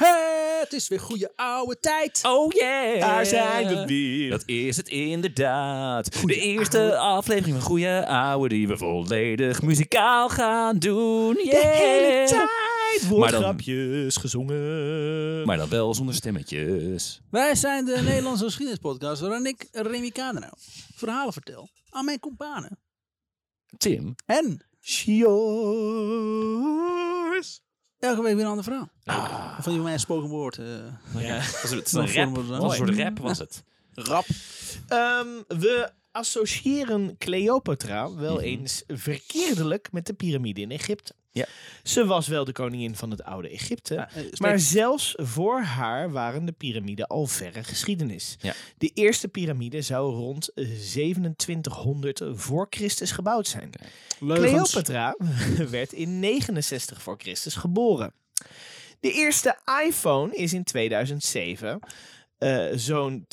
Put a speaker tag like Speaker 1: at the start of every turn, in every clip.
Speaker 1: Het is weer goede oude tijd.
Speaker 2: Oh yeah!
Speaker 1: Daar zijn we weer.
Speaker 2: Dat is het inderdaad. de eerste aflevering van Goeie Ouwe die we volledig muzikaal gaan doen. Yeah.
Speaker 1: De hele tijd
Speaker 2: Maar
Speaker 1: wordt
Speaker 2: dan-
Speaker 1: grapjes gezongen.
Speaker 2: Maar dan wel zonder stemmetjes.
Speaker 3: Wij zijn de Nederlandse geschiedenispodcast waarin ik, Remy Kadenau, verhalen vertel aan mijn kompanen.
Speaker 2: Tim.
Speaker 3: En
Speaker 1: Cheers.
Speaker 3: elke week weer een ander verhaal. Ah, Van die van mij een spoken woord. eh,
Speaker 2: Ja. Was het
Speaker 3: Nog
Speaker 2: een
Speaker 3: voor
Speaker 2: rap?
Speaker 3: me dan.
Speaker 2: Was een soort rap was het.
Speaker 3: rap.
Speaker 1: Ehm, we associëren Cleopatra wel
Speaker 3: Mhm.
Speaker 1: eens verkeerdelijk met de piramide in Egypte.
Speaker 2: Ja.
Speaker 1: Ze was wel de koningin van het oude Egypte,
Speaker 3: eh, steeds-
Speaker 1: maar zelfs voor haar waren de piramiden al verre geschiedenis.
Speaker 2: Ja.
Speaker 1: De eerste piramide zou rond eh, 2700 voor Christus gebouwd zijn.
Speaker 3: Leugens.
Speaker 1: Cleopatra werd in 69 voor Christus geboren. De eerste iPhone is in 2007, eh, zo'n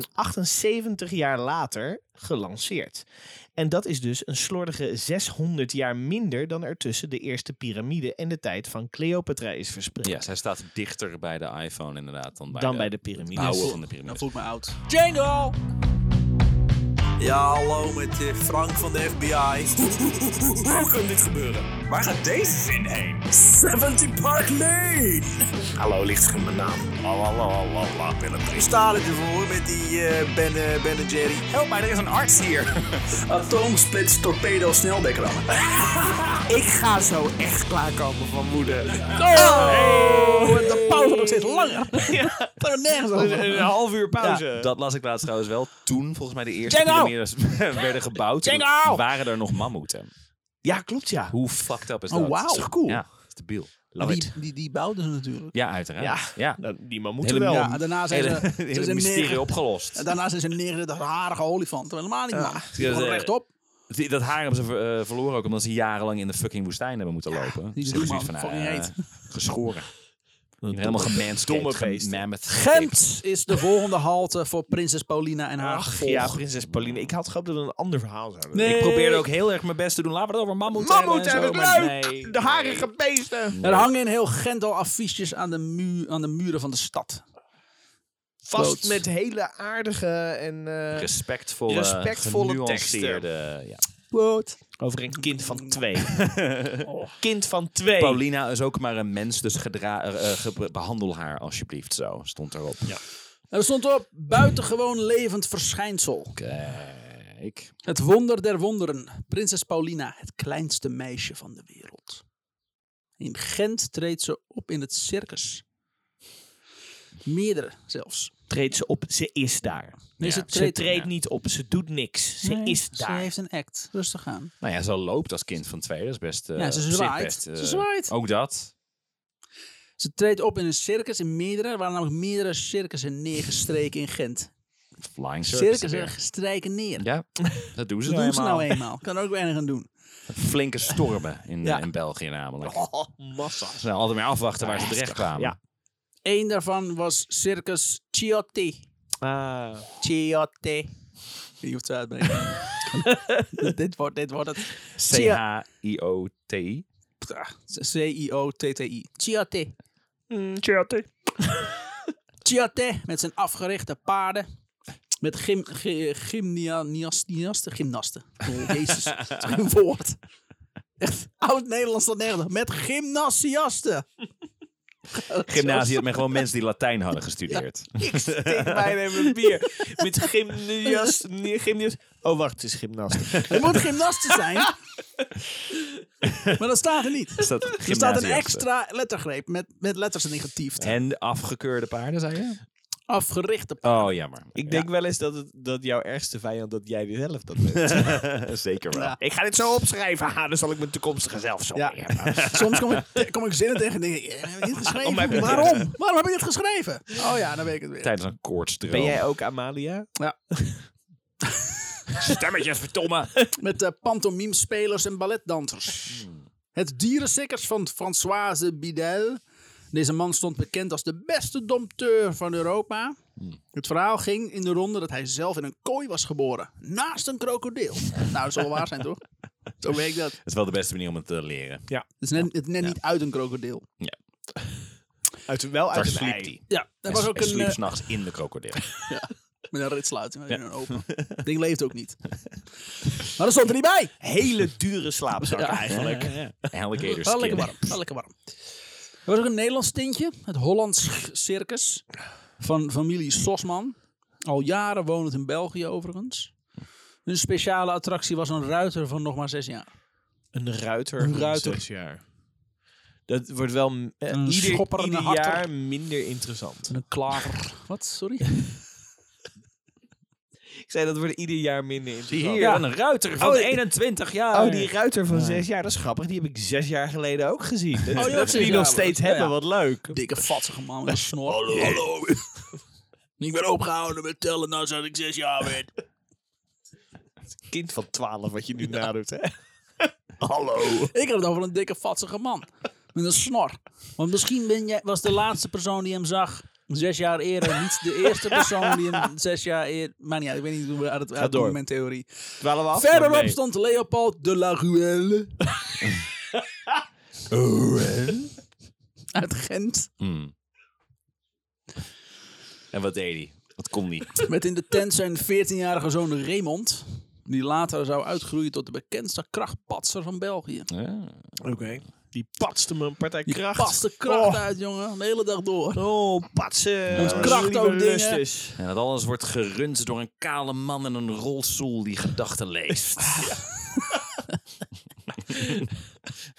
Speaker 1: 2078 jaar later, gelanceerd. En dat is dus een slordige 600 jaar minder dan er tussen de eerste piramide en de tijd van Cleopatra is verspreid.
Speaker 2: Ja, zij staat dichter bij de iPhone inderdaad dan bij
Speaker 1: dan
Speaker 2: de,
Speaker 1: bij de
Speaker 2: bouwen
Speaker 1: piramides.
Speaker 2: van de
Speaker 3: Dan
Speaker 2: piramide.
Speaker 3: voel ik me oud.
Speaker 2: Jingle!
Speaker 4: Ja, hallo met eh, Frank van de FBI. Hoe kan dit gebeuren? Waar gaat deze zin heen? 70 Park Lane! Hallo, ligt geen mijn naam. Willem. We staan het ervoor met die eh ben, eh, ben en Jerry. Help mij, er is een arts hier. Atoomsplits, torpedo, sneldekker. Ik ga zo echt klaarkomen van moeder.
Speaker 3: Oh, de pauze nog steeds langer. Dat we nergens over.
Speaker 1: Een half uur pauze.
Speaker 2: Dat las ik laatst trouwens wel. Toen volgens mij de eerste
Speaker 1: Django!
Speaker 2: piramides werden gebouwd,
Speaker 1: Django!
Speaker 2: waren er nog mammoeten.
Speaker 1: Ja, klopt ja.
Speaker 2: Hoe fucked up is
Speaker 3: Oh,
Speaker 2: dat?
Speaker 3: wauw.
Speaker 2: Dat is toch cool? Ja, dat is debiel. Love it.
Speaker 3: Die, die, die bouwden ze natuurlijk.
Speaker 2: Ja, uiteraard. Ja.
Speaker 1: Nou, die man moet er
Speaker 2: Hele-
Speaker 1: wel.
Speaker 3: Ja, daarna zijn
Speaker 2: Hele,
Speaker 3: ze,
Speaker 2: hele
Speaker 3: ze zijn
Speaker 2: mysterie
Speaker 3: neerge-
Speaker 2: opgelost.
Speaker 3: en daarna zijn ze neer de harige olifant. Helemaal niet maar.
Speaker 2: Ja,
Speaker 3: Gewoon
Speaker 2: ze-
Speaker 3: rechtop.
Speaker 2: Die- Dat haar hebben ze ver- eh, verloren ook omdat ze jarenlang in de fucking woestijn hebben moeten lopen.
Speaker 3: niet
Speaker 2: Ze
Speaker 3: doen,
Speaker 2: hebben zoiets
Speaker 3: man.
Speaker 2: van,
Speaker 3: Fucking
Speaker 2: eh, geschoren. Helemaal gemanscaped.
Speaker 1: domme beesten.
Speaker 2: gemammothed.
Speaker 3: Gent is de volgende halte voor prinses Paulina en haar
Speaker 1: Ach,
Speaker 3: gevolg.
Speaker 1: ja, prinses Pauline. Ik had gehoopt dat we een ander verhaal zouden
Speaker 3: Nee.
Speaker 2: Ik probeerde ook heel erg mijn best te doen. Laten we het over mammoet
Speaker 1: Mammoet
Speaker 2: en
Speaker 1: hebben
Speaker 2: zo,
Speaker 1: het
Speaker 2: maar
Speaker 1: leuk!
Speaker 2: nee.
Speaker 1: De harige beesten!
Speaker 3: Er hangen in heel Gent al affiches aan de, mu aan de muren van de stad.
Speaker 1: Vast
Speaker 3: Quotes.
Speaker 1: met hele aardige en... eh,
Speaker 2: Respectvolle,
Speaker 1: Respectvolle
Speaker 2: genuanceerde, Ja.
Speaker 3: Quote.
Speaker 1: over een kind van twee. Kind van twee.
Speaker 2: Paulina is ook maar een mens, dus gedra- eh, eh, ge- behandel haar alsjeblieft zo. Stond erop.
Speaker 3: Er stond op, buitengewoon levend verschijnsel.
Speaker 2: Kijk.
Speaker 3: Het wonder der wonderen. Prinses Paulina, het kleinste meisje van de wereld. In Gent treedt ze op in het circus. Meerdere zelfs.
Speaker 1: Treedt ze op, ze is daar.
Speaker 3: Nee,
Speaker 2: Ja,
Speaker 3: ze
Speaker 1: Ze
Speaker 3: treedt
Speaker 1: treedt niet op, ze doet niks. Ze
Speaker 3: Nee,
Speaker 1: is daar.
Speaker 3: Ze heeft een act. Rustig aan.
Speaker 2: Nou ja, ze loopt als kind van twee. Dat is best... eh,
Speaker 3: Ja, ze
Speaker 2: op zich
Speaker 3: zwaait.
Speaker 2: best, eh,
Speaker 3: Ze zwaait.
Speaker 2: Ook dat.
Speaker 3: Ze treedt op in een circus in meerdere. Er waren namelijk meerdere circussen neergestreken in Gent.
Speaker 2: Flying circus.
Speaker 3: Circussen strijken neer.
Speaker 2: Ja, dat doen ze,
Speaker 3: Dat
Speaker 2: nou
Speaker 3: doen ze nou
Speaker 2: eenmaal.
Speaker 3: eenmaal. Kan er ook weinig aan doen.
Speaker 2: Flinke stormen in,
Speaker 1: Ja.
Speaker 2: in België namelijk.
Speaker 1: Oh, massa.
Speaker 2: Ze zijn altijd maar afwachten waar ze terecht kwamen.
Speaker 1: Ja.
Speaker 3: Eén daarvan was Circus Chiotti.
Speaker 1: Ah.
Speaker 3: Chiotti. Je hoeft ze uit te brengen. dit, wordt, dit wordt het.
Speaker 2: C-H-I-O-T.
Speaker 3: C-I-O-T-T-I. Chiotti. Chiotti met zijn afgerichte paarden. Met gym, gy- gymniasten. Gymnasten. Oh, jezus. dat is geen woord. Echt oud-Nederlands tot nergens. Met gymnasiasten.
Speaker 2: Gymnasium met gewoon mensen die Latijn hadden gestudeerd.
Speaker 1: Ik stik bijna in mijn bier. Met gymnast. gymnast. Oh, wacht, het is gymnast.
Speaker 3: Het moet gymnasten zijn. maar dat staat er niet.
Speaker 2: Is dat
Speaker 3: Er staat een extra lettergreep met, met letters negatief.
Speaker 2: En de afgekeurde paarden, zei je?
Speaker 3: Afgerichte
Speaker 2: Oh, jammer.
Speaker 1: Ik denk wel eens dat, het, dat jouw ergste vijand dat jij zelf dat bent.
Speaker 2: Ja. Zeker wel.
Speaker 3: Ja.
Speaker 1: Ik ga dit zo opschrijven. Ha, dan zal ik mijn toekomstige zelf zo.
Speaker 3: Ja. Soms kom ik, kom ik zinnen tegen en denk ik, eh, heb ik dit geschreven?
Speaker 1: heb ik dit
Speaker 3: Waarom? Waarom heb ik dit geschreven? Oh ja, dan weet ik het weer.
Speaker 2: Tijdens een koortsdroom.
Speaker 1: Ben jij ook Amalia?
Speaker 2: Stemmetjes, verdomme.
Speaker 3: Met eh pantomimespelers en balletdansers. Het dierensikkers van Françoise Bidel. Deze man stond bekend als de beste dompteur van Europa. Het verhaal ging in de ronde dat hij zelf in een kooi was geboren. Naast een krokodil. nou, dat zal wel waar zijn, toch? Zo weet ik dat.
Speaker 2: eh, Dat is wel de beste manier om het te leren.
Speaker 3: Het is net, het net niet uit een krokodil.
Speaker 2: Ja.
Speaker 1: Uit, wel
Speaker 2: Daar
Speaker 1: uit een
Speaker 2: sliep
Speaker 1: ei.
Speaker 2: die.
Speaker 3: Ja, er was ook
Speaker 2: en
Speaker 3: een,
Speaker 2: sliep
Speaker 3: eh,
Speaker 2: s'nachts in de krokodil.
Speaker 3: Met een ritsluiting. en een open. Het ding leeft ook niet. Maar dat stond er niet bij.
Speaker 1: Hele dure slaapzak
Speaker 3: Ja.
Speaker 1: eigenlijk.
Speaker 2: Alligator
Speaker 3: Wel lekker
Speaker 2: skin.
Speaker 3: warm. Wel lekker warm. Er was ook een Nederlands tintje. Het Hollands Circus. Van familie Sosman. Al jaren wonend in België overigens. Hun speciale attractie was een ruiter van nog maar zes jaar.
Speaker 1: Een ruiter
Speaker 3: Een
Speaker 1: van
Speaker 3: ruiter.
Speaker 1: zes jaar. Dat wordt wel m- eh,
Speaker 3: Een
Speaker 1: ieder,
Speaker 3: schopper en
Speaker 1: ieder
Speaker 3: een harter.
Speaker 1: jaar minder interessant.
Speaker 3: Een klaver. Wat? Sorry?
Speaker 1: Ik zei dat wordt ieder jaar minder interessant.
Speaker 2: Hier,
Speaker 1: Ja.
Speaker 2: een ruiter van
Speaker 1: Oh, die-
Speaker 2: 21 jaar.
Speaker 1: Oh, die ruiter van zes jaar, dat is grappig. Die heb ik zes jaar geleden ook gezien. Dat,
Speaker 3: die ook
Speaker 1: dat ze die
Speaker 3: zes
Speaker 1: nog
Speaker 3: jaar
Speaker 1: steeds
Speaker 3: was.
Speaker 1: hebben,
Speaker 3: Ja, ja.
Speaker 1: wat leuk.
Speaker 3: Dikke vatsige man met een snor.
Speaker 4: hallo.
Speaker 3: Ik ben opgehouden met tellen nou zat ik zes jaar werd.
Speaker 1: Kind van twaalf wat je nu nadoet, hè?
Speaker 4: hallo.
Speaker 3: Ik heb het over een dikke vatsige man. Met een snor. Want misschien ben jij, was de laatste persoon die hem zag zes jaar eerder. Niet de eerste persoon die hem zes jaar eerder... Maar ja, ik weet niet hoe we uit het uit
Speaker 1: door.
Speaker 3: mijn theorie.
Speaker 1: Twaalf af?
Speaker 3: Verderop
Speaker 1: Nee.
Speaker 3: stond Leopold de la Ruelle. Uit Gent.
Speaker 2: Hmm. En wat deed hij? Wat kon hij?
Speaker 3: Met in de tent zijn 14-jarige zoon Raymond. Die later zou uitgroeien tot de bekendste krachtpatser van België.
Speaker 1: Oké. Die patste me een partij
Speaker 3: Die
Speaker 1: kracht.
Speaker 3: past de kracht
Speaker 1: Oh.
Speaker 3: uit, jongen. De hele dag door.
Speaker 1: Oh, patsen.
Speaker 3: Moet kracht
Speaker 1: Lieve
Speaker 3: ook dingen.
Speaker 1: lustes.
Speaker 2: En dat alles wordt gerund door een kale man in een rolstoel die gedachten leest.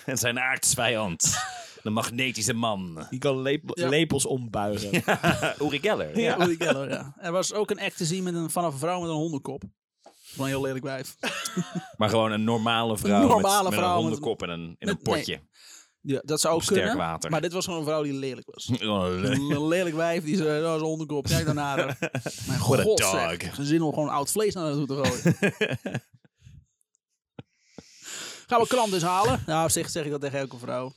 Speaker 2: en zijn aardsvijand, de magnetische man,
Speaker 1: Die kan lepel-
Speaker 3: Ja.
Speaker 1: lepels ombuigen. Eh,
Speaker 2: Uri Geller.
Speaker 3: Ja. Uri Geller, ja. Er was ook een act te zien met een, van een vrouw met een hondenkop. Van een heel lelijk wijf.
Speaker 2: Maar gewoon een normale vrouw,
Speaker 3: Normale
Speaker 2: met, met
Speaker 3: vrouw
Speaker 2: een
Speaker 3: met-
Speaker 2: hondenkop en een, in een
Speaker 3: met- nee.
Speaker 2: potje.
Speaker 3: Ja, dat zou ook
Speaker 2: sterk
Speaker 3: kunnen.
Speaker 2: water.
Speaker 3: Maar dit was gewoon een vrouw die lelijk was.
Speaker 2: Oh, le-
Speaker 3: Een lelijk wijf die zei, oh, zijn hondenkop, kijk dan naar haar. Mijn
Speaker 2: What a
Speaker 3: god
Speaker 2: dog.
Speaker 3: zeg. Ze zin om gewoon oud vlees naar naartoe te gooien. Gaan we krant dus halen? Nou, op zich zeg ik dat tegen elke vrouw.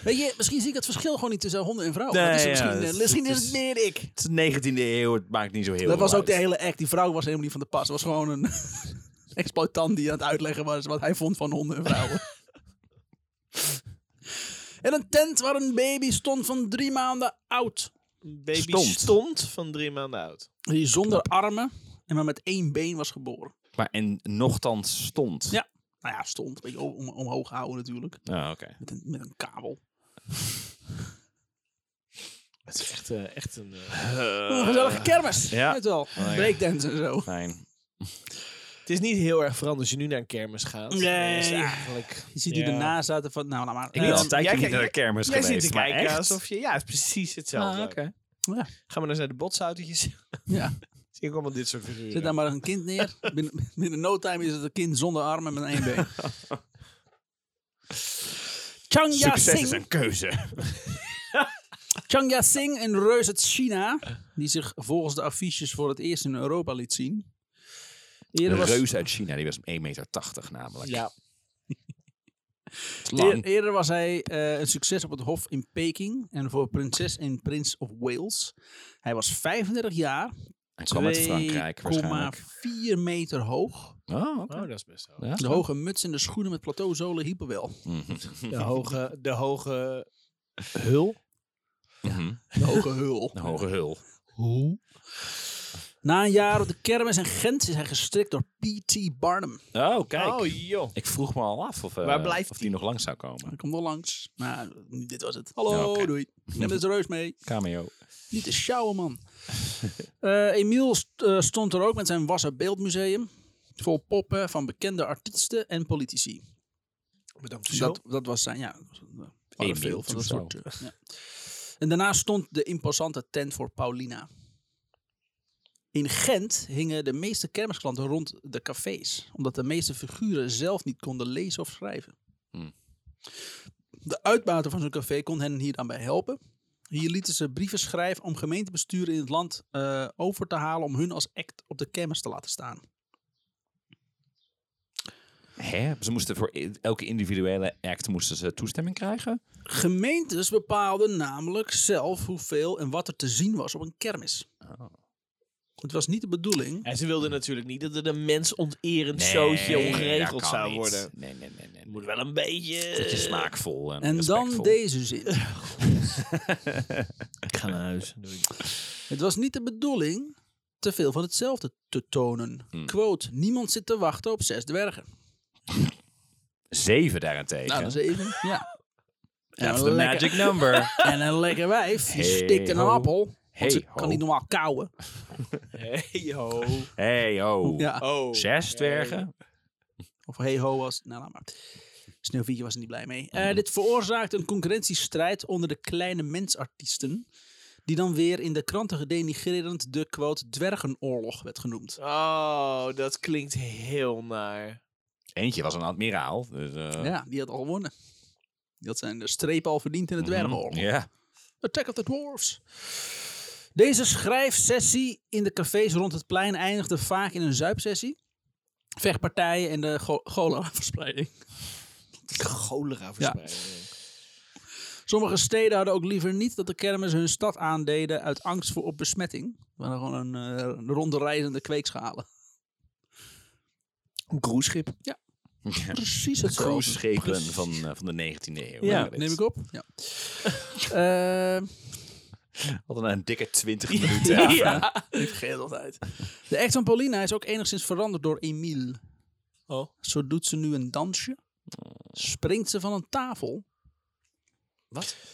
Speaker 3: Weet je, misschien zie ik het verschil gewoon niet tussen honden en vrouwen.
Speaker 2: Nee,
Speaker 3: Dat is
Speaker 2: ja,
Speaker 3: misschien eh,
Speaker 2: dat is-
Speaker 3: misschien
Speaker 2: dat
Speaker 3: is
Speaker 2: is-
Speaker 3: het meer ik.
Speaker 2: Het is de 19e eeuw, het maakt niet zo heel
Speaker 3: Dat
Speaker 2: veel
Speaker 3: was ook de
Speaker 2: uit.
Speaker 3: hele act. Die vrouw was helemaal niet van de pas. Het was gewoon een exploitant die aan het uitleggen was wat hij vond van honden en vrouwen. en een tent waar een baby stond van drie maanden oud.
Speaker 1: Een baby
Speaker 2: Stond.
Speaker 1: stond. van drie maanden oud.
Speaker 3: Die zonder armen en maar met één been was geboren.
Speaker 2: Maar en nochtans stond.
Speaker 3: Ja. Nou ja, stond. Weet je, om, omhoog houden natuurlijk.
Speaker 2: Oh, oké.
Speaker 3: Met een, met een kabel.
Speaker 1: Het is echt, eh, echt een... eh,
Speaker 3: een gezellige kermis.
Speaker 2: ja. Oh,
Speaker 3: Weet wel.
Speaker 2: ja.
Speaker 3: Breakdance en zo.
Speaker 2: Fijn.
Speaker 1: Het is niet heel erg veranderd als je nu naar een kermis gaat.
Speaker 3: Nee.
Speaker 1: Dat is eigenlijk...
Speaker 3: Je ziet die
Speaker 1: Ja.
Speaker 3: ernaast zaten van, nou, laat maar.
Speaker 2: Ik ben al een
Speaker 1: jij
Speaker 2: tijdje niet
Speaker 1: kijkt-
Speaker 2: naar de kermis
Speaker 1: Jij
Speaker 2: geweest,
Speaker 1: zit te
Speaker 2: maar
Speaker 1: kijken
Speaker 2: echt?
Speaker 1: alsof je... Ja, het is precies hetzelfde.
Speaker 2: Ah,
Speaker 3: Ja.
Speaker 1: Gaan we nou eens naar de botsautootjes.
Speaker 3: ja.
Speaker 1: Zie ik allemaal dit soort figuren.
Speaker 3: Zet daar maar een kind neer. Binnen, binnen no time is het een kind zonder armen met één been. Changya
Speaker 2: Succes is
Speaker 3: Singh,
Speaker 2: een keuze.
Speaker 3: Changya Singh, een reus uit China, die zich volgens de affiches voor het eerst in Europa liet zien. Eerder
Speaker 2: Een
Speaker 3: was,
Speaker 2: reus uit China, die was 1,80 meter namelijk.
Speaker 1: Ja.
Speaker 2: Dat
Speaker 3: eer-
Speaker 2: is lang.
Speaker 3: eerder was hij eh, een succes op het hof in Peking en voor prinses en prins of Wales. Hij was 35 jaar,
Speaker 2: Hij kwam uit Frankrijk waarschijnlijk.
Speaker 3: 2,4 meter hoog.
Speaker 2: Oh, oké.
Speaker 1: Oh, dat is best wel.
Speaker 2: Ja.
Speaker 3: De hoge muts en de schoenen met plateauzolen hielpen wel.
Speaker 2: Mhm.
Speaker 1: De hoge... De hoge... Hul?
Speaker 2: Mhm.
Speaker 3: De hoge hul.
Speaker 2: De hoge hul.
Speaker 1: Hoe?
Speaker 3: Na een jaar op de kermis in Gent is hij gestrikt door P.T. Barnum.
Speaker 2: Oh, kijk.
Speaker 1: Oh, joh.
Speaker 2: Ik vroeg me al af of, eh,
Speaker 1: Waar blijft
Speaker 2: of die nog lang zou komen.
Speaker 3: Hij komt nog langs. Maar dit was het. Hallo,
Speaker 2: Ja, oké.
Speaker 3: doei. Neem deze reus mee.
Speaker 2: Cameo.
Speaker 3: Niet te sjouwen, man. Eh Emiel st- eh, stond er ook met zijn Wasser Beeldmuseum. Vol poppen van bekende artiesten en politici.
Speaker 1: Bedankt.
Speaker 3: Dat, dat was eh, zijn, ja. waren
Speaker 2: Emiel
Speaker 3: veel van dat
Speaker 2: Toussaint.
Speaker 3: soort. eh, ja. En daarna stond de imposante tent voor Paulina. In Gent hingen de meeste kermisklanten rond de cafés, omdat de meeste figuren zelf niet konden lezen of schrijven.
Speaker 2: Hmm.
Speaker 3: De uitbater van zo'n café kon hen hier dan bij helpen. Hier lieten ze brieven schrijven om gemeentebesturen in het land eh, over te halen om hun als act op de kermis te laten staan.
Speaker 2: Hè? Ze moesten voor i- elke individuele act moesten ze toestemming krijgen?
Speaker 3: Gemeentes
Speaker 2: Oh.
Speaker 3: bepaalden namelijk zelf hoeveel en wat er te zien was op een kermis. Het was niet de bedoeling.
Speaker 1: En ze wilden natuurlijk niet dat het een mensonterend
Speaker 2: Nee,
Speaker 1: showtje
Speaker 2: dat
Speaker 1: ongeregeld
Speaker 2: kan
Speaker 1: zou
Speaker 2: niet.
Speaker 1: worden.
Speaker 2: Nee, nee, nee. nee.
Speaker 1: Het moet wel een beetje...
Speaker 2: Beetje smaakvol en,
Speaker 3: Eh, En dan
Speaker 2: respectvol.
Speaker 3: deze zin.
Speaker 1: Ik ga naar huis.
Speaker 3: Het was niet de bedoeling te veel van hetzelfde te tonen.
Speaker 2: Hmm.
Speaker 3: Quote, niemand zit te wachten op zes dwergen.
Speaker 2: Zeven daarentegen.
Speaker 3: Nou, dat is even, ja. En
Speaker 2: That's
Speaker 3: een,
Speaker 2: the
Speaker 3: nou, lekker,
Speaker 2: magic number.
Speaker 3: en een lekker wijf, die
Speaker 2: Hey
Speaker 3: stikt in een
Speaker 2: ho.
Speaker 3: appel. Want
Speaker 2: Hey
Speaker 3: ze
Speaker 2: ho.
Speaker 3: kan niet normaal kauwen.
Speaker 1: Hey ho.
Speaker 2: Hey, oh.
Speaker 3: Ja.
Speaker 1: Oh.
Speaker 2: Zes dwergen?
Speaker 3: Of hey ho was, nou laat maar. Sneeuwwitje was er niet blij mee. Eh, dit veroorzaakte een concurrentiestrijd onder de kleine mensartiesten. Die dan weer in de kranten gedenigrerend de quote dwergenoorlog werd genoemd.
Speaker 1: Oh, dat klinkt heel naar.
Speaker 2: Eentje was een admiraal. Dus, eh,
Speaker 3: Ja, die had al gewonnen. Die had zijn eh, streep al verdiend in het dwergenoorlog.
Speaker 2: Mhm. mm, Ja.
Speaker 3: Attack of the Dwarfs. Deze schrijfsessie in de cafés rond het plein eindigde vaak in een zuipsessie. Vechtpartijen en de cho- cholera-verspreiding.
Speaker 1: Cholera verspreiding.
Speaker 3: Sommige steden hadden ook liever niet dat de kermis hun stad aandeden uit angst voor op besmetting. We hadden gewoon een eh, ronde reizende kweekschalen.
Speaker 1: Een cruiseschip.
Speaker 3: Precies het
Speaker 2: Cruiseschepen van, eh, van de 19e eeuw.
Speaker 1: Ja,
Speaker 2: waren dit.
Speaker 3: Neem ik op? Ja. Eh,
Speaker 2: Hadden een dikke 20 minuten.
Speaker 3: ja. Ik vergeet het altijd. De act van Paulina is ook enigszins veranderd door Emile.
Speaker 1: Oh.
Speaker 3: Zo doet ze nu een dansje. Springt ze van een tafel.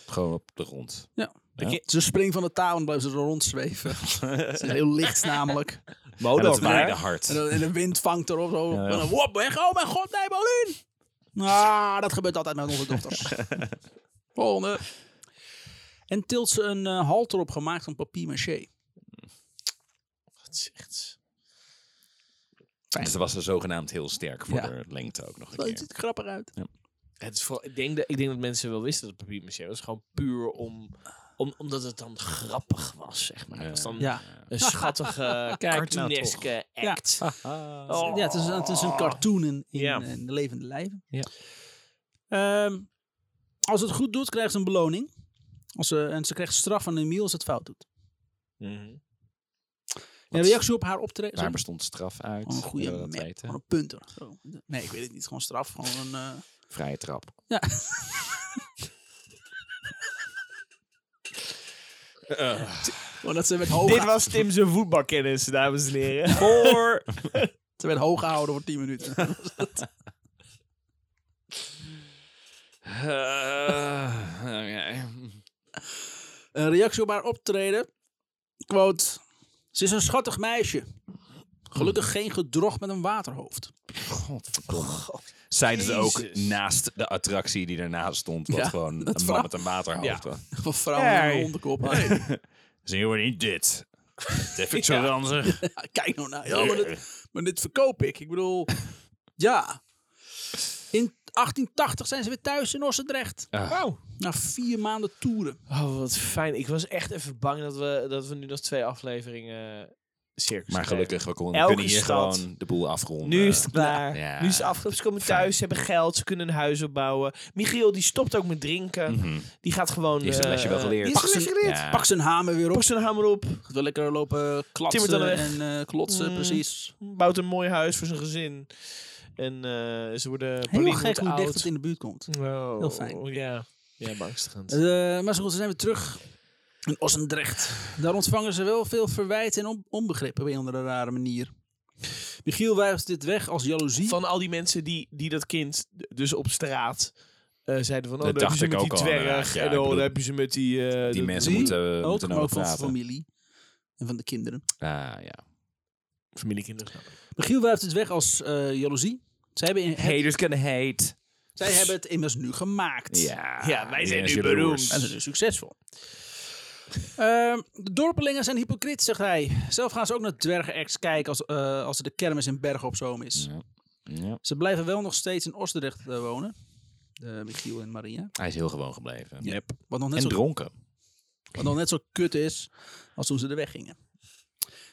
Speaker 2: Gewoon op de grond.
Speaker 3: Ja.
Speaker 2: Ja.
Speaker 3: Ik- Ze springt van de tafel en blijft ze er rondzweven. ze is heel licht namelijk.
Speaker 1: Modo,
Speaker 2: en dat waaide hard.
Speaker 3: En, dan- en de wind vangt erop. Zo.
Speaker 2: Ja, ja.
Speaker 3: En dan wop, weg. Oh mijn god, nee, Paulien! Ah, dat gebeurt altijd met onze dochters. Volgende. En tilt ze een eh, halter op gemaakt van papier maché.
Speaker 1: Wat zegt ze?
Speaker 2: Dus dat was er zogenaamd heel sterk voor
Speaker 3: Ja.
Speaker 2: de lengte ook nog een
Speaker 3: Dat
Speaker 2: keer.
Speaker 3: ziet er grappig uit.
Speaker 1: Het is vooral, ik, denk dat, ik denk dat mensen wel wisten dat het papier maché was. Gewoon puur om, om, omdat het dan grappig was, zeg maar. Het was dan
Speaker 3: Ja.
Speaker 1: een schattige, cartooneske
Speaker 3: Ja.
Speaker 1: act.
Speaker 3: Ja, het is, het is
Speaker 2: Oh.
Speaker 3: een cartoon in, in,
Speaker 1: Ja.
Speaker 3: eh, in de levende lijven.
Speaker 1: Ja.
Speaker 3: Ehm, als het goed doet, krijgt ze een beloning. Als ze, en ze krijgt straf van Emiel als het fout doet.
Speaker 1: Mhm.
Speaker 3: En
Speaker 2: Wat-
Speaker 3: reactie op haar optreden.
Speaker 2: Waar bestond straf uit?
Speaker 3: Gewoon een goede
Speaker 2: Willen we dat
Speaker 3: map.
Speaker 2: weten?
Speaker 3: Gewoon een punter. Zo. Nee, ik weet het niet. Gewoon straf. Gewoon een, eh,
Speaker 2: Vrije trap.
Speaker 3: ja. Gewoon dat ze werd,
Speaker 1: Dit
Speaker 3: hoog,
Speaker 1: was Tim zijn voetbalkennis, dames en heren.
Speaker 2: Voor!
Speaker 3: ze werd hoog gehouden voor 10 minuten.
Speaker 2: Eh,
Speaker 3: een reactie op haar optreden. Quote. Ze is een schattig meisje. Gelukkig geen gedrog met een waterhoofd.
Speaker 2: Godverdomme. Zeiden ze ook
Speaker 1: Jezus.
Speaker 2: naast de attractie die daarnaast stond, wat
Speaker 3: Ja,
Speaker 2: gewoon
Speaker 3: dat
Speaker 2: een man
Speaker 3: verhaal.
Speaker 2: met een waterhoofd was.
Speaker 3: Van vrouwen in
Speaker 1: Hey.
Speaker 3: een hondenkop.
Speaker 2: Zien we niet dit? Dat vind ik zo ranzig.
Speaker 3: Ja, kijk nou naar. Ja, maar, dit, maar dit verkoop ik. Ik bedoel, ja. In 1880 zijn ze weer thuis in Ossendrecht.
Speaker 2: Ah.
Speaker 1: Wow.
Speaker 3: Na vier maanden toeren.
Speaker 1: Oh, wat fijn. Ik was echt even bang dat we, dat we nu nog twee afleveringen circus
Speaker 2: Maar
Speaker 1: krijgen.
Speaker 2: gelukkig, we kon,
Speaker 1: Elke
Speaker 2: kunnen hier
Speaker 1: stad.
Speaker 2: gewoon de boel afronden.
Speaker 1: Nu is het klaar.
Speaker 2: Eh, Ja.
Speaker 1: Nu is het afgelopen. Ze komen
Speaker 2: Fijn.
Speaker 1: thuis, ze hebben geld, ze kunnen een huis opbouwen. Michiel die stopt ook met drinken.
Speaker 2: Mhm.
Speaker 1: Die gaat gewoon...
Speaker 2: Die heeft zijn
Speaker 1: eh,
Speaker 2: lesje wel geleerd.
Speaker 1: Die heeft zijn lesje geleerd.
Speaker 2: Ja.
Speaker 3: Pak zijn hamer weer op.
Speaker 1: Pak zijn hamer op,
Speaker 3: Gaat wel lekker lopen klatsen
Speaker 1: Timmert dan
Speaker 3: en eh, klotsen,
Speaker 1: Mm.
Speaker 3: precies.
Speaker 1: bouwt een mooi huis voor zijn gezin. En eh, ze worden...
Speaker 3: Heel
Speaker 1: Pauline
Speaker 3: gek
Speaker 1: wordt
Speaker 3: hoe dicht
Speaker 1: oud.
Speaker 3: het in de buurt komt.
Speaker 1: Oh,
Speaker 3: Heel fijn.
Speaker 1: Ja, ja beangstigend.
Speaker 3: Eh, maar zo goed, ze zijn weer terug in Ossendrecht. Daar ontvangen ze wel veel verwijt en on- onbegrip op een of andere rare manier. Michiel wijst dit weg als jaloezie.
Speaker 1: van al die mensen die, die dat kind d- dus op straat eh, zeiden van... Oh,
Speaker 2: Dat
Speaker 1: daar
Speaker 2: dacht
Speaker 1: heb je ze
Speaker 2: ik
Speaker 1: met die
Speaker 2: ook al,
Speaker 1: dwerg.
Speaker 2: inderdaad. Ja,
Speaker 1: en
Speaker 2: ik
Speaker 1: oh,
Speaker 2: bedoel,
Speaker 1: daar heb je ze met die... eh,
Speaker 2: Die
Speaker 1: dat-
Speaker 2: mensen
Speaker 3: die
Speaker 2: moeten,
Speaker 3: ook,
Speaker 2: Eh, moeten
Speaker 3: maar ook
Speaker 2: erover
Speaker 3: van de
Speaker 2: praten.
Speaker 3: familie en van de kinderen.
Speaker 2: Ah, ja.
Speaker 1: Familiekinderen.
Speaker 3: Michiel wijst dit weg als eh, jaloezie. Zij hebben, in-
Speaker 2: Haters kunnen hate.
Speaker 3: zij hebben het immers nu gemaakt.
Speaker 2: Ja,
Speaker 1: Ja, wij
Speaker 2: die
Speaker 1: zijn nu
Speaker 2: jaloers.
Speaker 1: beroemd.
Speaker 3: En ze zijn succesvol. Ehm, de dorpelingen zijn hypocriet, zegt hij. Zelf gaan ze ook naar dwergenacts kijken als, eh, als er de kermis in Bergen op Zoom is.
Speaker 2: Ja.
Speaker 3: Ze blijven wel nog steeds in Osterdrecht eh, wonen. Eh, Michiel en Maria.
Speaker 2: Hij is heel gewoon gebleven.
Speaker 3: Ja. Wat nog, net
Speaker 2: En
Speaker 3: zo,
Speaker 2: dronken.
Speaker 3: wat nog net zo kut is als toen ze er weggingen.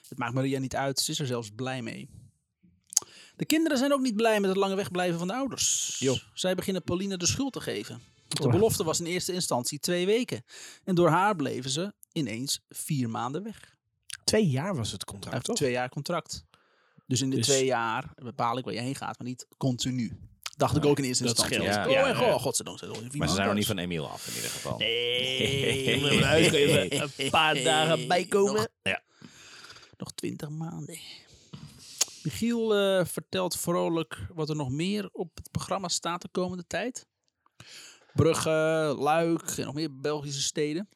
Speaker 3: Het maakt Maria niet uit, ze is er zelfs blij mee. De kinderen zijn ook niet blij met het lange wegblijven van de ouders.
Speaker 1: Jo.
Speaker 3: Zij beginnen Pauline de schuld te geven. De belofte was in eerste instantie twee weken. En door haar bleven ze ineens vier maanden weg.
Speaker 1: Twee jaar was het contract,
Speaker 3: Hij heeft
Speaker 1: toch?
Speaker 3: twee jaar contract. Dus in de
Speaker 1: Dus-
Speaker 3: twee jaar bepaal ik waar je heen gaat, maar niet continu. Dacht ik ook in eerste
Speaker 1: dat
Speaker 3: instantie.
Speaker 1: scheelt.
Speaker 2: Ja,
Speaker 3: oh,
Speaker 2: ja,
Speaker 3: en
Speaker 2: ja.
Speaker 3: goh, godzijdank. zijn er nog
Speaker 2: Maar
Speaker 3: iemand
Speaker 2: ze zijn nog
Speaker 3: anders.
Speaker 2: niet van Emiel af in ieder geval.
Speaker 1: Nee, moet er ook even een paar dagen bijkomen.
Speaker 3: Nog,
Speaker 2: Ja.
Speaker 3: nog twintig maanden. Michiel eh, vertelt vrolijk wat er nog meer op het programma staat de komende tijd. Brugge, Luik en nog meer Belgische steden.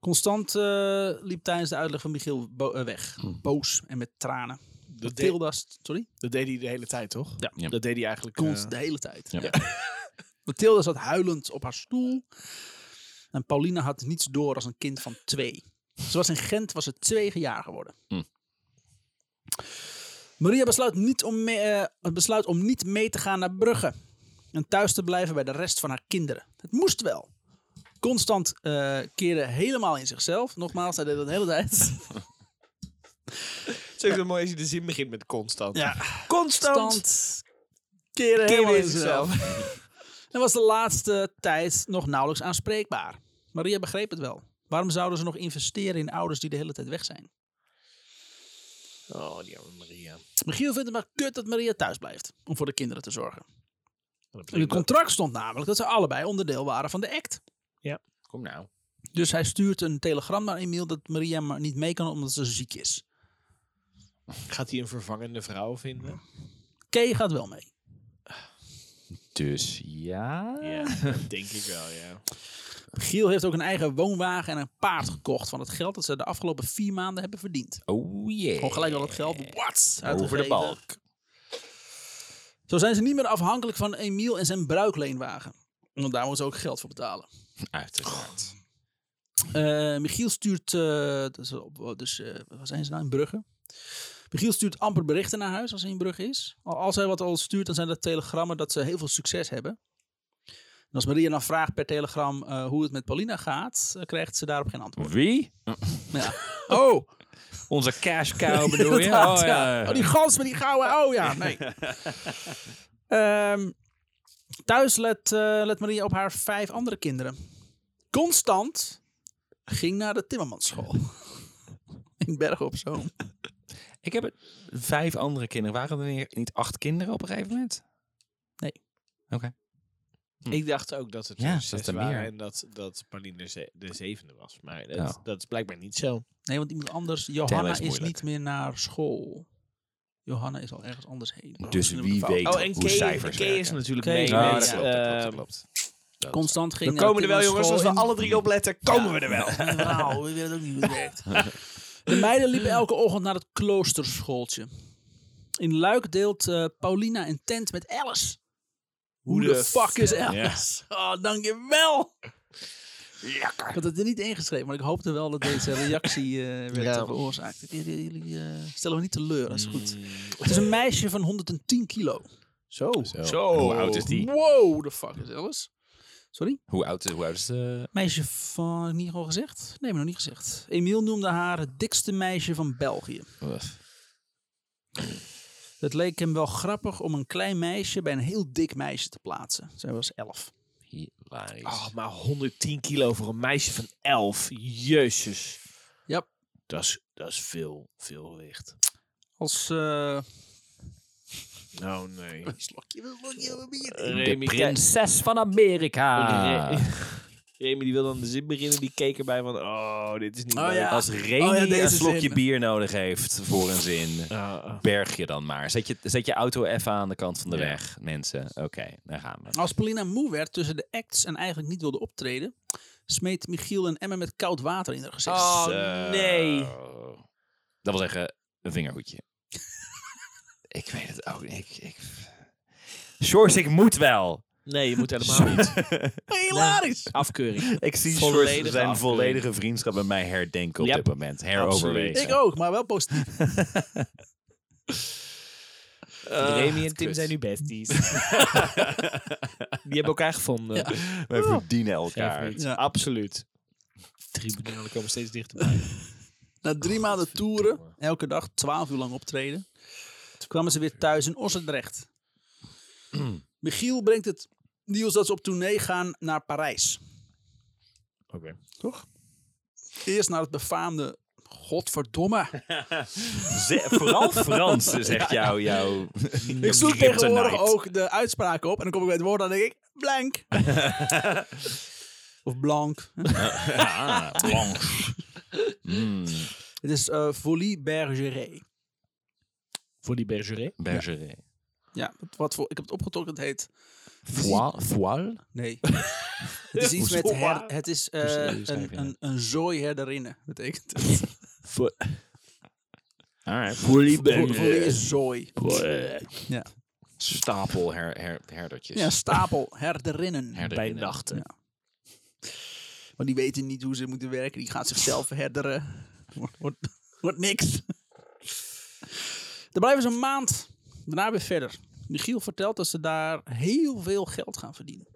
Speaker 3: Constant eh, liep tijdens de uitleg van Michiel bo- eh, weg.
Speaker 1: Hm.
Speaker 3: Boos en met tranen.
Speaker 1: Dat, deed-
Speaker 3: Tilda, st- sorry?
Speaker 1: dat deed hij de hele tijd, toch?
Speaker 3: Ja.
Speaker 2: Ja.
Speaker 1: Dat deed hij eigenlijk... eh,
Speaker 3: Constant, de hele tijd.
Speaker 2: Ja.
Speaker 3: Ja. Mathilde zat huilend op haar stoel. En Paulina had niets door als een kind van twee. Ze was in Gent, was ze twee jaar geworden.
Speaker 2: Hm.
Speaker 3: Maria besluit, niet om mee, eh, het besluit om niet mee te gaan naar Brugge. En thuis te blijven bij de rest van haar kinderen. Het moest wel. Constant eh, keerde helemaal in zichzelf. Nogmaals, hij deed dat de hele tijd.
Speaker 1: Het is ook zo mooi als je de zin begint met constant.
Speaker 3: Ja.
Speaker 1: Constant!
Speaker 3: Constant keren helemaal in zichzelf. En was de laatste tijd nog nauwelijks aanspreekbaar. Maria begreep het wel. Waarom zouden ze nog investeren in ouders die de hele tijd weg zijn?
Speaker 1: Oh, die arme Maria.
Speaker 3: Michiel vindt het maar kut dat Maria thuis blijft om voor de kinderen te zorgen.
Speaker 1: Wat
Speaker 3: In het contract stond namelijk dat ze allebei onderdeel waren van de act.
Speaker 2: Kom nou.
Speaker 3: Dus hij stuurt een telegram naar Emiel dat Maria maar niet mee kan omdat ze ziek is.
Speaker 1: Gaat hij een vervangende vrouw vinden?
Speaker 3: Kay gaat wel mee.
Speaker 2: Dus ja.
Speaker 1: dat denk ik wel, ja.
Speaker 3: Michiel heeft ook een eigen woonwagen en een paard gekocht van het geld dat ze de afgelopen vier maanden hebben verdiend.
Speaker 2: Oh yeah.
Speaker 3: Gewoon gelijk al het geld. What?
Speaker 2: Over de balk.
Speaker 3: Zo zijn ze niet meer afhankelijk van Emiel en zijn bruikleenwagen. Want daar moeten ze ook geld voor betalen.
Speaker 2: Uiteraard.
Speaker 3: Eh, Michiel stuurt. eh, dus op, dus eh, waar zijn ze nou in Brugge? Michiel stuurt amper berichten naar huis als hij in Brugge is. Al- Als hij wat al stuurt, dan zijn dat telegrammen dat ze heel veel succes hebben. En als Maria dan vraagt per telegram eh, hoe het met Paulina gaat, eh, krijgt ze daarop geen antwoord.
Speaker 2: Wie?
Speaker 3: Ja. Oh,
Speaker 2: Onze cash cow bedoel je?
Speaker 3: Inderdaad,
Speaker 2: Oh, ja.
Speaker 3: Oh, die gans met die gouden. Oh ja, nee. Ehm, thuis let, eh, let Maria op haar vijf andere kinderen. Constant ging naar de Timmermansschool. In Bergen op Zoom.
Speaker 2: Ik heb het. Vijf andere kinderen. Waren er niet- niet acht kinderen op een gegeven moment?
Speaker 1: Ik dacht ook dat het
Speaker 2: Ja,
Speaker 1: er
Speaker 2: dat
Speaker 1: zes
Speaker 2: er
Speaker 1: waren
Speaker 2: meer.
Speaker 1: en dat, dat Pauline de, ze- de zevende was. Maar dat,
Speaker 2: Ja.
Speaker 1: dat is blijkbaar niet zo.
Speaker 3: Nee, want iemand anders.
Speaker 2: Tellen
Speaker 3: Johanna
Speaker 2: is
Speaker 3: is,
Speaker 2: moeilijk.
Speaker 3: niet meer naar school. Johanna is al ergens anders heen.
Speaker 2: Dus
Speaker 3: Misschien heb ik
Speaker 2: wie
Speaker 3: het fout.
Speaker 2: weet
Speaker 1: Oh, en
Speaker 2: hoe
Speaker 1: Kay,
Speaker 2: cijfers
Speaker 1: Kay is
Speaker 2: werken.
Speaker 1: natuurlijk
Speaker 3: Kay
Speaker 1: mee.
Speaker 3: is-
Speaker 1: met,
Speaker 3: Ja,
Speaker 2: dat klopt, dat klopt,
Speaker 1: eh,
Speaker 3: ehm,
Speaker 2: dat klopt.
Speaker 3: Oh, Constant ging
Speaker 1: We
Speaker 3: naar de
Speaker 1: komen er wel, jongens. Als we
Speaker 3: Timmermansschool
Speaker 1: alle drie opletten, komen we er wel.
Speaker 3: en- Nou, we weten ook niet hoe het werkt. De meiden liepen elke ochtend naar het kloosterschooltje. In Luik deelt eh, Paulina een tent met Alice. Hoe de fuck is Alice? Oh, dankjewel! Ik had het er niet ingeschreven, maar ik hoopte wel dat deze reactie eh, werd
Speaker 1: Ja.
Speaker 3: eh, veroorzaakt. Jullie jullie, eh, stellen me niet teleur, dat is goed. Het is een meisje van 110 kilo.
Speaker 1: Zo.
Speaker 2: Zo. En Hoe oud is die?
Speaker 3: Wow, de fuck is Alice? Sorry?
Speaker 2: Hoe oud is, hoe oud is eh, de...
Speaker 3: Meisje van... heb ik Niet al gezegd? Nee, maar nog niet gezegd. Emiel noemde haar het dikste meisje van België. Het leek hem wel grappig om een klein meisje bij een heel dik meisje te plaatsen. Zij was elf.
Speaker 2: Hilarisch.
Speaker 1: Oh, maar 110 kilo voor een meisje van 11. Jezus.
Speaker 3: Ja.
Speaker 1: Dat is, dat is veel, veel gewicht.
Speaker 3: Als... eh
Speaker 1: Oh nee.
Speaker 3: slokje, slokje van bier.
Speaker 2: de
Speaker 1: Remy, kijk-
Speaker 2: prinses van Amerika.
Speaker 1: Re- Remy die wil dan de zin beginnen, die keek erbij van, oh, dit is niet
Speaker 3: Oh,
Speaker 1: leuk.
Speaker 3: ja.
Speaker 2: Als Remy
Speaker 3: Oh ja, deze
Speaker 2: een slokje
Speaker 3: zin.
Speaker 2: bier nodig heeft voor een zin,
Speaker 1: Ah, ah.
Speaker 2: berg je dan maar. Zet je, zet je auto even aan de kant van de
Speaker 1: Ja.
Speaker 2: weg, mensen. Oké, daar gaan we.
Speaker 3: Als Paulina moe werd tussen de acts en eigenlijk niet wilde optreden, smeet Michiel een emmer met koud water in haar gezicht.
Speaker 2: Ah,
Speaker 1: Oh, nee.
Speaker 2: Dat wil zeggen, een vingerhoedje. ik weet het ook niet. Ik, ik... Shores, ik moet wel.
Speaker 1: Nee, je moet helemaal niet.
Speaker 3: Hilarisch!
Speaker 1: Afkeuring.
Speaker 2: Ik zie
Speaker 1: Volledige
Speaker 2: Shores zijn
Speaker 1: afkeuring.
Speaker 2: volledige vriendschap met mij herdenken op
Speaker 1: Yep.
Speaker 2: dit moment. Heroverwegen.
Speaker 3: Ik ook, maar wel positief.
Speaker 1: Remy en Tim zijn nu besties. die hebben elkaar gevonden.
Speaker 2: Wij verdienen
Speaker 1: Gaaf
Speaker 2: elkaar.
Speaker 1: niet.
Speaker 3: Ja.
Speaker 1: Absoluut. Tribunalen komen steeds dichterbij.
Speaker 2: Oh,
Speaker 3: Na drie maanden toeren, elke dag 12 uur lang optreden, toen kwamen ze weer thuis in Ossendrecht. Michiel brengt het nieuws dat ze op tournee gaan naar Parijs.
Speaker 1: Oké.
Speaker 3: Toch? Eerst naar het befaamde Godverdomme.
Speaker 2: Ze- vooral Frans zegt jou, jou.
Speaker 3: Ik zoek
Speaker 2: kryptonite.
Speaker 3: tegenwoordig ook de uitspraken op. En dan kom ik bij het woord en dan denk ik, blank. of blank.
Speaker 2: Ah, blanche. Mm,
Speaker 3: Het is eh folie bergeret.
Speaker 1: Voor die bergeret.
Speaker 2: bergeret.
Speaker 3: Ja, wat, wat voor, ik heb het opgetrokken, het heet...
Speaker 2: Voile? Voile?
Speaker 3: Nee. het is iets met...
Speaker 2: Hoezo?
Speaker 3: her- het is eh,
Speaker 2: Hoe schrijf je dat?
Speaker 3: een, een, een zooi herderinnen, betekent het.
Speaker 2: Vo- Alright.
Speaker 3: Fo- Folie is zooi.
Speaker 1: eh,
Speaker 3: Ja.
Speaker 2: Stapel her, her,
Speaker 1: dus-
Speaker 2: herdertjes.
Speaker 3: Ja, stapel herderinnen.
Speaker 1: Bij
Speaker 2: Herderinnen.
Speaker 1: nachten.
Speaker 3: Ja. Want die weten niet hoe ze moeten werken. Die gaan zichzelf herderen. Wordt, wordt, wordt niks. Daar blijven ze een maand. Daarna weer verder. Michiel vertelt dat ze daar heel veel geld gaan verdienen.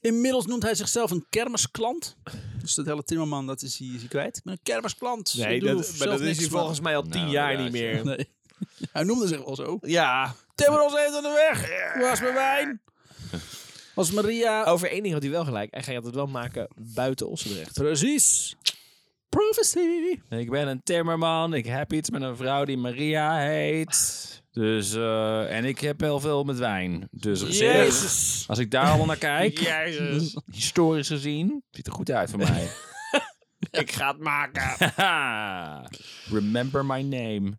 Speaker 3: Inmiddels noemt hij zichzelf een kermisklant. Dus dat hele timmerman, dat is hij, is hij kwijt. Ik ben een kermisklant.
Speaker 1: Nee,
Speaker 3: Ik doe
Speaker 1: dat, maar
Speaker 3: zelf
Speaker 1: dat is
Speaker 3: niks,
Speaker 1: hij
Speaker 3: maar-
Speaker 1: volgens mij al tien
Speaker 2: Nou,
Speaker 1: jaar niet
Speaker 2: inderdaad,
Speaker 1: meer.
Speaker 3: Nee. Hij noemde zich wel zo.
Speaker 1: Ja,
Speaker 3: Timmer ons even aan de weg. Waar is mijn wijn? Als Maria
Speaker 1: over één ding had hij wel gelijk. Hij gaat het wel maken buiten Ossendrecht.
Speaker 3: Precies. Prophecy.
Speaker 2: Ik ben een timmerman. Ik heb iets met een vrouw die Maria heet. Dus, eh, en ik heb heel veel met wijn. Dus op zich,
Speaker 3: Jezus.
Speaker 2: als ik daar allemaal naar kijk,
Speaker 1: Jezus,
Speaker 2: historisch gezien, ziet er goed uit voor mij.
Speaker 1: ik ga het maken.
Speaker 2: Haha. Remember my name.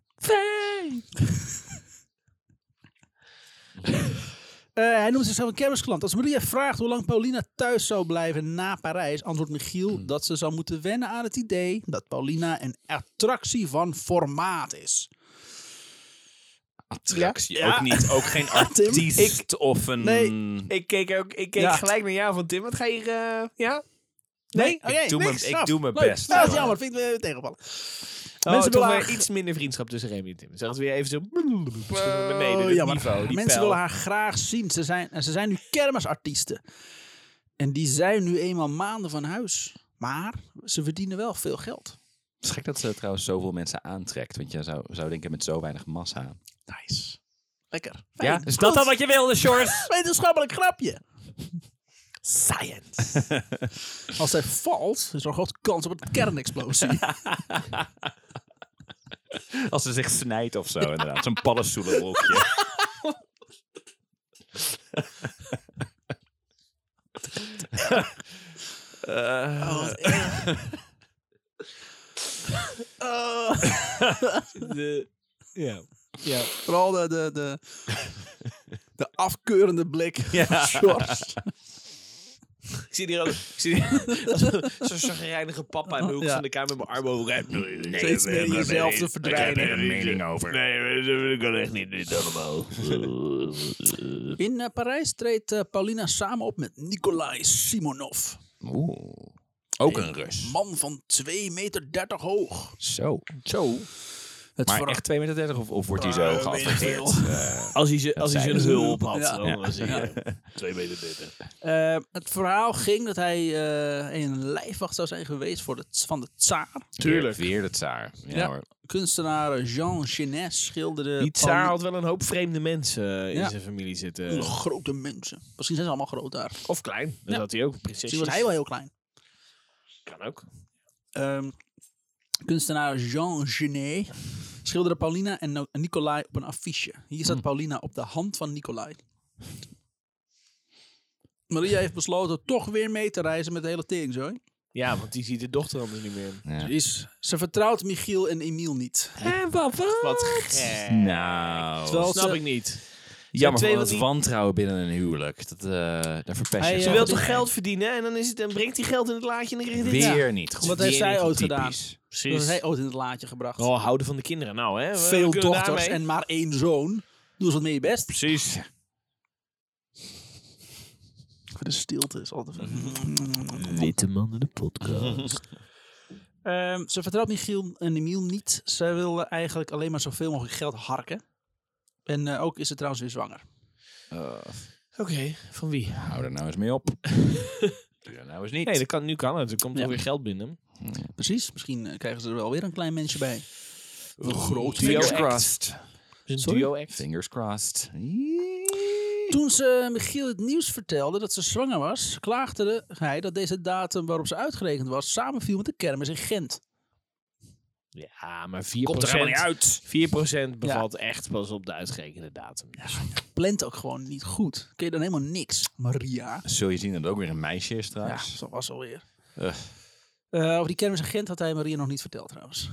Speaker 3: Eh, hij noemt zichzelf een kermisklant. Als Maria vraagt hoe lang Paulina thuis zou blijven na Parijs, antwoordt
Speaker 2: Hmm.
Speaker 3: Michiel dat ze zou moeten wennen aan het idee dat Paulina een attractie van formaat is.
Speaker 2: Attractie.
Speaker 1: Ja.
Speaker 2: Ook niet. Ook geen artiest of een...
Speaker 3: Nee,
Speaker 1: Ik keek, ook, ik keek
Speaker 3: Ja.
Speaker 1: gelijk naar jou van Tim. Wat ga je... eh, ja?
Speaker 3: Nee, oké,
Speaker 2: ik doe
Speaker 3: niks,
Speaker 2: mijn- ik
Speaker 3: af.
Speaker 2: doe mijn
Speaker 3: Leuk.
Speaker 2: best.
Speaker 3: Nou, dat is jammer, vind ik eh, tegenvallen.
Speaker 1: Mensen
Speaker 3: willen
Speaker 1: willen
Speaker 3: haar-
Speaker 1: Oh, weer iets minder vriendschap tussen Remy en Tim. Zeg het weer even zo...
Speaker 3: Oh,
Speaker 1: beneden het
Speaker 3: jammer.
Speaker 1: niveau. Die
Speaker 3: Mensen
Speaker 1: pijl.
Speaker 3: willen haar graag zien. Ze zijn, en ze zijn nu kermisartiesten. En die zijn nu eenmaal maanden van huis. Maar ze verdienen wel veel geld.
Speaker 2: Het is gek dat ze trouwens zoveel mensen aantrekt. Want je zou, zou denken met zo weinig massa.
Speaker 3: Nice. Lekker.
Speaker 2: Ja,
Speaker 3: Fijn.
Speaker 2: is dat
Speaker 3: Goed.
Speaker 2: dan wat je wilde, Shorts?
Speaker 3: Wetenschappelijk grapje. Science. Als hij valt, is er een grote kans op een kernexplosie.
Speaker 2: Als ze zich snijdt of zo, inderdaad. Zo'n paddenstoelenrokje.
Speaker 3: Oh, wat erg. Oh.
Speaker 1: De- ja. ja.
Speaker 3: Vooral de, de, de, de afkeurende blik. Ja.
Speaker 1: Ik zit hier al... Ik zit hier als een- zo'n chagrijnige papa in de hoek
Speaker 3: Ja.
Speaker 1: van de kamer met mijn armen over. Nee,
Speaker 3: Steeds meer in jezelf te verdwijnen.
Speaker 2: mening over.
Speaker 1: Nee, dat kan echt niet. Dit allemaal.
Speaker 3: In eh, Parijs treedt eh, Paulina samen op met Nikolai Simonov.
Speaker 2: Oeh. Ook een Rus.
Speaker 3: Man van 2,30 meter hoog.
Speaker 2: Zo. Zo.
Speaker 3: Het
Speaker 2: Maar
Speaker 3: verra-
Speaker 2: echt 2,30 meter of, of wordt hij
Speaker 3: Eh,
Speaker 2: zo geaffecteerd?
Speaker 3: weet ik veel.
Speaker 1: Als hij, ze, als hij
Speaker 2: zeiden
Speaker 1: zijn
Speaker 2: ze.
Speaker 1: hulp had.
Speaker 3: Ja.
Speaker 1: dan was hij,
Speaker 3: Ja.
Speaker 1: eh, Twee meter binnen.
Speaker 3: Eh, het verhaal ging dat hij eh, een lijfwacht zou zijn geweest voor de, van de tsaar.
Speaker 1: Tuurlijk.
Speaker 2: Weer, weer de tsaar. Ja,
Speaker 3: Ja.
Speaker 2: hoor.
Speaker 3: Kunstenaar Jean Genes schilderde
Speaker 1: Die tsaar
Speaker 3: Eh, Paul-
Speaker 1: had wel een hoop vreemde mensen eh, in
Speaker 3: Ja.
Speaker 1: zijn familie zitten.
Speaker 3: Eh, grote mensen. Misschien zijn ze allemaal groot daar.
Speaker 1: Of klein. Dat
Speaker 3: Ja.
Speaker 1: had hij ook.
Speaker 3: Misschien
Speaker 1: Precies.
Speaker 3: was hij wel heel klein.
Speaker 1: Kan ook.
Speaker 3: Ehm, kunstenaar Jean Genet schilderde Paulina en No- en Nicolai op een affiche. Hier
Speaker 1: Hm.
Speaker 3: staat Paulina op de hand van Nicolai. Maria heeft besloten toch weer mee te reizen met de hele teringzooi.
Speaker 1: Ja, want die ziet de dochter anders niet meer.
Speaker 2: Ja.
Speaker 3: Is, ze vertrouwt Michiel en Emiel niet.
Speaker 2: En wat?
Speaker 1: Wat gek.
Speaker 2: Nou,
Speaker 3: Terwijl
Speaker 1: Snap
Speaker 3: ze-
Speaker 1: ik niet.
Speaker 2: jammer
Speaker 1: twee
Speaker 2: van dat
Speaker 1: van die-
Speaker 2: wantrouwen binnen een huwelijk. Dat, eh, daar verpest
Speaker 3: Hij, eh,
Speaker 2: je
Speaker 1: Ze
Speaker 2: jezelf
Speaker 1: wil
Speaker 3: wilt
Speaker 1: toch
Speaker 2: mee.
Speaker 1: geld verdienen en dan, is het, dan brengt hij geld in het laadje en dan krijgt hij dit.
Speaker 2: Weer niet. goed.
Speaker 3: Wat heeft
Speaker 2: Weer
Speaker 3: zij
Speaker 2: niet
Speaker 3: ooit
Speaker 2: goed
Speaker 3: gedaan?
Speaker 2: typisch.
Speaker 3: Dat
Speaker 1: Precies.
Speaker 3: hij ooit in het laadje gebracht.
Speaker 1: Oh, houden van de kinderen nou, hè. We
Speaker 3: Veel
Speaker 1: kunnen
Speaker 3: dochters
Speaker 1: daarmee-
Speaker 3: en maar één zoon. Doe eens wat mee je best.
Speaker 1: Precies.
Speaker 3: De stilte is altijd... Mhm.
Speaker 1: Witte man in de podcast.
Speaker 3: Ehm, ze vertrouwt Michiel en Emiel niet. Zij wil eigenlijk alleen maar zoveel mogelijk geld harken. En eh, ook is ze trouwens weer zwanger.
Speaker 1: Oké, van wie?
Speaker 2: Hou er nou eens mee op. Doe dat nou eens niet.
Speaker 1: Nee, dat kan, nu kan het. Er komt
Speaker 3: Ja.
Speaker 1: toch weer geld binnen.
Speaker 3: Precies, misschien eh, krijgen ze er wel weer een klein mensje bij. Een
Speaker 1: groot
Speaker 3: groot
Speaker 1: duo
Speaker 2: Fingers
Speaker 1: act.
Speaker 2: crossed.
Speaker 1: Is een
Speaker 3: Sorry?
Speaker 1: duo act.
Speaker 2: Fingers crossed.
Speaker 3: Toen ze Michiel het nieuws vertelde dat ze zwanger was, klaagde de- hij dat deze datum waarop ze uitgerekend was samenviel met de kermis in Gent.
Speaker 1: Ja, maar 4%,
Speaker 3: Komt er helemaal niet uit.
Speaker 1: 4 bevalt echt pas op de uitgerekende datum. Dus
Speaker 3: Plant ook gewoon niet goed. Kun je dan helemaal niks, Maria.
Speaker 2: Zul je zien dat het ook weer een meisje is
Speaker 3: Ja,
Speaker 2: trouwens.
Speaker 3: dat was alweer.
Speaker 2: Ugh.
Speaker 3: Eh, over die kermis in Gent had hij Maria nog niet verteld trouwens.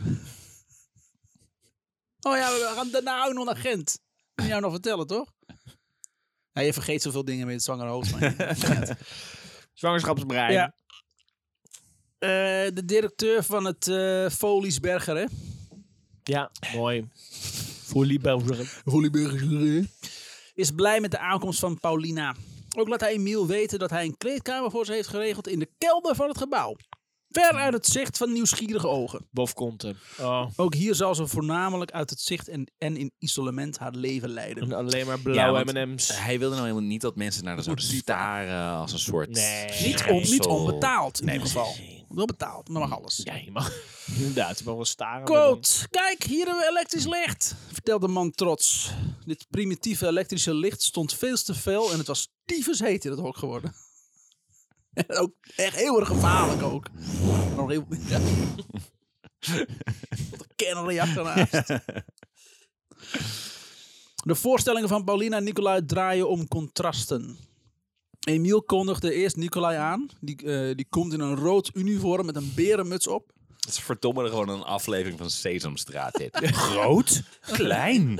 Speaker 3: oh ja, we gaan daarna ook nog naar Gent. Moet je jou nog vertellen, toch? Ja, je vergeet zoveel dingen met het zwangere hoofd. van je.
Speaker 1: Zwangerschapsbrein.
Speaker 3: Ja. Eh, de directeur van het eh Foliesberger, hè?
Speaker 1: Ja, mooi. Voor Lieberger.
Speaker 3: is blij met de aankomst van Paulina. Ook laat hij Emiel weten dat hij een kleedkamer voor ze heeft geregeld in de kelder van het gebouw. Ver uit het zicht van nieuwsgierige ogen.
Speaker 1: Bof Konten. Oh,
Speaker 3: Ook hier zal ze voornamelijk uit het zicht en, en in isolement haar leven leiden.
Speaker 1: en alleen maar blauwe
Speaker 2: Ja, want
Speaker 1: M&M's.
Speaker 2: Hij wilde nou helemaal niet dat mensen naar de zouden staren als een soort...
Speaker 1: Nee.
Speaker 3: Niet,
Speaker 2: schijnsel.
Speaker 3: on, niet onbetaald in
Speaker 2: Nee,
Speaker 3: ieder geval.
Speaker 2: precies.
Speaker 3: Wel betaald, maar mag alles.
Speaker 1: Ja, je mag. Inderdaad, je mag wel staren. maar dan-
Speaker 3: Quote, kijk, hier hebben we elektrisch licht, vertelt de man trots. Dit primitieve elektrische licht stond veel te fel en het was tyfus heet in het hok geworden. En ook echt heel erg gevaarlijk ook. Nog heel... Ja. Wat een kernreactor naast. De voorstellingen van Paulina en Nicolai draaien om contrasten. Emiel kondigde eerst Nicolai aan. Die, eh, die komt in een rood uniform met een berenmuts op.
Speaker 2: Het is verdomme gewoon een aflevering van Sesamstraat dit. Groot, klein.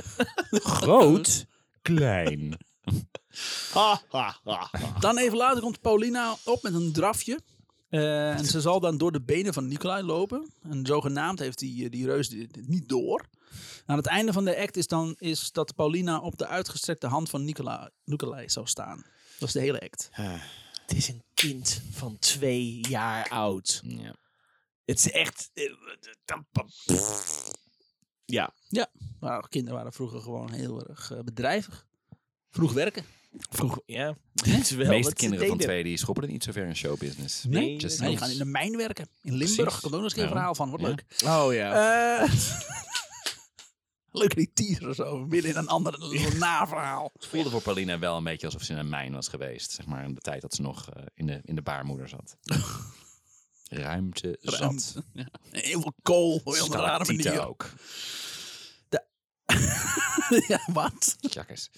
Speaker 2: Groot, klein.
Speaker 1: Ha, ha, ha, ha.
Speaker 3: Dan even later komt Paulina op met een drafje. Eh, en ze zal dan door de benen van Nicolai lopen. En zogenaamd heeft die, eh, die reus dit dit niet door. Aan het einde van de act is dan is dat Paulina op de uitgestrekte hand van Nicolai, Nicolai zou staan. Dat is de hele act.
Speaker 1: Het is een kind van twee jaar oud.
Speaker 2: Ja.
Speaker 1: Het is echt... eh, Ja,
Speaker 3: Maar kinderen waren vroeger gewoon heel erg eh, bedrijvig. Vroeg werken.
Speaker 1: vroeg... Ja, het is wel
Speaker 2: De meeste
Speaker 1: wat ze
Speaker 2: kinderen van
Speaker 1: deden.
Speaker 2: twee die schoppen het niet zo ver in showbusiness.
Speaker 1: Nee,
Speaker 3: Nee,
Speaker 2: Just
Speaker 3: die
Speaker 2: saying.
Speaker 3: gaan in de mijn werken. In
Speaker 2: Precies.
Speaker 3: Limburg. Komt ook nog eens een keer een
Speaker 2: Ja.
Speaker 3: verhaal van. Wat
Speaker 2: Ja.
Speaker 3: leuk.
Speaker 1: Oh ja.
Speaker 3: Eh Leuk die teaser zo. Midden in een ander een naverhaal.
Speaker 2: Het voelde voor Paulina wel een beetje alsof ze in een mijn was geweest. Zeg maar in de tijd dat ze nog eh, in, de, in de baarmoeder zat. Ruimte zat.
Speaker 3: Ja. Heel veel kool. Heel een rare
Speaker 2: Stalactieten
Speaker 3: manier.
Speaker 2: ook.
Speaker 3: ja, wat?
Speaker 2: Tjakkers.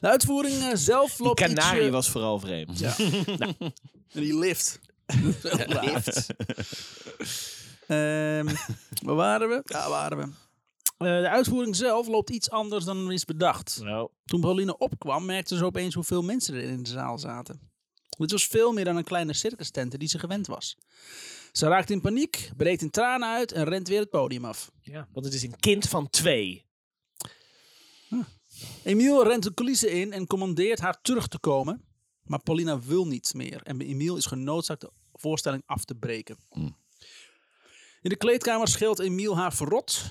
Speaker 3: De uitvoering eh, zelf
Speaker 1: Die
Speaker 3: loopt
Speaker 1: kanarie
Speaker 3: ietsje-
Speaker 1: was vooral vreemd.
Speaker 3: Ja. En die lift. lift. Ehm, waar waren we? Daar waren we. Eh, de uitvoering zelf loopt iets anders dan er is bedacht.
Speaker 1: Nou,
Speaker 3: Toen Pauline opkwam, merkte ze opeens hoeveel mensen er in de zaal zaten. Het was veel meer dan een kleine circustent die ze gewend was. Ze raakt in paniek, breekt in tranen uit en rent weer het podium af.
Speaker 1: ja. Want het is een kind van twee.
Speaker 3: Emiel rent de coulissen in en commandeert haar terug te komen. Maar Paulina wil niet meer en Emiel is genoodzaakt de voorstelling af te breken.
Speaker 2: Hmm.
Speaker 3: In de kleedkamer scheelt Emiel haar verrot.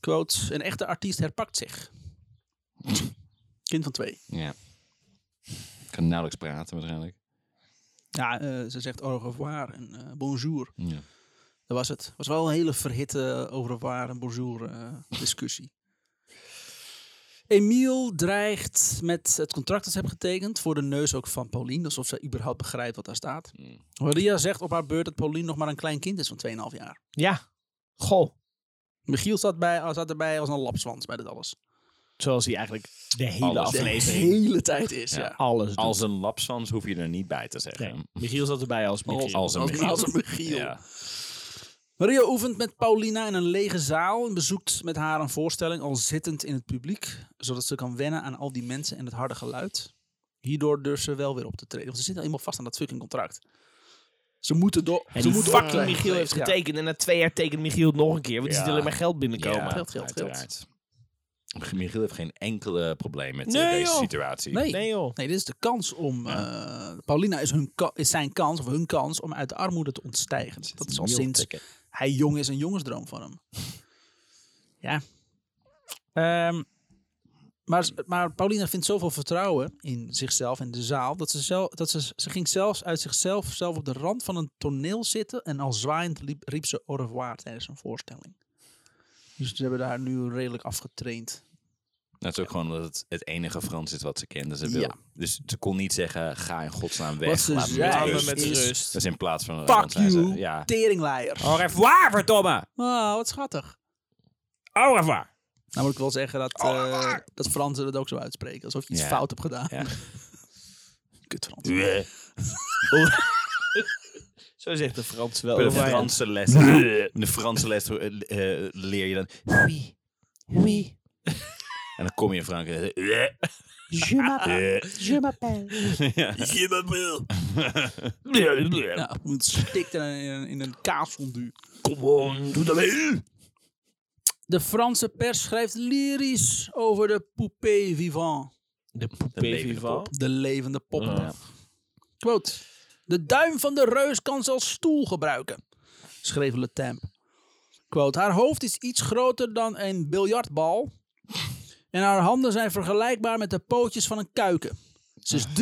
Speaker 3: Quote, een echte artiest herpakt zich. Kind van twee.
Speaker 2: Ja. Kan nauwelijks praten waarschijnlijk.
Speaker 3: Ja, eh, ze zegt au revoir en eh, bonjour.
Speaker 2: Ja.
Speaker 3: Dat was het. was wel een hele verhitte over een waar en bonjour eh, discussie. Emiel dreigt met het contract dat ze heeft getekend voor de neus ook van Pauline, alsof ze überhaupt begrijpt wat daar staat.
Speaker 2: Mm.
Speaker 3: Maria zegt op haar beurt dat Pauline nog maar een klein kind is van 2,5 jaar.
Speaker 1: Ja. Goh.
Speaker 3: Michiel zat, bij, zat erbij als een lapswans bij dit alles.
Speaker 1: Zoals hij eigenlijk de hele
Speaker 2: Alles.
Speaker 3: De
Speaker 1: aflevering...
Speaker 3: hele tijd is, ja.
Speaker 2: Ja.
Speaker 1: Alles doet.
Speaker 2: Als een lapsans hoef je er niet bij te zeggen.
Speaker 1: Nee, Michiel zat erbij als Michiel.
Speaker 2: Als een
Speaker 3: Als-
Speaker 2: Michiel.
Speaker 3: als een Michiel.
Speaker 2: Ja.
Speaker 3: Maria oefent met Paulina in een lege zaal en bezoekt met haar een voorstelling al zittend in het publiek, zodat ze kan wennen aan al die mensen en het harde geluid. Hierdoor durft ze wel weer op te treden, want ze zit helemaal vast aan dat fucking contract. Ze moeten door.
Speaker 1: En
Speaker 3: ze
Speaker 1: die
Speaker 3: moeten
Speaker 1: fucking
Speaker 3: optreden.
Speaker 1: Michiel heeft
Speaker 3: Ja.
Speaker 1: getekend. En na twee jaar tekent Michiel het nog een keer. Want er
Speaker 2: Ja.
Speaker 1: zit alleen maar geld binnenkomen.
Speaker 2: Ja,
Speaker 3: Geld, geld, geld.
Speaker 2: uiteraard. Michiel heeft geen enkele probleem met eh,
Speaker 1: Nee,
Speaker 2: deze
Speaker 1: joh.
Speaker 2: situatie.
Speaker 3: Nee.
Speaker 1: Nee joh.
Speaker 3: Nee, dit is de kans om. eh, Paulina is, hun ka- is zijn kans, of hun kans, om uit de armoede te ontstijgen. Dat is al
Speaker 2: Michiel
Speaker 3: sinds
Speaker 2: tikken.
Speaker 3: hij jong is een jongensdroom van hem. ja. Ehm, maar, maar Paulina vindt zoveel vertrouwen in zichzelf en de zaal. Dat, ze, zelf, dat ze, ze ging zelfs uit zichzelf zelf op de rand van een toneel zitten. En al zwaaiend liep, riep ze au revoir tijdens een voorstelling. Dus ze hebben daar nu redelijk afgetraind.
Speaker 2: Dat is ook gewoon omdat het het enige Frans is wat ze kende. Ze wil.
Speaker 3: Ja.
Speaker 2: Dus ze kon niet zeggen, ga in godsnaam weg.
Speaker 3: Wat ze
Speaker 2: laat me
Speaker 3: zei
Speaker 2: met
Speaker 1: Laat
Speaker 3: Ja,
Speaker 1: me
Speaker 2: rust.
Speaker 3: is-
Speaker 1: met
Speaker 3: is-
Speaker 1: rust.
Speaker 2: Dat is in plaats van...
Speaker 3: Fuck
Speaker 2: want zij zei,
Speaker 3: you,
Speaker 2: Ja. Oh.
Speaker 3: teringleier.
Speaker 2: Au revoir, verdomme!
Speaker 3: Oh, wat schattig.
Speaker 2: Au revoir!
Speaker 3: Nou moet ik wel zeggen dat, eh dat Fransen het ook zo uitspreken. Alsof je iets
Speaker 2: Ja.
Speaker 3: fout hebt gedaan.
Speaker 2: Ja.
Speaker 3: Kut Frans.
Speaker 1: Zo zegt de Frans wel.
Speaker 2: De
Speaker 1: over-
Speaker 2: Franse les. De Franse les eh, eh, leer je dan.
Speaker 5: Oui, oui,
Speaker 2: En dan kom je in Frankrijk. Eh.
Speaker 5: je m'appelle. Je m'appelle.
Speaker 4: Je bent
Speaker 3: Ja, het stikt in een, in een kaasfondue.
Speaker 4: Kom on, doe dat mee.
Speaker 3: De Franse pers schrijft lyrisch over de poupée vivant.
Speaker 1: De
Speaker 2: De
Speaker 1: poupée
Speaker 2: levende
Speaker 1: vivant.
Speaker 3: De levende pop.
Speaker 1: Oh, ja.
Speaker 3: Quote. De duim van de reus kan ze als stoel gebruiken, schreef Le Temps. Quote. Haar hoofd is iets groter dan een biljartbal. En haar handen zijn vergelijkbaar met de pootjes van een kuiken. Ze is 3,5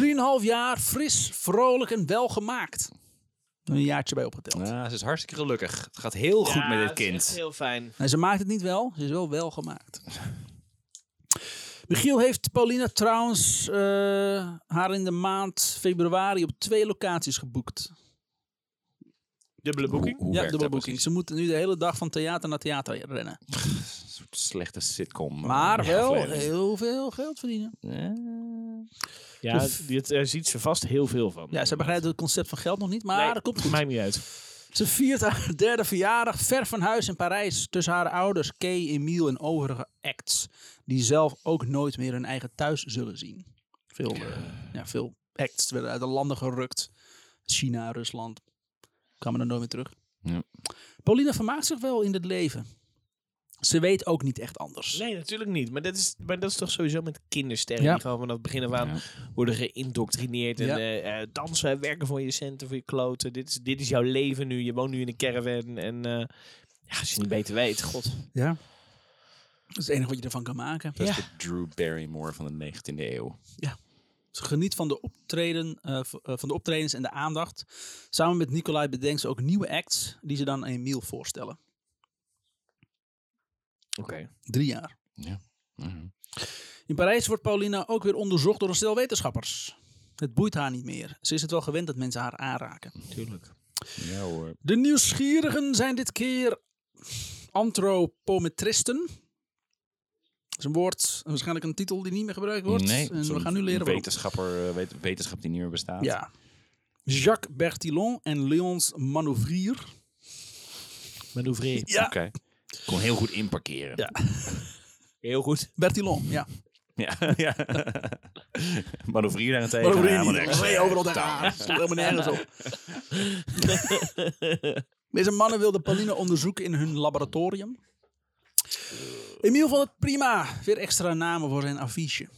Speaker 3: jaar fris, vrolijk en welgemaakt. Een jaartje bij opgeteld.
Speaker 2: Ja, Nou, ze is hartstikke gelukkig. Het gaat heel goed met dit
Speaker 1: het is echt
Speaker 2: kind.
Speaker 1: heel fijn.
Speaker 3: Nee, ze maakt het niet wel. Ze is wel wel gemaakt. Michiel heeft Paulina trouwens eh, haar in de maand februari op twee locaties geboekt.
Speaker 1: Dubbele boeking.
Speaker 2: Hoe
Speaker 3: ja,
Speaker 2: werkt
Speaker 3: dubbele
Speaker 2: dat
Speaker 3: boeking.
Speaker 2: precies?
Speaker 3: Ze moeten nu de hele dag van theater naar theater rennen.
Speaker 2: Een soort slechte sitcom. eh,
Speaker 3: Maar wel
Speaker 2: aflevering.
Speaker 3: heel veel geld verdienen.
Speaker 1: Ja, dit, daar ziet ze vast heel veel van.
Speaker 3: Ja, ze begrijpt het concept van geld nog niet, maar
Speaker 1: Nee,
Speaker 3: dat komt goed.
Speaker 1: Maakt niet uit.
Speaker 3: Ze viert haar derde verjaardag ver van huis in Parijs. Tussen haar ouders Kay, Emiel en overige acts. Die zelf ook nooit meer hun eigen thuis zullen zien. Veel, eh, ja, veel acts werden uit de landen gerukt. China, Rusland. Kwamen er nooit meer terug.
Speaker 2: Ja.
Speaker 3: Paulina vermaakt zich wel in dit leven. Ze weet ook niet echt anders.
Speaker 1: Nee, natuurlijk niet. Maar dat is, maar dat is toch sowieso met kindersterren.
Speaker 3: Ja.
Speaker 1: Die gewoon vanaf het begin af aan worden geïndoctrineerd. En
Speaker 3: Ja.
Speaker 1: eh, eh, dansen, werken voor je centen, voor je kloten. Dit is, dit is jouw leven nu. Je woont nu in een caravan. En eh, ja, als je niet beter weet, god.
Speaker 3: Ja. Dat is het enige wat je ervan kan maken.
Speaker 2: Dat is de Drew Barrymore van de 19e eeuw.
Speaker 3: Ze geniet van de, optreden, eh, v- eh, van de optredens en de aandacht. Samen met Nicolai bedenkt ze ook nieuwe acts die ze dan aan Emiel voorstellen.
Speaker 1: Oké.
Speaker 3: Drie jaar.
Speaker 2: Mhm.
Speaker 3: In Parijs wordt Paulina ook weer onderzocht door een stel wetenschappers. Het boeit haar niet meer. Ze is het wel gewend dat mensen haar aanraken.
Speaker 1: Tuurlijk.
Speaker 2: Ja hoor.
Speaker 3: De nieuwsgierigen zijn dit keer antropometristen. Dat is een woord, waarschijnlijk een titel die niet meer gebruikt wordt.
Speaker 2: Nee,
Speaker 3: en we
Speaker 2: zo'n
Speaker 3: gaan nu leren waarom.
Speaker 2: Wetenschapper, eh, weet- wetenschap die niet meer bestaat.
Speaker 3: Ja. Jacques Bertillon en Léonce Manouvrier.
Speaker 1: Manoeuvreer.
Speaker 3: Ja,
Speaker 2: Oké. Kon heel goed inparkeren.
Speaker 3: Ja.
Speaker 1: Heel goed.
Speaker 3: Bertillon, ja.
Speaker 2: Ja. ja. Manoeuvrier daarentegen.
Speaker 3: Maar
Speaker 2: ja,
Speaker 3: over
Speaker 2: maar niks.
Speaker 3: Nee, overal tegenaan. Dat stond helemaal nergens op. Deze mannen wilden Pauline onderzoeken in hun laboratorium. Emiel vond het prima. Weer extra namen voor zijn affiche.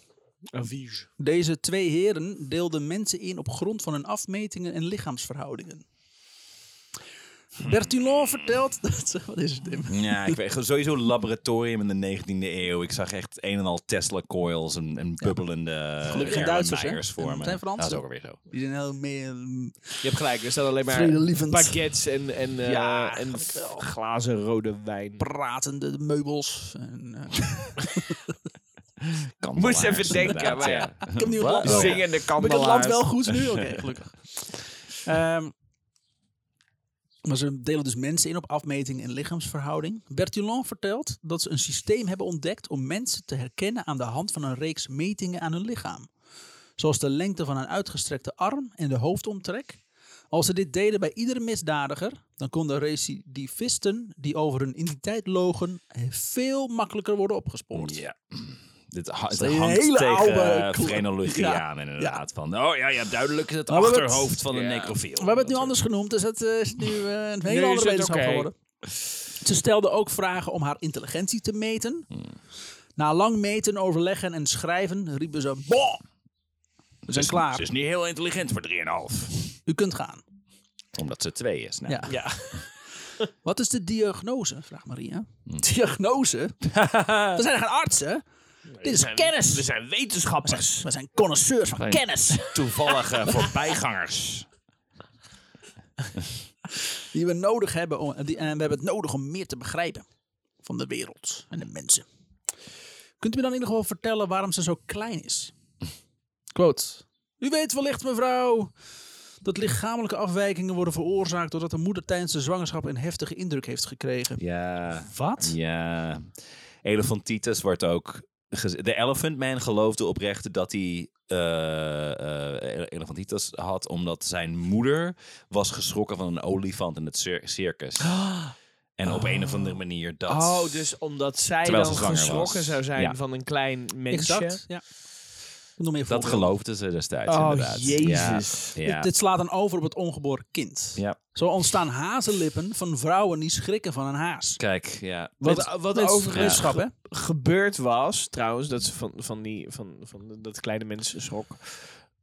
Speaker 1: Avige.
Speaker 3: Deze twee heren deelden mensen in op grond van hun afmetingen en lichaamsverhoudingen. Hm. Bertillon vertelt dat ze... Wat is het, Tim?
Speaker 2: Ja, ik weet sowieso laboratorium in de 19e eeuw. Ik zag echt een en al Tesla coils en, en bubbelende
Speaker 3: Gelukkig zijn
Speaker 2: German
Speaker 3: Duitsers, hè?
Speaker 2: Meiers voor
Speaker 3: En
Speaker 2: me.
Speaker 3: zijn
Speaker 2: Dat is
Speaker 3: Fransen.
Speaker 2: ook alweer zo.
Speaker 3: Die zijn heel meer...
Speaker 1: Je hebt gelijk. Er staan alleen maar
Speaker 3: Vredelievend.
Speaker 1: baguettes en, en, eh,
Speaker 3: Ja,
Speaker 1: en
Speaker 3: eigenlijk wel.
Speaker 1: glazen rode wijn.
Speaker 3: pratende meubels. En, eh,
Speaker 2: Kandelaars,
Speaker 1: Moest even denken,
Speaker 2: inderdaad,
Speaker 1: maar ja.
Speaker 3: ik heb nu het land
Speaker 2: Oh, ja.
Speaker 1: Zingende
Speaker 3: Heb ik het land
Speaker 1: kandelaars.
Speaker 3: wel goed nu? Oké, gelukkig. Ehm, maar ze delen dus mensen in op afmeting en lichaamsverhouding. Bertillon vertelt dat ze een systeem hebben ontdekt om mensen te herkennen aan de hand van een reeks metingen aan hun lichaam. Zoals de lengte van een uitgestrekte arm en de hoofdomtrek. Als ze dit deden bij iedere misdadiger, dan konden recidivisten die over hun identiteit logen veel makkelijker worden opgespoord.
Speaker 2: Ja. Dit ha- het
Speaker 3: is een
Speaker 2: hangt
Speaker 3: hele
Speaker 2: tegen
Speaker 3: oude
Speaker 2: eh,
Speaker 3: klo-
Speaker 2: Phrenologiaan inderdaad. Van, oh ja, ja, duidelijk is het
Speaker 3: Maar we hebben
Speaker 2: achterhoofd
Speaker 3: het-
Speaker 2: van een
Speaker 1: Ja.
Speaker 2: necrofiel.
Speaker 3: We hebben het nu anders genoemd, dus het eh, is nu eh, een hele
Speaker 1: is
Speaker 3: andere
Speaker 1: het
Speaker 3: wetenschap
Speaker 1: oké.
Speaker 3: geworden. Ze stelde ook vragen om haar intelligentie te meten.
Speaker 1: Hmm.
Speaker 3: Na lang meten, overleggen en schrijven riepen ze: Boh! We zijn
Speaker 2: Ze
Speaker 3: klaar,
Speaker 2: is niet heel intelligent voor 3,5.
Speaker 3: u kunt gaan.
Speaker 2: Omdat ze 2 is. Nou,
Speaker 3: Ja.
Speaker 1: Ja.
Speaker 3: Wat is de diagnose? Vraagt Maria.
Speaker 1: Hmm.
Speaker 3: Diagnose? We zijn geen artsen. Dit is kennis.
Speaker 1: We zijn wetenschappers.
Speaker 3: We zijn connoisseurs van kennis.
Speaker 2: Toevallige voorbijgangers.
Speaker 3: Die we nodig hebben. Om, die, en we hebben het nodig om meer te begrijpen van de wereld en de mensen. Kunt u me dan in ieder geval vertellen waarom ze zo klein is? Quote. U weet wellicht, mevrouw, dat lichamelijke afwijkingen worden veroorzaakt doordat de moeder tijdens de zwangerschap een heftige indruk heeft gekregen.
Speaker 2: Ja.
Speaker 3: Wat?
Speaker 2: Ja. Elefantitis wordt ook. gez- De Elephant Man geloofde oprecht dat hij eh, eh, ele- elefantitis had, omdat zijn moeder was geschrokken van een olifant in het cir- circus. En op een of andere manier dat.
Speaker 1: Oh, dus omdat zij
Speaker 2: Terwijl
Speaker 1: dan
Speaker 2: ze zwanger
Speaker 1: geschrokken
Speaker 2: was.
Speaker 1: zou zijn
Speaker 2: Ja.
Speaker 1: van een klein mensje.
Speaker 3: Exact. Ja. Noem even
Speaker 2: Dat geloofden ze destijds.
Speaker 1: Oh,
Speaker 2: inderdaad.
Speaker 1: jezus.
Speaker 2: Ja. ja.
Speaker 3: Dit slaat dan over op het ongeboren kind.
Speaker 2: Ja.
Speaker 3: Zo ontstaan hazenlippen van vrouwen die schrikken van een haas.
Speaker 2: Kijk, ja.
Speaker 1: Wat, wat overigens
Speaker 3: wetenschap, hè?
Speaker 1: gebeurd was, trouwens, dat ze van, van, die, van, van dat kleine mens schrok.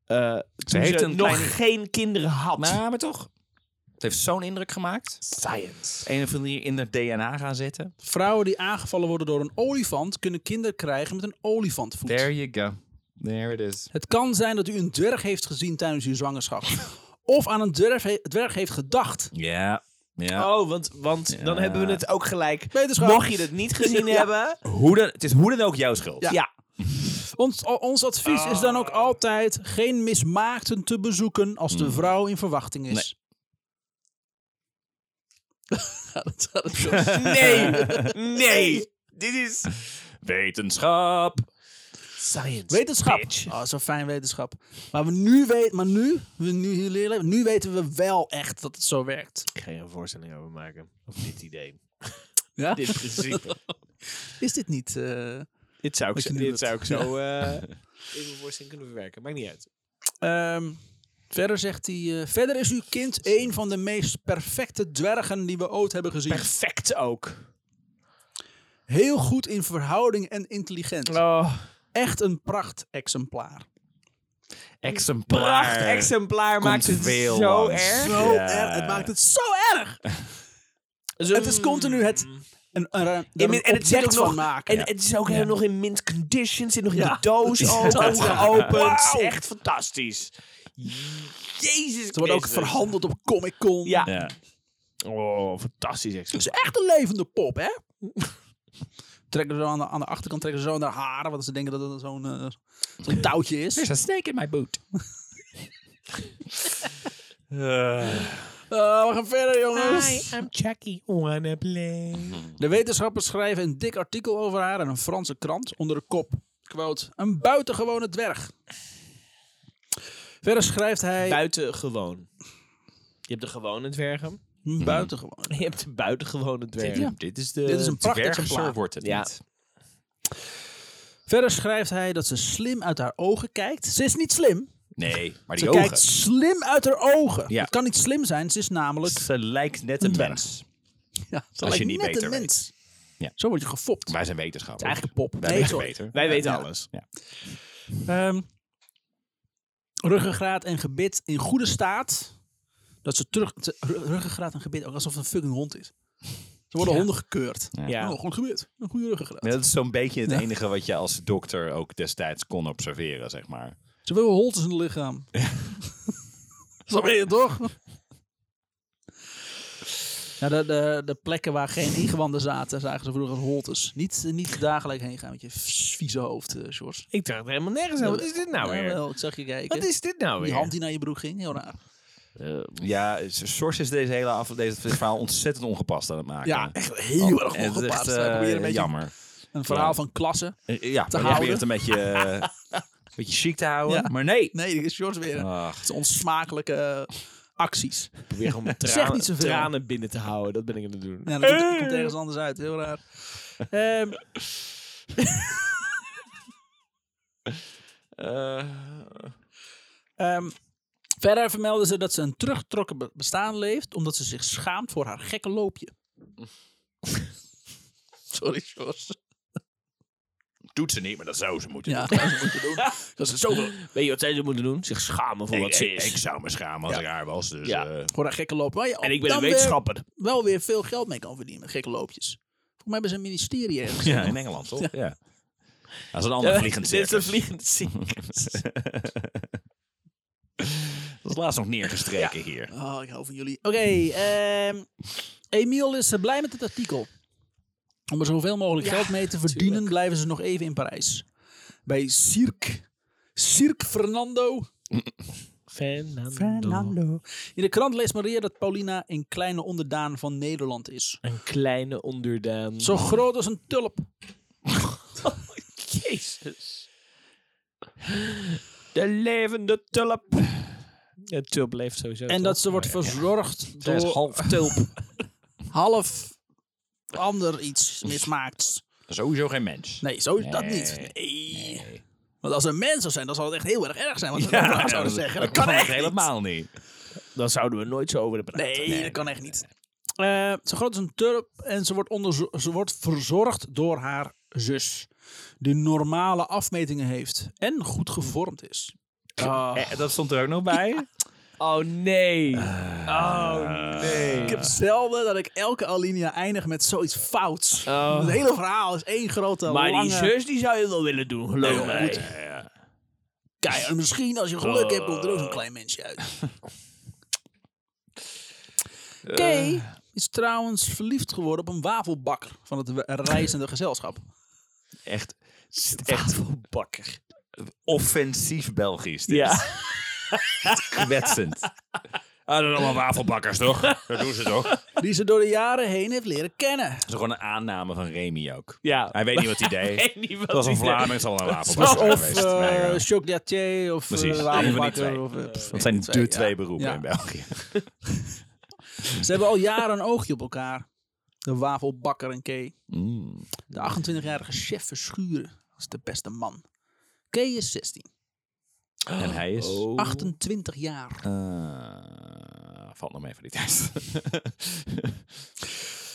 Speaker 1: eh, toen
Speaker 2: heeft
Speaker 1: ze
Speaker 2: een
Speaker 1: nog
Speaker 2: kleine-
Speaker 1: geen kinderen had.
Speaker 2: Maar, maar toch. Het heeft zo'n indruk gemaakt. Science. Een of andere manier in het DNA gaan zitten.
Speaker 3: Vrouwen die aangevallen worden door een olifant kunnen kinderen krijgen met een olifantvoet.
Speaker 2: There you go. There it is.
Speaker 3: Het kan zijn dat u een dwerg heeft gezien tijdens uw zwangerschap. of aan een dwerg, he- dwerg heeft gedacht.
Speaker 2: Ja. ja.
Speaker 1: Oh, want, want dan
Speaker 2: Ja.
Speaker 1: hebben we het ook gelijk.
Speaker 3: Wetenschap.
Speaker 1: Mocht je het niet gezien
Speaker 3: Ja.
Speaker 1: hebben.
Speaker 2: Hoe dan, het is hoe dan ook jouw schuld.
Speaker 3: Ja. Ah. Ons, o- ons advies is dan ook altijd geen mismaakten te bezoeken als de vrouw in verwachting is. dat had ik zo.
Speaker 1: Nee, nee. Dit is.
Speaker 2: Wetenschap.
Speaker 1: Science.
Speaker 3: Wetenschap.
Speaker 1: Bitch.
Speaker 3: Oh, zo'n fijn wetenschap. Maar, we nu, weet, maar nu, we nu, hier leren leven, nu weten we wel echt dat het zo werkt.
Speaker 1: Ik ga je een voorstelling over maken. Of dit idee.
Speaker 3: Ja?
Speaker 1: dit principe.
Speaker 3: Is dit niet... eh,
Speaker 1: dit zou ik,
Speaker 3: Wat
Speaker 1: zo-
Speaker 3: je nu
Speaker 1: dit
Speaker 3: doet.
Speaker 1: zou ik zo eh in mijn voorstelling kunnen verwerken. Maakt niet uit.
Speaker 3: Ehm, verder zegt hij... eh, verder is uw kind een van de meest perfecte dwergen die we ooit hebben gezien.
Speaker 1: Perfect ook.
Speaker 3: Heel goed in verhouding en intelligent.
Speaker 1: Oh,
Speaker 3: Echt een prachtexemplaar.
Speaker 2: Exemplaar.
Speaker 1: pracht exemplaar maakt het
Speaker 2: veel
Speaker 1: zo
Speaker 2: langs.
Speaker 1: erg.
Speaker 3: Zo
Speaker 2: Ja.
Speaker 3: erg. Het maakt het zo erg.
Speaker 1: Zo-
Speaker 3: Het is continu het... Een, een, een,
Speaker 1: En,
Speaker 3: een
Speaker 1: en het zit
Speaker 3: object
Speaker 1: ook
Speaker 3: van
Speaker 1: nog,
Speaker 3: maken.
Speaker 1: en het is ook helemaal nog in mint condition, zit nog in
Speaker 3: Ja.
Speaker 1: de doos ook,
Speaker 3: dat, ja.
Speaker 1: ongeopend.
Speaker 3: Wauw.
Speaker 1: Echt fantastisch. Jezus
Speaker 3: Ze wordt ook
Speaker 1: Christus.
Speaker 3: verhandeld op Comic-Con.
Speaker 1: Ja.
Speaker 2: Ja.
Speaker 1: Oh, fantastisch. Echt.
Speaker 3: Het is echt een levende pop, hè? trekken ze aan de, aan de achterkant trekken ze zo naar haar haren, want ze denken dat het zo'n eh, zo'n touwtje is.
Speaker 2: a snake in my boot.
Speaker 3: Eh, we gaan verder, jongens.
Speaker 1: I'm Chucky, wanna play.
Speaker 3: De wetenschappers schrijven een dik artikel over haar in een Franse krant onder de kop. Quote, een buitengewone dwerg. Verder schrijft hij...
Speaker 1: Buitengewoon. Je hebt de gewone dwergen.
Speaker 2: Hmm.
Speaker 3: een buitengewoon.
Speaker 1: Je hebt de buitengewone dwergen.
Speaker 3: Ja.
Speaker 2: Dit is de
Speaker 3: Dit is een prachtig
Speaker 2: dwergser
Speaker 3: exemplaar.
Speaker 2: wordt het
Speaker 1: Ja.
Speaker 2: niet.
Speaker 3: Verder schrijft hij dat ze slim uit haar ogen kijkt. Ze is niet slim.
Speaker 2: Nee, maar
Speaker 3: Ze
Speaker 2: die ogen.
Speaker 3: kijkt slim uit haar ogen.
Speaker 2: Ja.
Speaker 3: Het kan niet slim zijn. Ze is namelijk...
Speaker 2: Ze lijkt net een
Speaker 3: dwerg.
Speaker 2: mens.
Speaker 3: Ja, ze
Speaker 2: Als
Speaker 3: lijkt
Speaker 2: je niet
Speaker 3: net
Speaker 2: beter
Speaker 3: een
Speaker 2: weet.
Speaker 3: mens.
Speaker 2: Ja.
Speaker 3: Zo word je gefopt.
Speaker 2: Wij zijn wetenschappers.
Speaker 3: Eigenlijk pop.
Speaker 2: Wij
Speaker 3: Nee,
Speaker 2: weten
Speaker 3: sorry.
Speaker 2: beter.
Speaker 1: Wij weten
Speaker 3: Ja.
Speaker 1: alles.
Speaker 3: Ehm, ruggengraat en gebit in goede staat. Dat ze terug. te- ru- ruggengraat en gebit ook alsof het een fucking hond is. Ze worden honden gekeurd.
Speaker 2: Ja.
Speaker 1: Ja.
Speaker 3: Oh, goed gebit. Een goede ruggengraat.
Speaker 2: Ja, Dat is zo'n beetje het
Speaker 3: Ja.
Speaker 2: enige wat je als dokter ook destijds kon observeren, zeg maar.
Speaker 3: Ze willen holtes in het lichaam. Zo ben je het toch? Nou, de, de, de plekken waar geen ingewanden zaten, zagen ze vroeger als holtes. Niet, niet dagelijks heen gaan met je vieze hoofd, eh Sjors.
Speaker 1: Ik dacht er helemaal nergens aan. Wat is dit nou weer?
Speaker 3: Jawel, ik zag je kijken.
Speaker 1: Wat is dit nou
Speaker 3: Die hand
Speaker 1: weer?
Speaker 3: die naar je broek ging, heel raar.
Speaker 2: Ja, Source is deze hele af, deze dit verhaal ontzettend ongepast aan het maken.
Speaker 3: Ja, echt heel erg Dus,
Speaker 2: En het is
Speaker 3: ongepast.
Speaker 2: echt,
Speaker 3: Wij
Speaker 2: eh,
Speaker 3: proberen een beetje
Speaker 2: jammer.
Speaker 3: een verhaal van klasse.
Speaker 2: Eh, Ja,
Speaker 3: te
Speaker 2: we proberen
Speaker 3: houden.
Speaker 2: het een beetje, eh, een beetje chic te houden.
Speaker 3: Ja.
Speaker 2: Maar nee.
Speaker 3: Nee, dit is George weer. Het
Speaker 2: Ach,
Speaker 3: is onsmakelijke eh, acties.
Speaker 1: Probeer gewoon mijn
Speaker 3: Zeg
Speaker 1: tranen,
Speaker 3: niet zoveel.
Speaker 1: tranen binnen te houden. Dat ben ik aan het doen.
Speaker 3: Ja, dat komt, komt ergens anders uit. Heel raar. Ehm, ehm, verder vermelden ze dat ze een teruggetrokken be- bestaan leeft, omdat ze zich schaamt voor haar gekke loopje. Sorry, George.
Speaker 2: doet ze niet, maar dat zou ze moeten
Speaker 3: Ja,
Speaker 2: doen.
Speaker 3: dat moet je doen. Dat ze zoveel
Speaker 1: Weet je wat zij zo moeten doen? Zich schamen voor
Speaker 2: Ik,
Speaker 1: Oh, wat ze
Speaker 2: ik,
Speaker 1: is.
Speaker 2: ik zou me schamen als
Speaker 3: Ja.
Speaker 2: ik haar was. Dus,
Speaker 1: Ja.
Speaker 2: eh,
Speaker 3: voor haar gekke loopje. Waar je
Speaker 1: en ik
Speaker 3: ook
Speaker 1: ben een
Speaker 3: dan weer
Speaker 1: wetenschapper.
Speaker 3: wel weer veel geld mee kan verdienen met gekke loopjes. Voor mij hebben ze een ministerie ergens.
Speaker 2: ja, in Engeland, toch? Ja. Dat is een ander
Speaker 1: Ja,
Speaker 2: vliegend
Speaker 1: Dit is een
Speaker 2: circus.
Speaker 1: vliegend circus.
Speaker 2: Dat is laatst nog neergestreken hier.
Speaker 3: Oh, ik hou van jullie. Oké, ehm Emiel is eh, blij met het artikel. Om er zoveel mogelijk
Speaker 1: Ja,
Speaker 3: geld mee te verdienen, blijven ze nog even in Parijs. Bij Cirque. Cirque Fernando.
Speaker 1: Fernando.
Speaker 5: Fernando.
Speaker 3: In de krant leest Maria dat Paulina een kleine onderdaan van Nederland is.
Speaker 1: Een kleine onderdaan.
Speaker 3: Zo groot als een tulp.
Speaker 1: Jezus. De levende tulp. De tulp leeft sowieso.
Speaker 3: En dat ze wordt verzorgd door
Speaker 1: half tulp.
Speaker 3: half ander iets mismaakt.
Speaker 2: Sowieso geen mens.
Speaker 3: Nee, zo is dat niet. Nee. Want als er mensen zou zijn, dan zal het echt heel erg erg zijn. Wat we daarna zouden zeggen. Dat kan
Speaker 2: het
Speaker 3: echt niet.
Speaker 2: helemaal niet.
Speaker 1: Dan zouden we nooit zo over de praten.
Speaker 3: Nee, dat kan echt niet. Eh, ze groot is een turp en ze wordt, onderzo- ze wordt verzorgd door haar zus. Die normale afmetingen heeft en goed gevormd is.
Speaker 2: Eh, dat stond er ook nog bij.
Speaker 1: Oh nee. oh nee.
Speaker 3: Ah. Ik heb zelden dat ik elke alinea eindig met zoiets fouts.
Speaker 1: Oh.
Speaker 3: Het hele verhaal is één grote
Speaker 1: maar
Speaker 3: lange...
Speaker 1: die zus die zou je wel willen doen, geloof
Speaker 3: Nee,
Speaker 1: mij.
Speaker 3: goed. Kijk,
Speaker 2: Dus-
Speaker 3: en misschien als je geluk hebt, komt er ook
Speaker 2: Eh.
Speaker 3: zo'n klein mensje uit.
Speaker 2: Eh.
Speaker 3: Kay is trouwens verliefd geworden op een wafelbakker van het we- reizende gezelschap.
Speaker 2: Echt, echt
Speaker 1: Bakker.
Speaker 2: offensief Belgisch. Dit.
Speaker 1: Ja.
Speaker 2: Kwetsend. Ah, dat zijn allemaal wafelbakkers, toch? Dat doen ze toch? Dat
Speaker 3: Die ze door de jaren heen heeft leren kennen.
Speaker 2: is gewoon een aanname van Remy ook.
Speaker 1: Ja.
Speaker 2: Hij weet niet wat hij deed.
Speaker 1: weet niet wat
Speaker 2: dat was een
Speaker 1: hij deed.
Speaker 2: Vlaming, het zal een wafelbakker zijn
Speaker 3: Of
Speaker 2: geweest. Nee,
Speaker 3: eh
Speaker 2: ja.
Speaker 3: chocolatier of eh,
Speaker 2: Precies. Een van die twee.
Speaker 3: wafelbakker. Of, eh, pff,
Speaker 2: dat zijn de
Speaker 3: twee,
Speaker 2: twee
Speaker 3: ja.
Speaker 2: beroepen
Speaker 3: Ja.
Speaker 2: in België.
Speaker 3: Ze hebben al jaren een oogje op elkaar. De wafelbakker en Kay.
Speaker 1: Mm.
Speaker 3: De 28-jarige chef Verschuren is de beste man. Kay is 16.
Speaker 2: En hij is...
Speaker 1: Oh.
Speaker 3: 28 jaar.
Speaker 2: Eh, valt nog mee voor die tijd.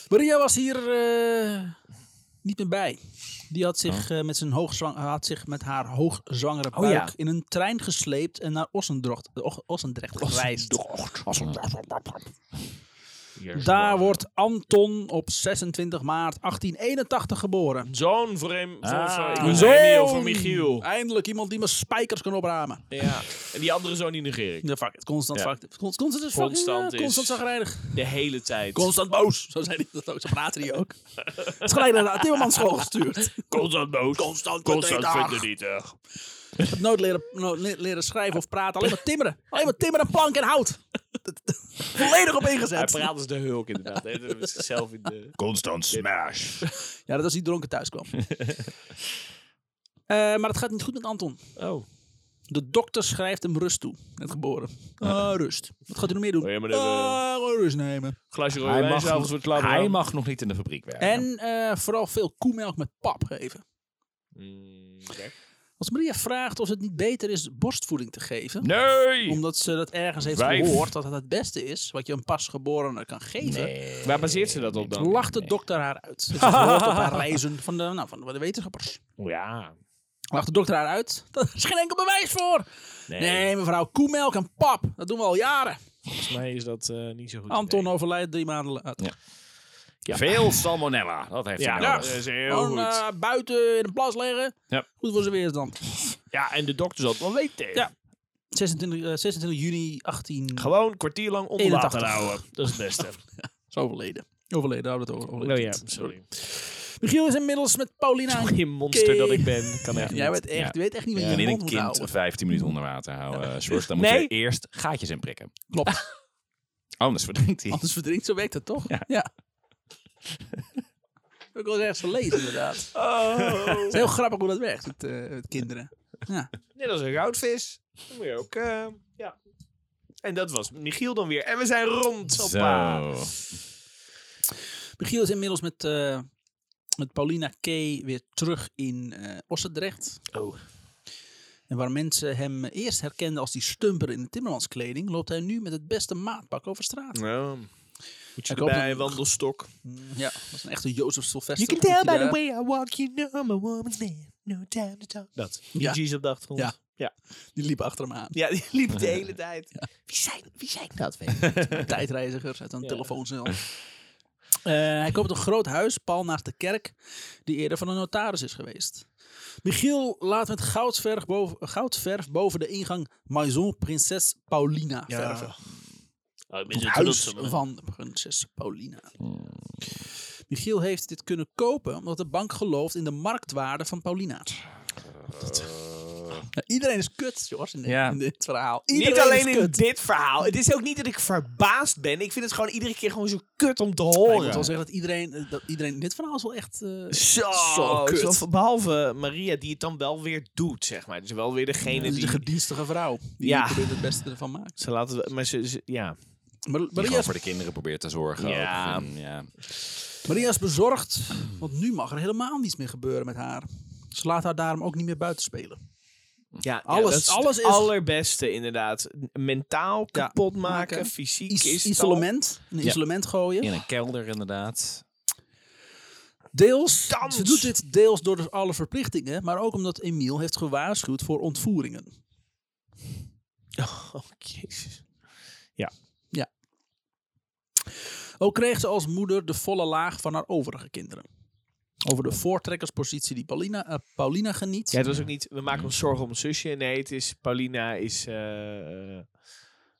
Speaker 3: Maria was hier eh, niet meer bij. Die had zich, eh, met, zijn hoogzwang, had zich met haar hoogzwangere buik
Speaker 1: ja.
Speaker 3: in een trein gesleept en naar Ossendrocht, Och- Ossendrecht gereisd. Daar wordt Anton op 26 maart 1881 geboren.
Speaker 1: Zo'n vreemd.
Speaker 2: Ah.
Speaker 1: Zo'n
Speaker 3: Zoon!
Speaker 1: Michiel van Michiel.
Speaker 3: Eindelijk iemand die mijn spijkers kan opramen.
Speaker 1: Ja. En die andere zoon die negeer ik.
Speaker 3: Ja, fuck it. Constant
Speaker 2: Ja.
Speaker 3: fuck it. Const- Constant is fucking...
Speaker 1: Constant
Speaker 3: Constant
Speaker 1: is-
Speaker 3: Constant zagrijnig.
Speaker 1: De hele tijd.
Speaker 3: Constant boos. Zo zei hij dat ook. Zo praten die ook. Het is gelijk naar de Timmermans school gestuurd.
Speaker 1: constant boos. Constant, constant
Speaker 3: verdrietig.
Speaker 1: verdrietig.
Speaker 3: Het nooit leren, no- le- leren schrijven of praten. Alleen maar timmeren. Alleen maar timmeren, plank en hout. Volledig op
Speaker 1: Hij
Speaker 3: ingezet.
Speaker 1: praat als de hulk inderdaad. Hij doet het Zichzelf in de...
Speaker 2: Constant smash.
Speaker 3: Ja, dat was die dronken thuis kwam. Eh, maar het gaat niet goed met Anton.
Speaker 1: Oh.
Speaker 3: De dokter schrijft hem rust toe. Net geboren. Ah, rust. Wat gaat hij nog meer doen?
Speaker 1: Oh ja, maar dat, eh,
Speaker 3: Ah, gewoon rust nemen.
Speaker 1: Glasje rode
Speaker 2: Hij
Speaker 1: wijn s'avonds
Speaker 2: mag,
Speaker 1: wordt
Speaker 2: nog,
Speaker 1: klaar.
Speaker 2: hij mag nog niet in de fabriek werken.
Speaker 3: En eh, vooral veel koemelk met pap geven.
Speaker 1: Mm, oké.
Speaker 3: Als Maria vraagt of het niet beter is borstvoeding te geven,
Speaker 2: Nee!
Speaker 3: omdat ze dat ergens heeft
Speaker 2: Wijf.
Speaker 3: gehoord dat het het beste is wat je een pasgeborene kan geven,
Speaker 1: Waar baseert ze dat op dan?
Speaker 3: lacht de dokter haar uit. Ze heeft gehoord op haar reizen van de, nou, van de wetenschappers.
Speaker 1: Ja.
Speaker 3: Lacht de dokter haar uit? Daar is geen enkel bewijs voor. Nee. mevrouw, koemelk en pap, dat doen we al jaren.
Speaker 1: Volgens mij is dat eh, niet zo goed.
Speaker 3: Anton
Speaker 1: idee.
Speaker 3: overlijdt drie maanden later.
Speaker 2: Veel salmonella. Dat heeft
Speaker 1: Ja,
Speaker 2: hij
Speaker 1: dat
Speaker 2: nodig.
Speaker 1: is heel
Speaker 3: Gewoon
Speaker 1: goed.
Speaker 3: eh, buiten in een plas liggen.
Speaker 2: Ja.
Speaker 3: Goed voor zijn weerstand.
Speaker 1: ja, en de dokter zal het wel weten.
Speaker 3: Ja. 26, eh, 26 juni 18...
Speaker 1: Gewoon kwartier lang onder water
Speaker 3: 81.
Speaker 1: houden. Dat is het beste.
Speaker 3: Is overleden. Overleden, houden we het over.
Speaker 1: oh ja, sorry.
Speaker 3: Michiel is inmiddels met Paulina en
Speaker 1: Geen monster dat ik ben. Kan echt
Speaker 3: Jij
Speaker 1: niet.
Speaker 3: weet echt,
Speaker 2: Ja.
Speaker 3: je weet echt niet wat
Speaker 2: En
Speaker 3: je in je
Speaker 2: in een
Speaker 3: mond moet
Speaker 2: kind
Speaker 3: houden.
Speaker 2: 15 minuten onder water houden. eh, Sjoerd, dan moet
Speaker 1: Nee.
Speaker 2: je eerst gaatjes in prikken.
Speaker 3: Klopt.
Speaker 2: Anders verdrinkt hij.
Speaker 3: Anders verdrinkt, zo werkt dat toch?
Speaker 2: Ja.
Speaker 3: Heb Ik wil ergens gelezen, inderdaad. Het
Speaker 1: Oh.
Speaker 3: is heel grappig hoe dat werkt met, eh, met kinderen.
Speaker 1: Net als een goudvis. Dan moet je ook... eh, ja. En dat was Michiel dan weer. En we zijn rond. Hoppa.
Speaker 2: Zo.
Speaker 3: Michiel is inmiddels met, eh, met Paulina K. weer terug in eh Ossendrecht.
Speaker 1: Oh.
Speaker 3: En waar mensen hem eerst herkenden als die stumper in de timmermanskleding, loopt hij nu met het beste maatpak over straat.
Speaker 1: Nou, moet je
Speaker 3: Ik hoop
Speaker 1: erbij,
Speaker 3: dat-
Speaker 1: wandelstok.
Speaker 3: Ja, dat is een echte Jozef
Speaker 5: You
Speaker 3: Sylvester.
Speaker 5: can tell
Speaker 3: komt hij
Speaker 5: by the way
Speaker 3: daar.
Speaker 5: I walk, you know I'm a woman's man. No time to talk.
Speaker 1: Dat.
Speaker 3: Ja.
Speaker 1: Die G's op de achtergrond.
Speaker 3: Ja.
Speaker 1: Ja.
Speaker 3: Die liep achter hem aan.
Speaker 1: Ja, die liep de hele tijd.
Speaker 5: Wie zijn, wie zijn dat?
Speaker 3: tijdreizigers uit een
Speaker 1: Ja.
Speaker 3: telefooncel. Eh, hij koopt een groot huis, pal naast de kerk, die eerder van een notaris is geweest. Michiel laat met goudverf boven, goudverf boven de ingang Maison Prinses Paulina verven.
Speaker 1: Oh, ik ben
Speaker 3: Het
Speaker 1: zo trots
Speaker 3: huis
Speaker 1: op me.
Speaker 3: van prinses Paulina. Michiel heeft dit kunnen kopen omdat de bank gelooft in de marktwaarde van Paulina.
Speaker 1: Eh.
Speaker 3: Nou, iedereen is kut, Jos, in, dit-
Speaker 2: Ja.
Speaker 3: in dit verhaal.
Speaker 1: Niet
Speaker 3: Iedereen
Speaker 1: alleen
Speaker 3: is
Speaker 1: in
Speaker 3: kut.
Speaker 1: dit verhaal. Het is ook niet dat ik verbaasd ben. Ik vind het gewoon iedere keer gewoon zo kut om te
Speaker 3: Maar ik
Speaker 1: horen.
Speaker 3: moet wel zeggen dat iedereen, eh, dat iedereen in dit verhaal is wel echt... eh,
Speaker 1: Zo,
Speaker 3: Zo kut.
Speaker 1: zo, behalve Maria, die het dan wel weer doet, zeg maar. Dus wel weer degene
Speaker 3: Dit is
Speaker 1: die...
Speaker 3: een gedienstige vrouw. Die
Speaker 1: Ja.
Speaker 3: probeert het beste ervan maken.
Speaker 1: Ze laten we, maar ze, ze- ja.
Speaker 3: Mar-
Speaker 2: Die
Speaker 3: Maria,
Speaker 2: gewoon
Speaker 3: is,
Speaker 2: voor de kinderen probeert te zorgen.
Speaker 1: Ja.
Speaker 2: ook. En, ja.
Speaker 3: Maria is bezorgd. Want nu mag er helemaal niets meer gebeuren met haar. Ze laat haar daarom ook niet meer buiten spelen.
Speaker 1: ja
Speaker 3: Alles-
Speaker 1: ja, dat is
Speaker 3: alles
Speaker 1: het
Speaker 3: is-
Speaker 1: allerbeste, inderdaad. Mentaal
Speaker 3: Ja,
Speaker 1: kapot maken,
Speaker 3: maken.
Speaker 1: fysiek
Speaker 3: Is,
Speaker 1: is het al-
Speaker 3: isolement. In een
Speaker 2: Ja.
Speaker 3: isolement gooien.
Speaker 2: In een kelder inderdaad.
Speaker 3: Deels,
Speaker 1: Dans.
Speaker 3: ze doet dit deels door de- alle verplichtingen, maar ook omdat Emiel heeft gewaarschuwd voor ontvoeringen.
Speaker 1: Oh, jezus.
Speaker 3: Ook kreeg ze als moeder de volle laag van haar overige kinderen. Over de voortrekkerspositie die Paulina, eh, Paulina geniet.
Speaker 1: Ja, het was ook niet, we maken ons zorgen om een zusje. Nee, het is, Paulina is... eh,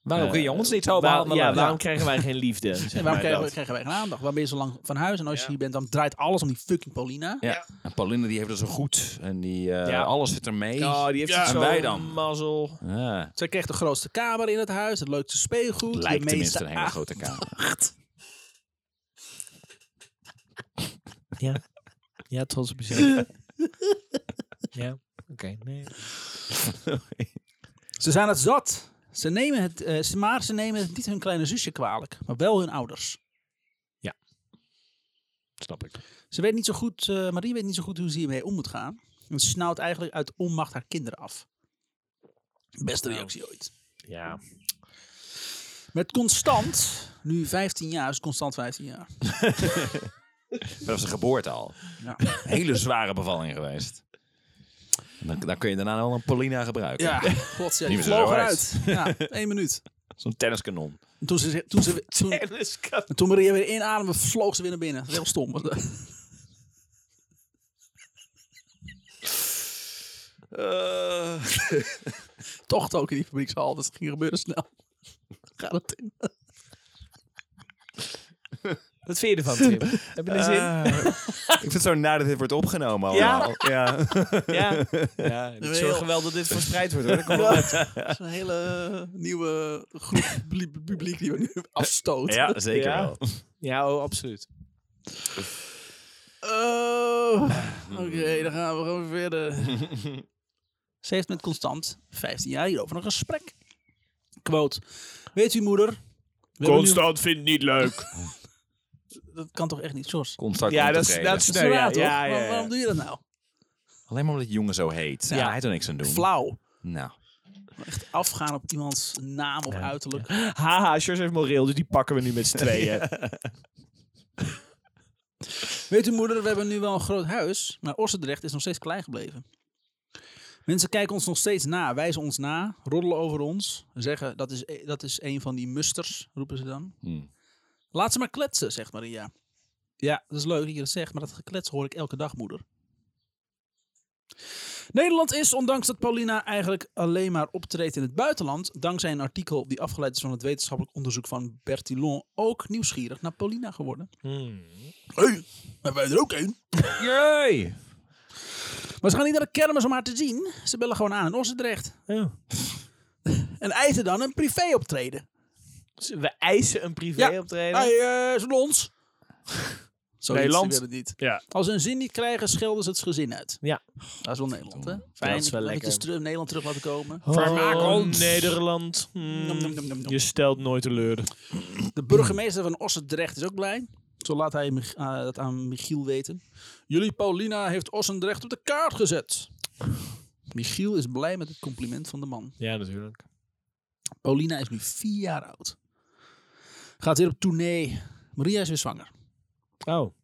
Speaker 2: Waarom
Speaker 1: eh,
Speaker 2: kun je ons niet zo
Speaker 1: waar-
Speaker 2: behandelen?
Speaker 1: Ja, waarom
Speaker 2: Ja.
Speaker 1: krijgen wij geen liefde? Zeg
Speaker 3: en
Speaker 1: maar
Speaker 3: waarom krijgen,
Speaker 1: dat.
Speaker 3: we- krijgen wij geen aandacht? Waar ben je zo lang van huis? En als
Speaker 1: Ja.
Speaker 3: je hier bent, dan draait alles om die fucking Paulina.
Speaker 2: Ja. En Pauline die heeft er zo goed. En die, eh,
Speaker 1: Ja.
Speaker 2: alles zit er mee.
Speaker 1: Oh, die heeft
Speaker 2: Ja.
Speaker 1: het
Speaker 2: En
Speaker 1: zo
Speaker 2: wij dan?
Speaker 1: mazzel.
Speaker 2: Ja.
Speaker 3: Zij kreeg de grootste kamer in het huis, het leukste speelgoed,
Speaker 2: Lijkt
Speaker 3: de
Speaker 2: tenminste
Speaker 3: meeste
Speaker 2: een hele grote kamer.
Speaker 1: Ah.
Speaker 3: aandacht.
Speaker 1: Ja, ja trots op jezelf. ja, oké. Nee.
Speaker 3: Ze zijn het zat. Ze nemen het, eh, ze- maar ze nemen het niet hun kleine zusje kwalijk, maar wel hun ouders.
Speaker 1: Snap ik.
Speaker 3: Ze weet niet zo goed, eh, Marie weet niet zo goed hoe ze hiermee om moet gaan. En ze snauwt eigenlijk uit onmacht haar kinderen af. Beste
Speaker 2: Nou.
Speaker 3: reactie ooit.
Speaker 1: Ja.
Speaker 3: Met Constant, nu 15 jaar, is Constant 15 jaar.
Speaker 2: Vanaf zijn geboorte al.
Speaker 3: Ja.
Speaker 2: Hele zware bevalling geweest. En Dan, dan kun je daarna wel een Paulina gebruiken.
Speaker 3: Ja, god, ja, die
Speaker 2: Niet meer zo
Speaker 3: vloog
Speaker 2: hard.
Speaker 3: eruit. Ja, één minuut.
Speaker 2: Zo'n tenniskanon.
Speaker 3: En toen, ze, toen, ze, toen, toen Maria weer inademde, vloog ze weer naar binnen. Dat is heel stom. eh,
Speaker 2: Eh,
Speaker 3: Toch ook in die fabriekshal, dus het ging gebeuren snel. Gaat het in.
Speaker 1: Wat vind je ervan, Tim? Heb je er zin?
Speaker 2: ik vind het zo na dat dit wordt opgenomen allemaal. Ja.
Speaker 1: ja. ja
Speaker 3: Heel-
Speaker 1: ik zorg wel dat dit verspreid wordt. Hoor. Kom
Speaker 3: Dat is een hele eh, nieuwe groep publiek- publiek die we nu afstoten.
Speaker 2: Ja, zeker
Speaker 1: Ja.
Speaker 2: wel.
Speaker 1: Ja, oh, absoluut.
Speaker 3: Oh,
Speaker 1: Ah.
Speaker 3: Oké, dan gaan we gewoon verder. Ze heeft met Constant, 15 jaar, hierover nog een gesprek. Quote. Weet u, moeder... we hebben
Speaker 1: vindt het niet leuk.
Speaker 3: nu- dat kan toch echt niet, Jos?
Speaker 2: Constant
Speaker 1: Ja, dat is...
Speaker 2: ontevreden.
Speaker 1: Dat is
Speaker 3: Dat is
Speaker 1: nou, ja,
Speaker 3: raar, toch?
Speaker 1: ja, ja,
Speaker 3: Waarom,
Speaker 1: ja.
Speaker 3: waarom doe je dat nou?
Speaker 2: Alleen maar omdat die jongen zo heet. Ja.
Speaker 1: Ja.
Speaker 2: Hij heeft er niks aan doen.
Speaker 3: Flauw.
Speaker 2: Nou.
Speaker 3: Echt afgaan op iemands naam of uiterlijk.
Speaker 1: Haha, Sjors heeft moreel, dus die pakken we nu met z'n tweeën.
Speaker 3: Weet u, moeder, we hebben nu wel een groot huis, maar Ossendrecht is nog steeds klein gebleven. Mensen kijken ons nog steeds na, wijzen ons na, roddelen over ons. Zeggen, dat is, e- dat is een van die musters, roepen ze dan.
Speaker 2: Hmm.
Speaker 3: Laat ze maar kletsen, zegt Maria. Ja, dat is leuk dat je dat zegt, maar dat geklets hoor ik elke dag, moeder. Nederland is, ondanks dat Paulina eigenlijk alleen maar optreedt in het buitenland, dankzij een artikel die afgeleid is van het wetenschappelijk onderzoek van Bertillon, ook nieuwsgierig naar Paulina geworden. Hé, hebben wij er ook een?
Speaker 2: Yay!
Speaker 3: Maar ze gaan niet naar de kermis om haar te zien. Ze bellen gewoon aan in Ossendrecht.
Speaker 1: Oh.
Speaker 3: En eisen dan een privé optreden.
Speaker 1: Dus We eisen een privé optreden.
Speaker 3: Hé, eh, is het ons? Zo
Speaker 1: Nederland.
Speaker 3: willen het niet.
Speaker 1: Ja.
Speaker 3: Als ze een zin niet krijgen, schelden ze het gezin uit.
Speaker 1: Ja.
Speaker 3: Dat is wel Nederland, hè? Fijn,
Speaker 1: Dat is wel
Speaker 3: even
Speaker 1: lekker.
Speaker 3: iets terug, Nederland terug laten komen.
Speaker 1: Oh, Vermaak ons. Nederland. Hmm,
Speaker 3: Nom, nom, nom, nom, nom.
Speaker 1: Je stelt nooit teleur.
Speaker 3: De burgemeester van Ossendrecht is ook blij. Zo laat hij Mich- eh, dat aan Michiel weten. Jullie Paulina heeft Ossendrecht op de kaart gezet. Michiel is blij met het compliment van de man.
Speaker 1: Ja, natuurlijk.
Speaker 3: Paulina is nu vier jaar oud. Gaat weer op tournee. Maria is weer zwanger.
Speaker 1: Oh.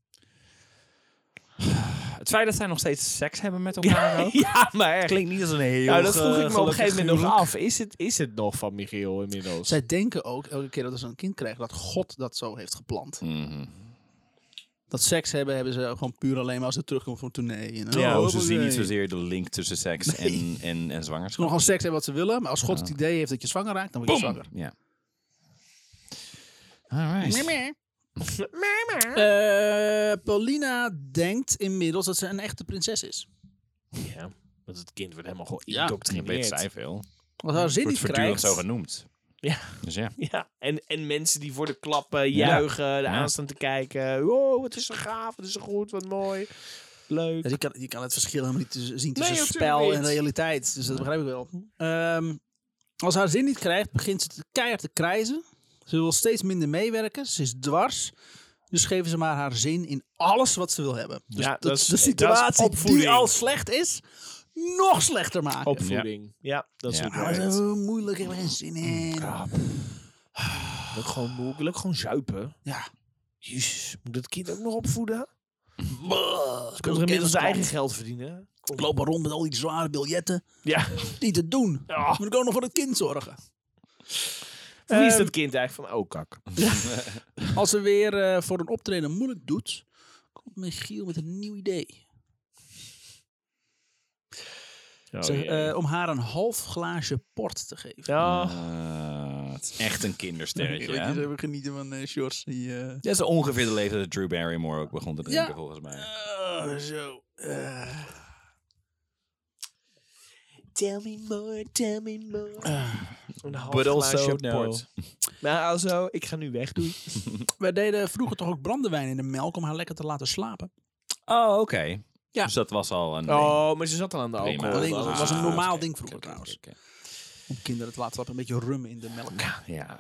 Speaker 2: Het feit dat zij nog steeds seks hebben met elkaar ook,
Speaker 1: Ja, maar echt.
Speaker 2: klinkt niet als een heel
Speaker 1: Nou, dat vroeg
Speaker 2: ge-
Speaker 1: ik me op een gegeven
Speaker 2: gelukkig
Speaker 1: moment nog
Speaker 2: huwelijk.
Speaker 1: af. Is het, is het nog van Michiel inmiddels?
Speaker 3: Zij denken ook, elke keer dat ze een kind krijgen, dat God dat zo heeft geplant.
Speaker 2: Mhm.
Speaker 3: Dat seks hebben, hebben ze gewoon puur alleen maar als ze terugkomen van tournee. En,
Speaker 1: Ja,
Speaker 2: Oh,
Speaker 3: oh,
Speaker 2: ze zien
Speaker 3: nee.
Speaker 2: niet zozeer de link tussen seks en, en, en
Speaker 3: Ze kunnen
Speaker 2: zwangerschap.
Speaker 3: gewoon seks hebben wat ze willen, maar als God het idee heeft dat je zwanger raakt, dan word je zwanger.
Speaker 2: Ja. Alright.
Speaker 3: Eh, Paulina denkt inmiddels dat ze een echte prinses is.
Speaker 1: Ja, want het kind wordt helemaal gewoon
Speaker 3: Ja,
Speaker 2: Dat weet zij
Speaker 1: indoctrineerd.
Speaker 2: veel.
Speaker 3: Als haar zin
Speaker 2: Wordt
Speaker 3: niet
Speaker 2: voortdurend
Speaker 3: krijgt...
Speaker 2: zo genoemd.
Speaker 1: Ja.
Speaker 2: Dus ja.
Speaker 1: Ja, en, en mensen die voor de klappen juichen, de
Speaker 2: Ja.
Speaker 1: aanstaan te kijken. Wow, het is zo gaaf, het is zo goed, wat mooi. Leuk.
Speaker 3: Ja, Je kan, je kan het verschil helemaal niet tussen- zien tussen
Speaker 1: natuurlijk
Speaker 3: spel en
Speaker 1: niet.
Speaker 3: realiteit. Dus dat begrijp ik wel. Ehm, als ze haar zin niet krijgt, begint ze te keihard te krijzen. Ze wil steeds minder meewerken. Ze is dwars. Dus geven ze maar haar zin in alles wat ze wil hebben. Dus
Speaker 1: Ja,
Speaker 3: dat,
Speaker 1: dat is-
Speaker 3: de
Speaker 1: dat is
Speaker 3: situatie
Speaker 1: opvoeding.
Speaker 3: die al slecht is, nog slechter maken.
Speaker 1: Opvoeding. Ja, dat is
Speaker 2: Ja.
Speaker 1: hoe het
Speaker 3: Ah,
Speaker 1: werkt.
Speaker 3: dat is wel moeilijk, ik heb er geen zin in.
Speaker 1: Ah, pff. Leuk gewoon moe, leuk gewoon zuipen.
Speaker 3: Ja.
Speaker 1: Jezus, moet dat kind ook nog opvoeden? Ze kunnen
Speaker 3: Zo'n
Speaker 1: er inmiddels zijn eigen
Speaker 3: kennisklant.
Speaker 1: geld verdienen. Kom.
Speaker 3: Ik loop maar rond met al die zware biljetten.
Speaker 1: Ja.
Speaker 3: Niet te doen.
Speaker 1: Ja.
Speaker 3: Moet ik ook nog voor het kind zorgen.
Speaker 1: Wie is
Speaker 3: Ehm,
Speaker 1: dat kind eigenlijk van, oh kak.
Speaker 3: Als ze weer eh, voor een optreden moeilijk doet, komt Michiel met een nieuw idee. Ze- eh, om haar een half glaasje port te geven.
Speaker 1: ja.
Speaker 2: Ah, het is echt een kindersterretje.
Speaker 3: Weet
Speaker 2: hè?
Speaker 3: je, ze hebben genieten van eh shorts die... eh,
Speaker 2: Dat is ongeveer de leeftijd dat Drew Barrymore ook begon te drinken,
Speaker 3: Ja.
Speaker 2: volgens mij.
Speaker 3: oh, zo. eh.
Speaker 5: Tell me more, tell me more.
Speaker 1: Ah. Een half
Speaker 2: But also
Speaker 1: glaasje
Speaker 2: no.
Speaker 1: port. Maar also, ik ga nu weg. Doei.
Speaker 3: Wij deden vroeger toch ook brandewijn in de melk om haar lekker te laten slapen.
Speaker 2: Oh, oké.
Speaker 3: Ja.
Speaker 2: Dus dat was al een...
Speaker 1: Oh, maar ze zat al aan de
Speaker 2: Prima.
Speaker 1: alcohol.
Speaker 3: Dat ding was,
Speaker 2: Ah,
Speaker 3: was een normaal
Speaker 2: oké,
Speaker 3: ding
Speaker 2: oké,
Speaker 3: vroeger
Speaker 2: oké,
Speaker 3: trouwens.
Speaker 2: oké.
Speaker 3: Om kinderen te laten slapen, een beetje rum in de melk.
Speaker 2: Ja, ja,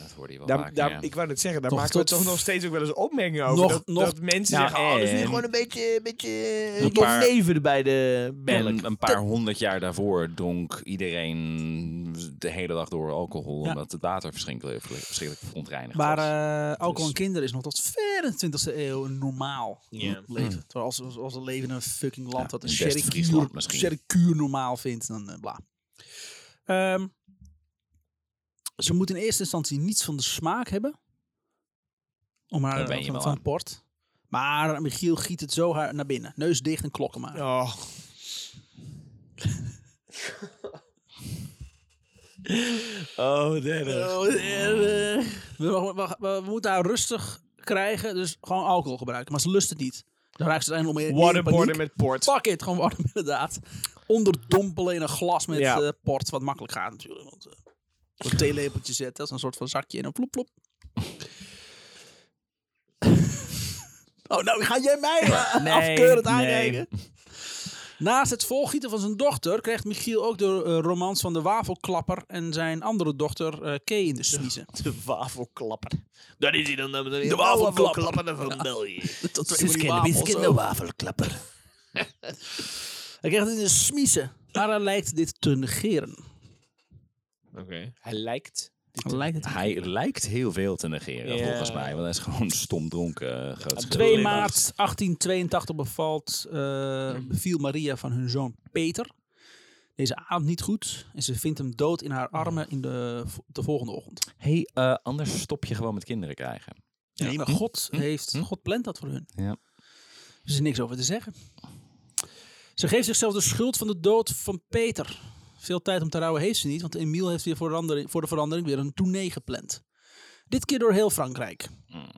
Speaker 2: dat hoorde je wel
Speaker 1: Daar,
Speaker 2: vaker,
Speaker 1: daar-
Speaker 2: ja.
Speaker 1: Ik wou net zeggen, daar
Speaker 3: Toch
Speaker 1: maken we
Speaker 3: tot-
Speaker 1: toch nog steeds ook wel eens opmerkingen over.
Speaker 3: Nog-
Speaker 1: dat,
Speaker 3: nog-
Speaker 1: dat mensen
Speaker 2: Nou,
Speaker 1: zeggen, oh, dat is nu
Speaker 2: en-
Speaker 1: gewoon een beetje... Een beetje
Speaker 2: Een paar-
Speaker 1: leven bij de
Speaker 2: En een paar honderd jaar daarvoor dronk iedereen de hele dag door alcohol.
Speaker 3: Ja.
Speaker 2: Omdat het water verschrikkelijk, verschrikkelijk verontreinigd
Speaker 3: Maar
Speaker 2: was.
Speaker 3: eh, alcohol
Speaker 2: Dus-
Speaker 3: en kinderen is nog tot ver in de 20e eeuw een normaal
Speaker 1: Ja.
Speaker 3: leven. Terwijl als, als, als we leven in een fucking land
Speaker 2: Mhm. Ja,
Speaker 3: dat een
Speaker 2: in West-Friesland
Speaker 3: sherrykuur
Speaker 2: misschien.
Speaker 3: sherrykuur normaal vindt, dan eh, bla. Ehm, ze moet in eerste instantie niets van de smaak hebben. Om
Speaker 2: Daar
Speaker 3: haar
Speaker 2: ben je
Speaker 3: van,
Speaker 2: wel
Speaker 3: van
Speaker 2: aan.
Speaker 3: port. Maar Michiel giet het zo haar naar binnen. Neus dicht en klokken maar.
Speaker 1: Oh. oh, derde.
Speaker 3: Oh, eh, eh. We, we- we- we moeten haar rustig krijgen, dus gewoon alcohol gebruiken. Maar ze lust het niet. Dan raakt ze uiteindelijk om
Speaker 1: Waterboarden met port.
Speaker 3: Fuck it, gewoon water inderdaad. Onderdompelen in een glas met
Speaker 1: Ja.
Speaker 3: eh, port, wat makkelijk gaat natuurlijk. Want eh, een theelepeltje zetten als een soort van zakje en dan plop plop. oh, nou ga jij mij eh, afkeurend
Speaker 1: nee.
Speaker 3: aanreiken. Naast het volgieten van zijn dochter krijgt Michiel ook de eh, romans van de wafelklapper en zijn andere dochter eh Kay in de smiezen.
Speaker 1: De wafelklapper. Dat is hij dan. dan de
Speaker 3: wafelklapper.
Speaker 1: van België.
Speaker 3: Tot twee van die wafels, hoor.
Speaker 5: wafelklapper.
Speaker 3: Hij krijgt het in de smiezen. Maar hij lijkt dit te negeren.
Speaker 1: Oké. Hij lijkt.
Speaker 3: Hij lijkt het
Speaker 2: Hij lijkt heel veel te negeren,
Speaker 1: Ja.
Speaker 2: volgens mij. Want hij is gewoon stom dronken. eh, groot
Speaker 3: 2
Speaker 2: gedeelte.
Speaker 3: maart 1882 bevalt, eh, beviel Maria van hun zoon Peter. Deze avond niet goed en ze vindt hem dood in haar armen in de, vo- de volgende ochtend.
Speaker 2: hey, eh, anders stop je gewoon met kinderen krijgen.
Speaker 3: Nee, maar God, heeft, God plant dat voor hun.
Speaker 2: Ja.
Speaker 3: Er is niks over te zeggen. Ze geeft zichzelf de schuld van de dood van Peter. Veel tijd om te rouwen heeft ze niet, want Emiel heeft weer verandering- voor de verandering weer een tournee gepland. Dit keer door heel Frankrijk.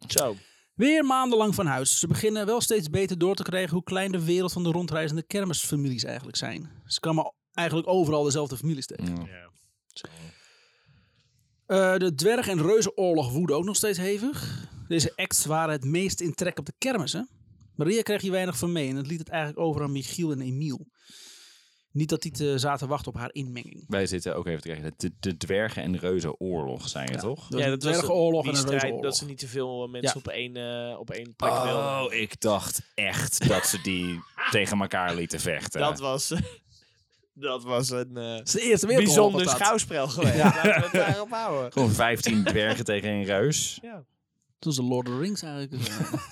Speaker 1: Zo.
Speaker 3: Weer maandenlang van huis. Ze beginnen wel steeds beter door te krijgen hoe klein de wereld van de rondreizende kermisfamilies eigenlijk zijn. Ze kwamen eigenlijk overal dezelfde families tegen.
Speaker 1: Ja.
Speaker 3: Eh, de dwerg- en reuzenoorlog woedde ook nog steeds hevig. Deze acts waren het meest in trek op de kermissen. Maria kreeg hier weinig van mee en het liet het eigenlijk over aan Michiel en Emiel. Niet dat die te zaten te wachten op haar inmenging.
Speaker 2: Wij zitten ook even te krijgen. De, de dwergen- en reuzenoorlog zijn het, toch?
Speaker 3: Dus een
Speaker 1: dat was
Speaker 3: dwergenoorlog
Speaker 1: die
Speaker 3: en een
Speaker 1: strijd
Speaker 3: reuzenoorlog.
Speaker 1: Dat ze niet te veel eh, mensen
Speaker 3: Ja.
Speaker 1: op, één, eh, op één plek wilden.
Speaker 2: Oh, ik dacht echt dat ze die tegen elkaar lieten vechten.
Speaker 1: Dat was, dat was een eh,
Speaker 3: Dat is de eerste wereldoorlog.
Speaker 1: bijzonder
Speaker 3: dat dat.
Speaker 1: schouwspel geweest. Laten we het daarop houden.
Speaker 2: Gewoon 15 dwergen tegen een reus.
Speaker 3: Toen ze Lord of the Rings eigenlijk.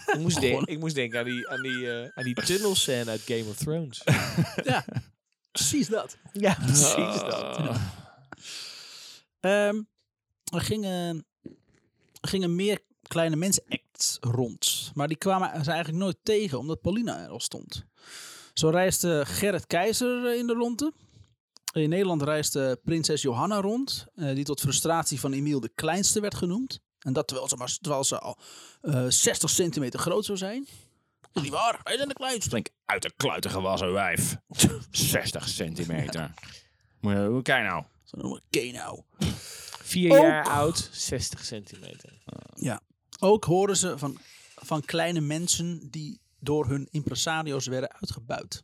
Speaker 1: Ik moest, de-
Speaker 3: Gewoon.
Speaker 1: ik moest denken aan die, aan die, eh, aan die tunnelscène uit Game of Thrones. Oh.
Speaker 3: ja, precies dat.
Speaker 1: ja, precies dat.
Speaker 2: Oh.
Speaker 3: Ehm, er gingen, er gingen meer kleine mensen acts rond. Maar die kwamen ze eigenlijk nooit tegen, omdat Paulina er al stond. Zo reisde Gerrit Keizer eh, in de ronde. In Nederland reisde prinses Johanna rond, eh, die tot frustratie van Emiel de Kleinste werd genoemd. En dat terwijl ze, maar, terwijl ze al eh, 60 centimeter groot zou zijn. Dat is niet waar, wij zijn de kleinste.
Speaker 2: Flink uit de kluiten gewassen wijf. 60 centimeter. Moet je- Hoe kijk nou?
Speaker 3: Dat noemen we Kenau.
Speaker 1: Vier
Speaker 3: Ook-
Speaker 1: jaar oud, 60 centimeter.
Speaker 3: Ja. Ook horen ze van, van kleine mensen die door hun impresario's werden uitgebuit.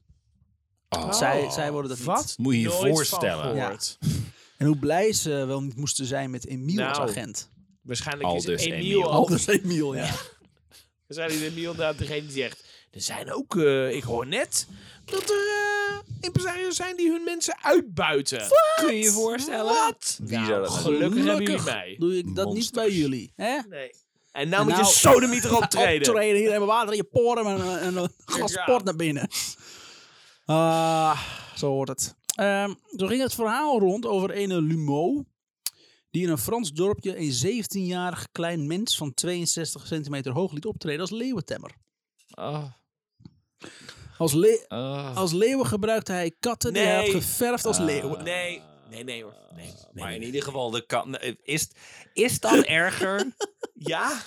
Speaker 2: Oh.
Speaker 3: Zij, zij worden dat niet.
Speaker 1: Wat?
Speaker 2: Moet je je
Speaker 1: Nooit van
Speaker 2: voorstellen.
Speaker 1: gehoord.
Speaker 3: En hoe blij ze wel niet moesten zijn met Emiel als
Speaker 1: Nou.
Speaker 3: agent.
Speaker 1: Waarschijnlijk
Speaker 2: Aldus
Speaker 1: is Emiel
Speaker 2: Emiel.
Speaker 1: al.
Speaker 3: Aldus Emiel, ja.
Speaker 1: Waarschijnlijk is Emiel inderdaad degene die zegt... Er zijn ook, eh, ik hoor net, dat er eh impresario's zijn die hun mensen uitbuiten. Kun je je voorstellen?
Speaker 2: Wie zou dat nou doen?
Speaker 1: gelukkig hebben jullie mij.
Speaker 3: doe ik dat niet bij
Speaker 2: Monsters.
Speaker 3: jullie. Hè?
Speaker 1: Nee. En nou
Speaker 3: En
Speaker 1: moet je
Speaker 3: nou-
Speaker 1: sodomiet erop treden.
Speaker 3: Optreden, hier hebben we water in je poren en, een- en een glas
Speaker 1: Ja.
Speaker 3: port naar binnen. Ah, zo hoort het. Ehm zo ging het verhaal rond over een Lumeau. Die in een Frans dorpje een 17-jarig klein mens van 62 centimeter hoog liet optreden als leeuwentemmer.
Speaker 2: Oh,
Speaker 3: Als, le-
Speaker 2: oh.
Speaker 3: als leeuwen gebruikte hij katten die hij
Speaker 1: Nee. Ah.
Speaker 3: had geverfd als leeuwen.
Speaker 1: Nee, nee, nee hoor. Nee, nee,
Speaker 2: Maar
Speaker 1: nee,
Speaker 2: in
Speaker 1: nee.
Speaker 2: ieder geval, de kat, is, is dat erger?
Speaker 1: Ja?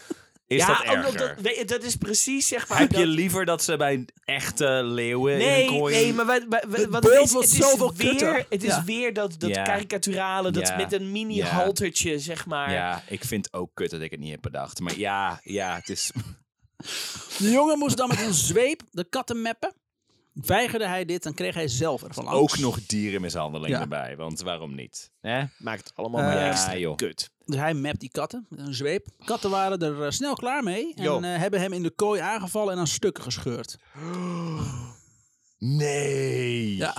Speaker 2: Is
Speaker 1: ja,
Speaker 2: dat
Speaker 1: ook nog
Speaker 2: erger?
Speaker 1: dat, nee, dat is precies zeg maar...
Speaker 2: Heb
Speaker 1: dat-
Speaker 2: je liever dat ze bij echte leeuwen
Speaker 1: Nee,
Speaker 2: in een kooi...
Speaker 1: nee, maar wat, wat, wat-
Speaker 3: Het
Speaker 1: wat
Speaker 3: beeld
Speaker 1: is,
Speaker 3: was
Speaker 1: het is
Speaker 3: zoveel kutter.
Speaker 1: weer, het is
Speaker 3: Ja.
Speaker 1: weer dat, dat
Speaker 2: Ja.
Speaker 1: karikaturale, dat
Speaker 2: Ja.
Speaker 1: met een mini
Speaker 2: Ja.
Speaker 1: haltertje, zeg maar.
Speaker 2: Ja, ik vind het ook kut dat ik het niet heb bedacht. Maar ja, ja, het is...
Speaker 3: De jongen moest dan met een zweep de katten meppen. Weigerde hij dit, dan kreeg hij zelf ervan af.
Speaker 2: Ook nog dierenmishandeling
Speaker 3: Ja.
Speaker 2: erbij, want waarom niet? Hè?
Speaker 1: Maakt het allemaal
Speaker 3: Eh,
Speaker 1: maar
Speaker 2: ja,
Speaker 1: extra
Speaker 2: joh.
Speaker 1: kut.
Speaker 3: Dus hij mapt die katten met een zweep. Katten waren er eh, snel klaar mee. En
Speaker 1: Jo.
Speaker 3: eh, hebben hem in de kooi aangevallen en aan stukken gescheurd.
Speaker 2: Nee!
Speaker 3: Ja.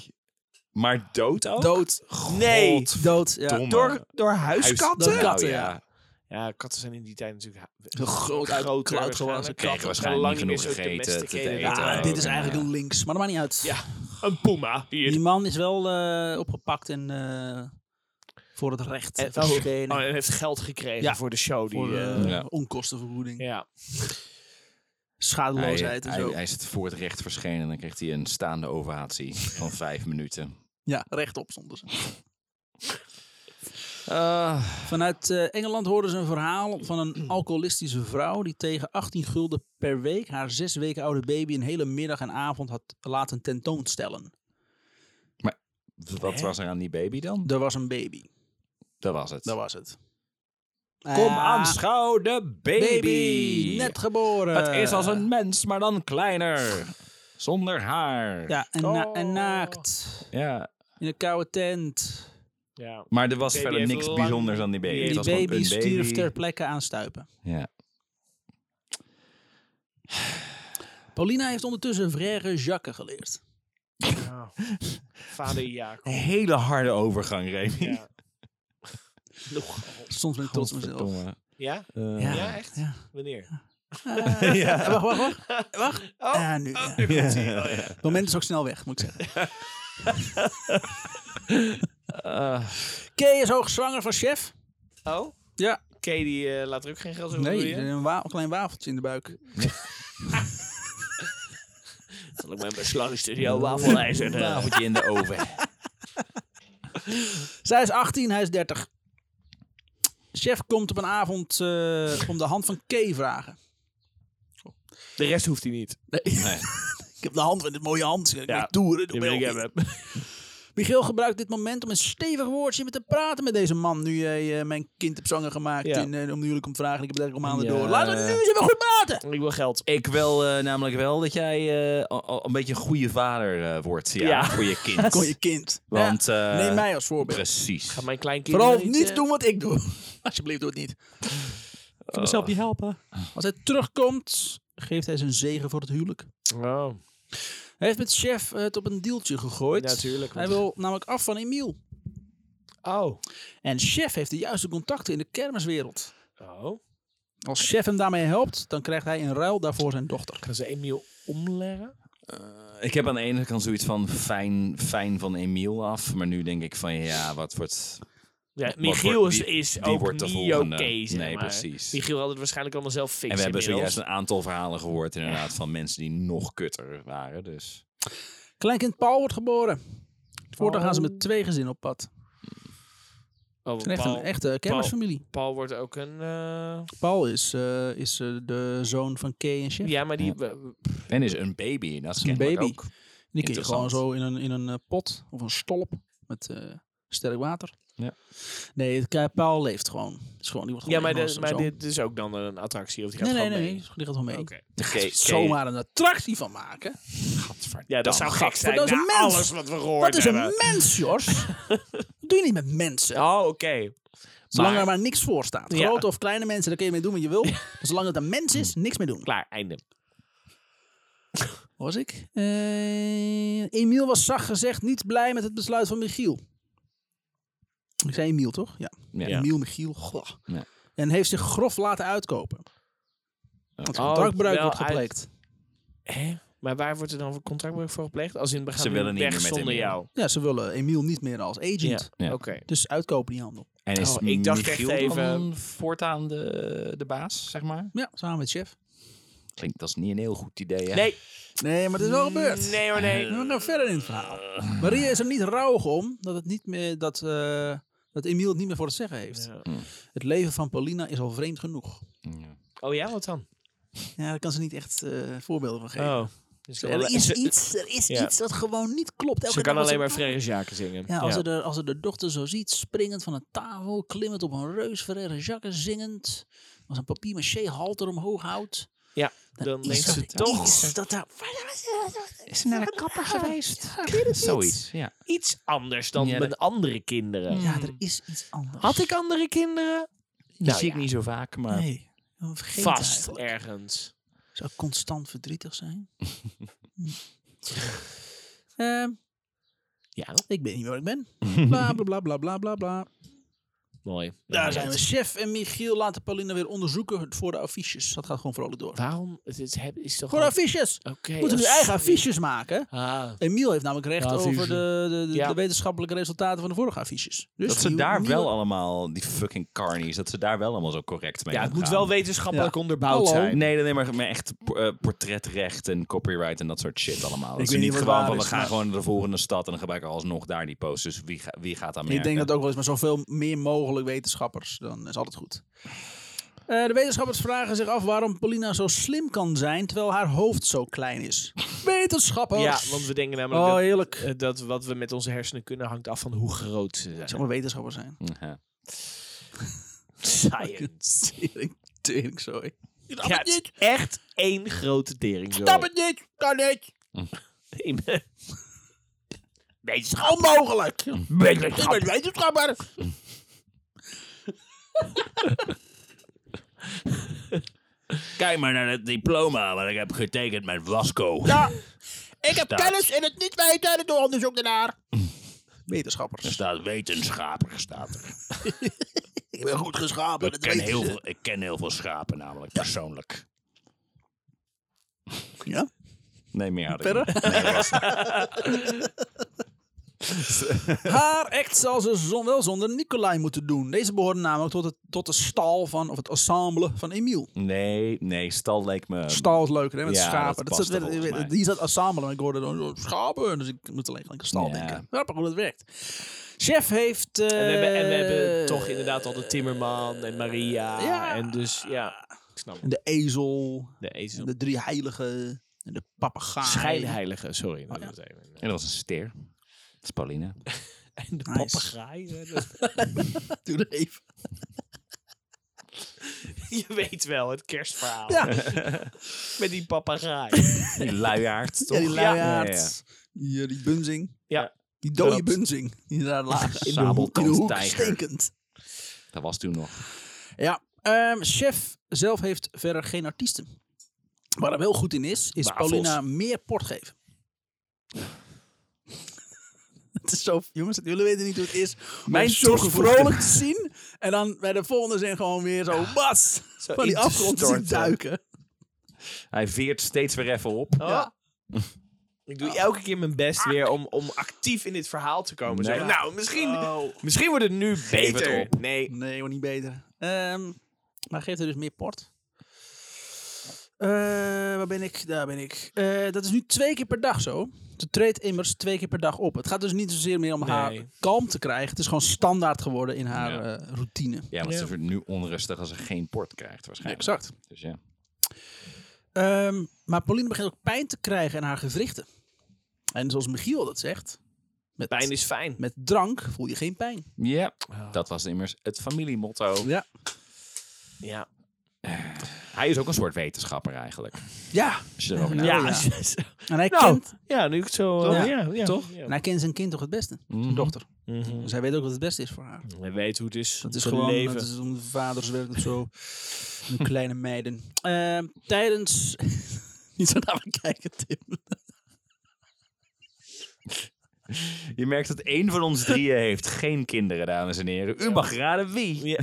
Speaker 2: Maar dood ook?
Speaker 3: Dood.
Speaker 1: Oh, Nee.
Speaker 3: Dood. Ja.
Speaker 2: Godverdomme.
Speaker 1: Door, door
Speaker 3: Door
Speaker 1: huiskatten?
Speaker 2: Nou
Speaker 3: katten, Oh, ja.
Speaker 2: ja.
Speaker 1: Ja, katten zijn in die tijd natuurlijk
Speaker 3: Zo groot uit de kluit gewassen.
Speaker 2: Kregen waarschijnlijk niet genoeg gegeten te eten.
Speaker 3: Ja,
Speaker 2: ook.
Speaker 3: dit is
Speaker 2: en,
Speaker 3: eigenlijk
Speaker 2: ja.
Speaker 3: een links, maar dat maakt niet uit.
Speaker 1: Ja. Een puma hier.
Speaker 3: Die man is wel eh, opgepakt en eh, voor het recht
Speaker 1: En, oh,
Speaker 3: verschenen.
Speaker 1: oh, en heeft geld gekregen
Speaker 3: Ja.
Speaker 1: voor de show. Die,
Speaker 3: voor
Speaker 1: eh,
Speaker 3: eh,
Speaker 2: Ja.
Speaker 3: onkostenvergoeding.
Speaker 1: ja.
Speaker 2: Hij,
Speaker 3: Schadeloosheid en
Speaker 2: hij,
Speaker 3: zo.
Speaker 2: hij is het voor het recht verschenen en dan kreeg hij een staande ovatie van vijf minuten.
Speaker 3: ja, rechtop stonden ze.
Speaker 2: Ah.
Speaker 3: Vanuit eh, Engeland hoorden ze een verhaal van een alcoholistische vrouw die tegen 18 gulden per week haar zes weken oude baby een hele middag en avond had laten tentoonstellen.
Speaker 2: wat was er aan die baby dan?
Speaker 3: Er was een baby,
Speaker 2: Dat was het.
Speaker 3: dat was het.
Speaker 2: Kom
Speaker 3: Ah,
Speaker 2: aanschouw de baby. Eh,
Speaker 3: baby, net eh. geboren.
Speaker 2: Het is als een mens, maar dan kleiner. Zonder haar.
Speaker 3: Ja, en, na- en
Speaker 1: Oh.
Speaker 3: naakt
Speaker 2: Ja.
Speaker 3: in een koude tent.
Speaker 1: ja.
Speaker 2: Maar er was
Speaker 1: Baby
Speaker 2: verder
Speaker 1: heeft
Speaker 2: niks
Speaker 1: lang-
Speaker 2: bijzonders aan die baby.
Speaker 1: Die
Speaker 2: Het
Speaker 3: Die
Speaker 2: was gewoon
Speaker 3: baby
Speaker 2: een
Speaker 3: stierf ter plekke aan stuipen.
Speaker 2: Ja.
Speaker 3: Paulina heeft ondertussen frère Jacques geleerd.
Speaker 1: Vader Jacob.
Speaker 2: Een hele harde overgang, Remy.
Speaker 1: Ja. Nogal.
Speaker 3: Soms ben ik trots op mezelf.
Speaker 2: Godverdomme.
Speaker 1: Ja?
Speaker 2: Eh,
Speaker 3: Ja.
Speaker 1: Ja, echt?
Speaker 3: Ja.
Speaker 1: Wanneer?
Speaker 3: Eh,
Speaker 2: Ja.
Speaker 3: Wacht, wacht, wacht. wacht.
Speaker 1: Oh.
Speaker 3: Ah, nu. ja. Het moment is ook snel weg, moet ik zeggen.
Speaker 2: Eh,
Speaker 3: Kay is hoogzwanger van chef.
Speaker 1: Oh?
Speaker 3: Ja.
Speaker 1: Kay, die eh, laat er ook geen geld over
Speaker 3: Nee, eh,
Speaker 1: nee,
Speaker 3: er is een, wa- klein wafeltje in de buik.
Speaker 1: Zal ik mijn beslagstudio wafelijzer
Speaker 2: een
Speaker 3: Nou,
Speaker 1: eh,
Speaker 2: avondje in de oven.
Speaker 3: Zij is 18, hij is 30. Chef komt op een avond eh, om de hand van Kay vragen.
Speaker 1: De rest hoeft hij niet.
Speaker 2: Nee.
Speaker 3: Ik heb de hand van dit mooie hand. Ik
Speaker 1: Ja,
Speaker 3: ja, toeren.
Speaker 1: Die wil ik hebben.
Speaker 3: Michiel gebruikt dit moment om een stevig woordje met te praten met deze man. Nu jij eh, mijn kind hebt zwanger gemaakt
Speaker 1: Ja.
Speaker 3: en eh, om jullie komt vragen. Ik heb het eigenlijk al maanden
Speaker 2: Ja.
Speaker 3: door. Laten we nu eens even goed praten.
Speaker 1: Ik wil geld.
Speaker 2: Ik wil eh, namelijk wel dat jij eh, al- al een beetje een goede vader eh, wordt ja,
Speaker 1: Ja.
Speaker 2: voor je kind.
Speaker 3: Kon je kind.
Speaker 2: Want, eh,
Speaker 3: Ja, neem mij als voorbeeld.
Speaker 2: Precies.
Speaker 1: Ga mijn kleinkind
Speaker 3: Vooral
Speaker 1: niet,
Speaker 3: niet,
Speaker 1: eh,
Speaker 3: doen wat ik doe. Alsjeblieft, doe het niet.
Speaker 2: kan mezelf niet helpen.
Speaker 3: Als hij terugkomt, geeft hij zijn zegen voor het huwelijk.
Speaker 1: Oh,
Speaker 3: Hij heeft met chef eh, het op een deeltje gegooid.
Speaker 1: natuurlijk.
Speaker 3: Hij wil namelijk af van Emiel.
Speaker 1: Oh.
Speaker 3: En chef heeft de juiste contacten in de kermiswereld.
Speaker 1: Oh.
Speaker 3: Als chef hem daarmee helpt, dan krijgt hij in ruil daarvoor zijn dochter.
Speaker 1: Gaan ze Emiel omleggen?
Speaker 2: Eh, Ik heb aan de ene kant zoiets van fijn, fijn van Emiel af. Maar nu denk ik van ja, wat wordt...
Speaker 1: Ja,
Speaker 2: Wat
Speaker 1: Michiel
Speaker 2: wordt-
Speaker 1: is,
Speaker 2: wie-
Speaker 1: is
Speaker 2: wie
Speaker 1: ook
Speaker 2: wordt de
Speaker 1: niet oké,
Speaker 2: volgende?
Speaker 1: zeg
Speaker 2: eh, Nee,
Speaker 1: maar.
Speaker 2: precies.
Speaker 1: Michiel had het waarschijnlijk allemaal zelf fixen
Speaker 2: En we hebben
Speaker 1: inmiddels.
Speaker 2: zojuist een aantal verhalen gehoord inderdaad van mensen die nog kutter waren. Dus
Speaker 3: Kleinkind Paul wordt geboren. Voortaan gaan ze
Speaker 1: Oh.
Speaker 3: met twee gezinnen op pad.
Speaker 1: Oh,
Speaker 3: Het is echt
Speaker 1: Paul,
Speaker 3: een echte kermisfamilie.
Speaker 1: Paul wordt ook een... eh,
Speaker 3: Paul is, eh, is eh, de zoon van Kay en Chef.
Speaker 1: Ja, maar die... we-
Speaker 2: En is een baby. en Dat is
Speaker 3: een
Speaker 2: kennelijk
Speaker 3: baby.
Speaker 2: ook.
Speaker 3: Die kun je gewoon
Speaker 2: Interessant.
Speaker 3: zo in een, in een eh, pot of een stolp met eh, sterk water.
Speaker 2: Ja.
Speaker 3: Nee, het, eh, Paul leeft gewoon. Het Is gewoon die wordt
Speaker 1: Ja,
Speaker 3: gewoon
Speaker 1: maar, de-
Speaker 3: ingelost en
Speaker 1: maar
Speaker 3: zo.
Speaker 1: dit is ook dan een attractie. Of die gaat
Speaker 3: Nee, nee,
Speaker 1: gewoon
Speaker 3: nee.
Speaker 1: mee.
Speaker 3: Die gaat wel mee.
Speaker 1: Oké.
Speaker 2: Kay-
Speaker 3: Zomaar een attractie van maken.
Speaker 1: Ja, dat zou gek zijn.
Speaker 3: dat is
Speaker 1: na
Speaker 3: een mens.
Speaker 1: alles wat we gehoord
Speaker 3: Dat is
Speaker 1: hebben.
Speaker 3: een mens, Jos. dat doe je niet met mensen.
Speaker 1: Oh, oké.
Speaker 3: Zolang er maar niks voor staat.
Speaker 1: Ja.
Speaker 3: Grote of kleine mensen, daar kun je mee doen wat je wil. Maar Zolang het een mens is, niks mee doen.
Speaker 1: Klaar, einde.
Speaker 3: Was ik? Eh, Emiel was zacht gezegd niet blij met het besluit van Michiel. Ik zei Emiel, toch? Ja.
Speaker 2: Ja.
Speaker 3: Emiel, Michiel. goh.
Speaker 2: Ja.
Speaker 3: En heeft zich grof laten uitkopen. Het
Speaker 1: Oh,
Speaker 3: contractbreuk
Speaker 1: wel
Speaker 3: wordt
Speaker 1: uit-
Speaker 3: gepleegd.
Speaker 1: Hè? Maar waar wordt er dan voor contractbreuk voor gepleegd? Als in, we gaan
Speaker 2: Ze
Speaker 1: nu
Speaker 2: willen niet
Speaker 1: weg
Speaker 2: meer met
Speaker 1: zonder
Speaker 2: hem
Speaker 1: jou.
Speaker 3: Ja, ze willen Emiel niet meer als agent.
Speaker 2: Ja.
Speaker 1: Oké.
Speaker 3: Dus uitkopen die handel.
Speaker 2: En is
Speaker 1: Oh, ik dacht echt
Speaker 2: Michiel dan
Speaker 1: even-
Speaker 2: voortaan de, de baas, zeg maar?
Speaker 3: Ja, samen met chef.
Speaker 2: Klinkt, dat is niet een heel goed idee, hè?
Speaker 1: Nee,
Speaker 3: Nee, maar het is wel gebeurd.
Speaker 1: nee hoor, nee.
Speaker 3: We gaan verder in het verhaal. Maria is er niet rouwig om dat, het niet meer, dat, eh, dat Emiel het niet meer voor het zeggen heeft.
Speaker 1: Ja.
Speaker 3: Het leven van Paulina is al vreemd genoeg.
Speaker 2: Ja.
Speaker 1: Oh ja, wat dan?
Speaker 3: Ja, daar kan ze niet echt eh, voorbeelden van geven.
Speaker 1: Oh. Dus
Speaker 3: Ze- Er is
Speaker 1: ze,
Speaker 3: iets, er is
Speaker 1: Ja.
Speaker 3: iets dat gewoon niet klopt. Elke
Speaker 1: ze
Speaker 3: dag
Speaker 1: kan
Speaker 3: als
Speaker 1: alleen maar
Speaker 3: doet-
Speaker 1: Frere Jaken zingen.
Speaker 3: Ja, als, Ze de, als ze de dochter zo ziet, springend van een tafel, klimmend op een reus, verrere jakken, zingend, als een papier-maché halter omhoog houdt.
Speaker 1: Ja,
Speaker 3: dan,
Speaker 1: dan
Speaker 3: is
Speaker 1: denkt ze
Speaker 3: er
Speaker 1: toch-
Speaker 3: iets dat daar...
Speaker 6: Is ze naar de kapper geweest?
Speaker 2: Zoiets, ja.
Speaker 1: Iets anders dan
Speaker 2: Ja,
Speaker 1: met andere kinderen.
Speaker 3: Ja, er is iets anders.
Speaker 1: Hmm. Had ik andere kinderen?
Speaker 2: Die
Speaker 1: Nou
Speaker 2: zie
Speaker 1: ja.
Speaker 2: ik niet zo vaak, maar...
Speaker 3: Nee, dan vergeet het
Speaker 1: Vast
Speaker 3: eigenlijk.
Speaker 1: ergens.
Speaker 3: Zou ik constant verdrietig zijn? Hm. Ehm,
Speaker 1: Ja,
Speaker 3: ik weet niet waar ik ben. Bla bla bla bla bla bla bla.
Speaker 1: mooi.
Speaker 3: Daar zijn we. Chef en Michiel laten Paulina weer onderzoeken voor de affiches. Dat gaat gewoon vrolijk door.
Speaker 1: Waarom? Het is, het is toch
Speaker 3: Voor de
Speaker 1: al-
Speaker 3: affiches!
Speaker 1: Oké.
Speaker 3: We moeten nu
Speaker 1: oh,
Speaker 3: eigen
Speaker 1: sorry.
Speaker 3: affiches maken.
Speaker 1: Ah,
Speaker 3: Emiel heeft namelijk recht
Speaker 1: Ja,
Speaker 3: over
Speaker 1: affiches.
Speaker 3: de, de, de,
Speaker 1: Ja.
Speaker 3: de wetenschappelijke resultaten van de vorige affiches. Dus
Speaker 2: Dat ze
Speaker 3: nieuw-
Speaker 2: daar
Speaker 3: nieuwe-
Speaker 2: wel allemaal, die fucking carnies, dat ze daar wel allemaal zo correct mee
Speaker 1: ja, het moet
Speaker 2: omgaan.
Speaker 1: wel wetenschappelijk
Speaker 3: Ja.
Speaker 1: onderbouwd
Speaker 3: Hallo.
Speaker 1: zijn.
Speaker 2: Nee, dan neem maar maar echt eh, portretrecht en copyright en dat soort shit allemaal. Dat
Speaker 3: weet
Speaker 2: is
Speaker 3: niet
Speaker 2: niet
Speaker 3: wat
Speaker 2: gewoon
Speaker 3: waar
Speaker 2: van, we
Speaker 3: is,
Speaker 2: gaan
Speaker 3: maar-
Speaker 2: gewoon naar de volgende stad en dan gebruiken we alsnog daar die posters. Wie, ga- wie gaat aan merken?
Speaker 3: Ik denk dat ook wel eens, maar zoveel meer mogelijk wetenschappers. Dan is altijd goed. Eh, de wetenschappers vragen zich af waarom Paulina zo slim kan zijn terwijl haar hoofd zo klein is. Wetenschappers!
Speaker 1: Ja, want we denken namelijk
Speaker 3: Oh,
Speaker 1: dat-
Speaker 3: heerlijk.
Speaker 1: eh, dat, wat we met onze hersenen kunnen hangt af van hoe groot ze
Speaker 3: Zeg
Speaker 1: zijn.
Speaker 3: maar wetenschappers zijn.
Speaker 2: Hm, Ja.
Speaker 1: Science.
Speaker 3: Tering, tering, sorry.
Speaker 1: Ja, het is echt één grote tering.
Speaker 3: Snap het niet! Kan niet!
Speaker 1: Wetenschap.
Speaker 3: Onmogelijk! Ik ben wetenschapper!
Speaker 2: Kijk maar naar het diploma wat ik heb getekend met Wasco.
Speaker 3: Ja! Ik heb
Speaker 2: Staat.
Speaker 3: kennis in het niet weten en ik doe onderzoek daarnaar. Wetenschappers.
Speaker 2: staat wetenschapper, staat er.
Speaker 3: Ik ben goed geschapen.
Speaker 2: Ik ken, heel veel, ik ken heel veel schapen namelijk, persoonlijk.
Speaker 3: Ja?
Speaker 2: Nee, meer had ik
Speaker 3: Verder?
Speaker 2: niet. Nee, dat was-
Speaker 3: Haar act zal ze zon, wel zonder Nicolai moeten doen. Deze behoorde namelijk tot, het, tot de stal van, of het ensemble van Emiel.
Speaker 2: nee, nee, stal leek me...
Speaker 3: Stal is leuker, hè, met
Speaker 2: ja,
Speaker 3: schapen.
Speaker 2: dat
Speaker 3: Dat zat,
Speaker 2: paste volgens mij.
Speaker 3: die zat ensemble, maar ik hoorde dan oh, schapen. Dus ik moet alleen aan de stal
Speaker 2: Ja.
Speaker 3: denken. Grappig hoe dat werkt. Chef heeft... eh,
Speaker 1: En we, hebben, en we hebben toch inderdaad al de Timmerman en Maria.
Speaker 3: Ja.
Speaker 1: En dus, ja, ik snap het.
Speaker 3: De ezel,
Speaker 1: De ezel.
Speaker 3: de drie heiligen, en de papegaai.
Speaker 1: Schijnheilige, sorry. dat was even, eh,
Speaker 2: En dat was een steer. Dat is Paulina.
Speaker 1: En de
Speaker 3: Nice.
Speaker 1: papegaai. eh, dat-
Speaker 3: Doe er even.
Speaker 1: Je weet wel, het kerstverhaal.
Speaker 3: Ja.
Speaker 1: Met die papegaai.
Speaker 2: Die luiaard,
Speaker 3: Ja,
Speaker 2: toch?
Speaker 3: die
Speaker 1: Ja.
Speaker 3: luiaard. Ja, die bunzing.
Speaker 1: Ja.
Speaker 3: Die dode
Speaker 2: Dat-
Speaker 3: bunzing. Die daar laag in de hoek, in de
Speaker 2: Sabeltandtijger.
Speaker 3: hoek stinkend.
Speaker 2: Dat was toen nog.
Speaker 3: Ja, ehm, chef zelf heeft verder geen artiesten. Waar hij wel goed in is, is
Speaker 2: Wafels.
Speaker 3: Paulina meer port geven. Het is zo, jongens, jullie weten niet hoe het is. Mijn
Speaker 2: Mijn
Speaker 3: zo
Speaker 2: toegevoegde-
Speaker 3: vrolijk te zien. En dan bij de volgende zin gewoon weer zo, bas! Van die afgrond te zien
Speaker 2: instorten.
Speaker 3: duiken.
Speaker 2: Hij veert steeds weer even op.
Speaker 1: Oh. Ik doe elke keer mijn best weer om, om actief in dit verhaal te komen.
Speaker 2: Nee.
Speaker 1: Zo, nou, misschien, misschien wordt het nu
Speaker 2: het
Speaker 1: beter.
Speaker 2: op.
Speaker 1: Nee.
Speaker 3: Nee, wordt niet beter. Ehm, maar geeft er dus meer port. Eh, daar ben ik. Daar ben ik. Eh, dat is nu twee keer per dag zo. Ze treedt immers twee keer per dag op. Het gaat dus niet zozeer meer om haar kalm te krijgen. Het is gewoon standaard geworden in haar
Speaker 2: Ja.
Speaker 3: eh, routine.
Speaker 2: Ja, want ze wordt nu onrustig als ze geen port krijgt waarschijnlijk.
Speaker 3: Exact.
Speaker 2: Dus ja.
Speaker 3: Ehm, maar Pauline begint ook pijn te krijgen aan haar gewrichten. En zoals Michiel dat zegt. Met,
Speaker 1: Pijn is fijn.
Speaker 3: met drank voel je geen pijn.
Speaker 2: Ja, dat was immers het familiemotto.
Speaker 3: Ja.
Speaker 1: Ja.
Speaker 3: Oh,
Speaker 2: Hij is ook een soort wetenschapper eigenlijk.
Speaker 3: Ja.
Speaker 2: Als je erover
Speaker 3: Ja.
Speaker 2: nadenkt.
Speaker 1: ja,
Speaker 3: ja.
Speaker 1: als je-
Speaker 3: En hij,
Speaker 1: Nou.
Speaker 3: kent,
Speaker 1: ja, nu ik het zo... eh,
Speaker 3: Toch?
Speaker 1: ja, ja.
Speaker 2: Toch?
Speaker 1: Ja.
Speaker 3: en hij kent zijn kind toch het beste.
Speaker 2: Mhm.
Speaker 3: Zijn dochter.
Speaker 1: Mhm.
Speaker 3: Dus hij weet ook wat het beste is voor haar.
Speaker 1: Hij weet hoe het is.
Speaker 3: Dat
Speaker 1: om
Speaker 3: is
Speaker 1: te
Speaker 3: gewoon,
Speaker 1: leven.
Speaker 3: dat is om de vaders werk of zo. Een kleine meiden. Ehm, tijdens... Niet zo naar me kijken, Tim.
Speaker 2: Je merkt dat één van ons drieën heeft geen kinderen, dames en heren. U mag raden wie.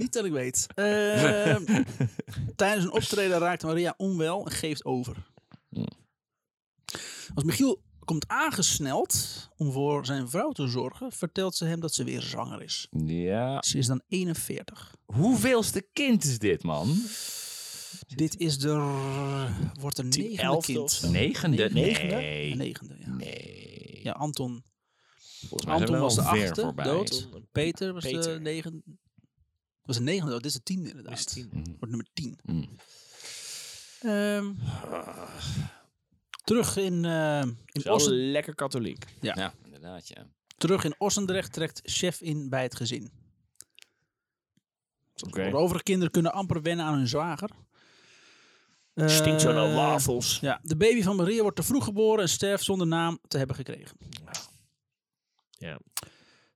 Speaker 3: Niet dat ik weet. Ehm, tijdens een optreden raakt Maria onwel en geeft over. Als Michiel komt aangesneld om voor zijn vrouw te zorgen, vertelt ze hem dat ze weer zwanger is.
Speaker 2: Ja.
Speaker 3: Ze is dan 41.
Speaker 2: Hoeveelste kind is dit, man?
Speaker 3: Dit is de... r- wordt een negende
Speaker 1: elfde
Speaker 3: kind.
Speaker 1: of zo.
Speaker 2: Negende?
Speaker 3: Negende?
Speaker 2: Nee.
Speaker 3: Een negende, ja.
Speaker 2: Nee.
Speaker 3: Ja, Anton
Speaker 2: Volgens mij zijn
Speaker 3: Anton
Speaker 2: we
Speaker 3: was de
Speaker 2: wel ver
Speaker 3: achtste,
Speaker 2: voorbij.
Speaker 3: dood. Peter was de
Speaker 1: Peter.
Speaker 3: negende. Was de negende, dood. dit is de tiende inderdaad.
Speaker 1: Is tien.
Speaker 2: Mm.
Speaker 3: Wordt nummer tien.
Speaker 2: Mm.
Speaker 3: Ehm, terug, in, ehm, in
Speaker 1: Wel
Speaker 3: Ossen,
Speaker 1: lekker katholiek.
Speaker 2: Ja, inderdaad, ja.
Speaker 3: terug in Ossendrecht trekt chef in bij het gezin.
Speaker 1: Oké.
Speaker 3: De overige kinderen kunnen amper wennen aan hun zwager.
Speaker 1: Stinkt zo naar
Speaker 3: Eh,
Speaker 1: wafels.
Speaker 3: Ja, de baby van Maria wordt te vroeg geboren en sterft zonder naam te hebben gekregen.
Speaker 1: Ja.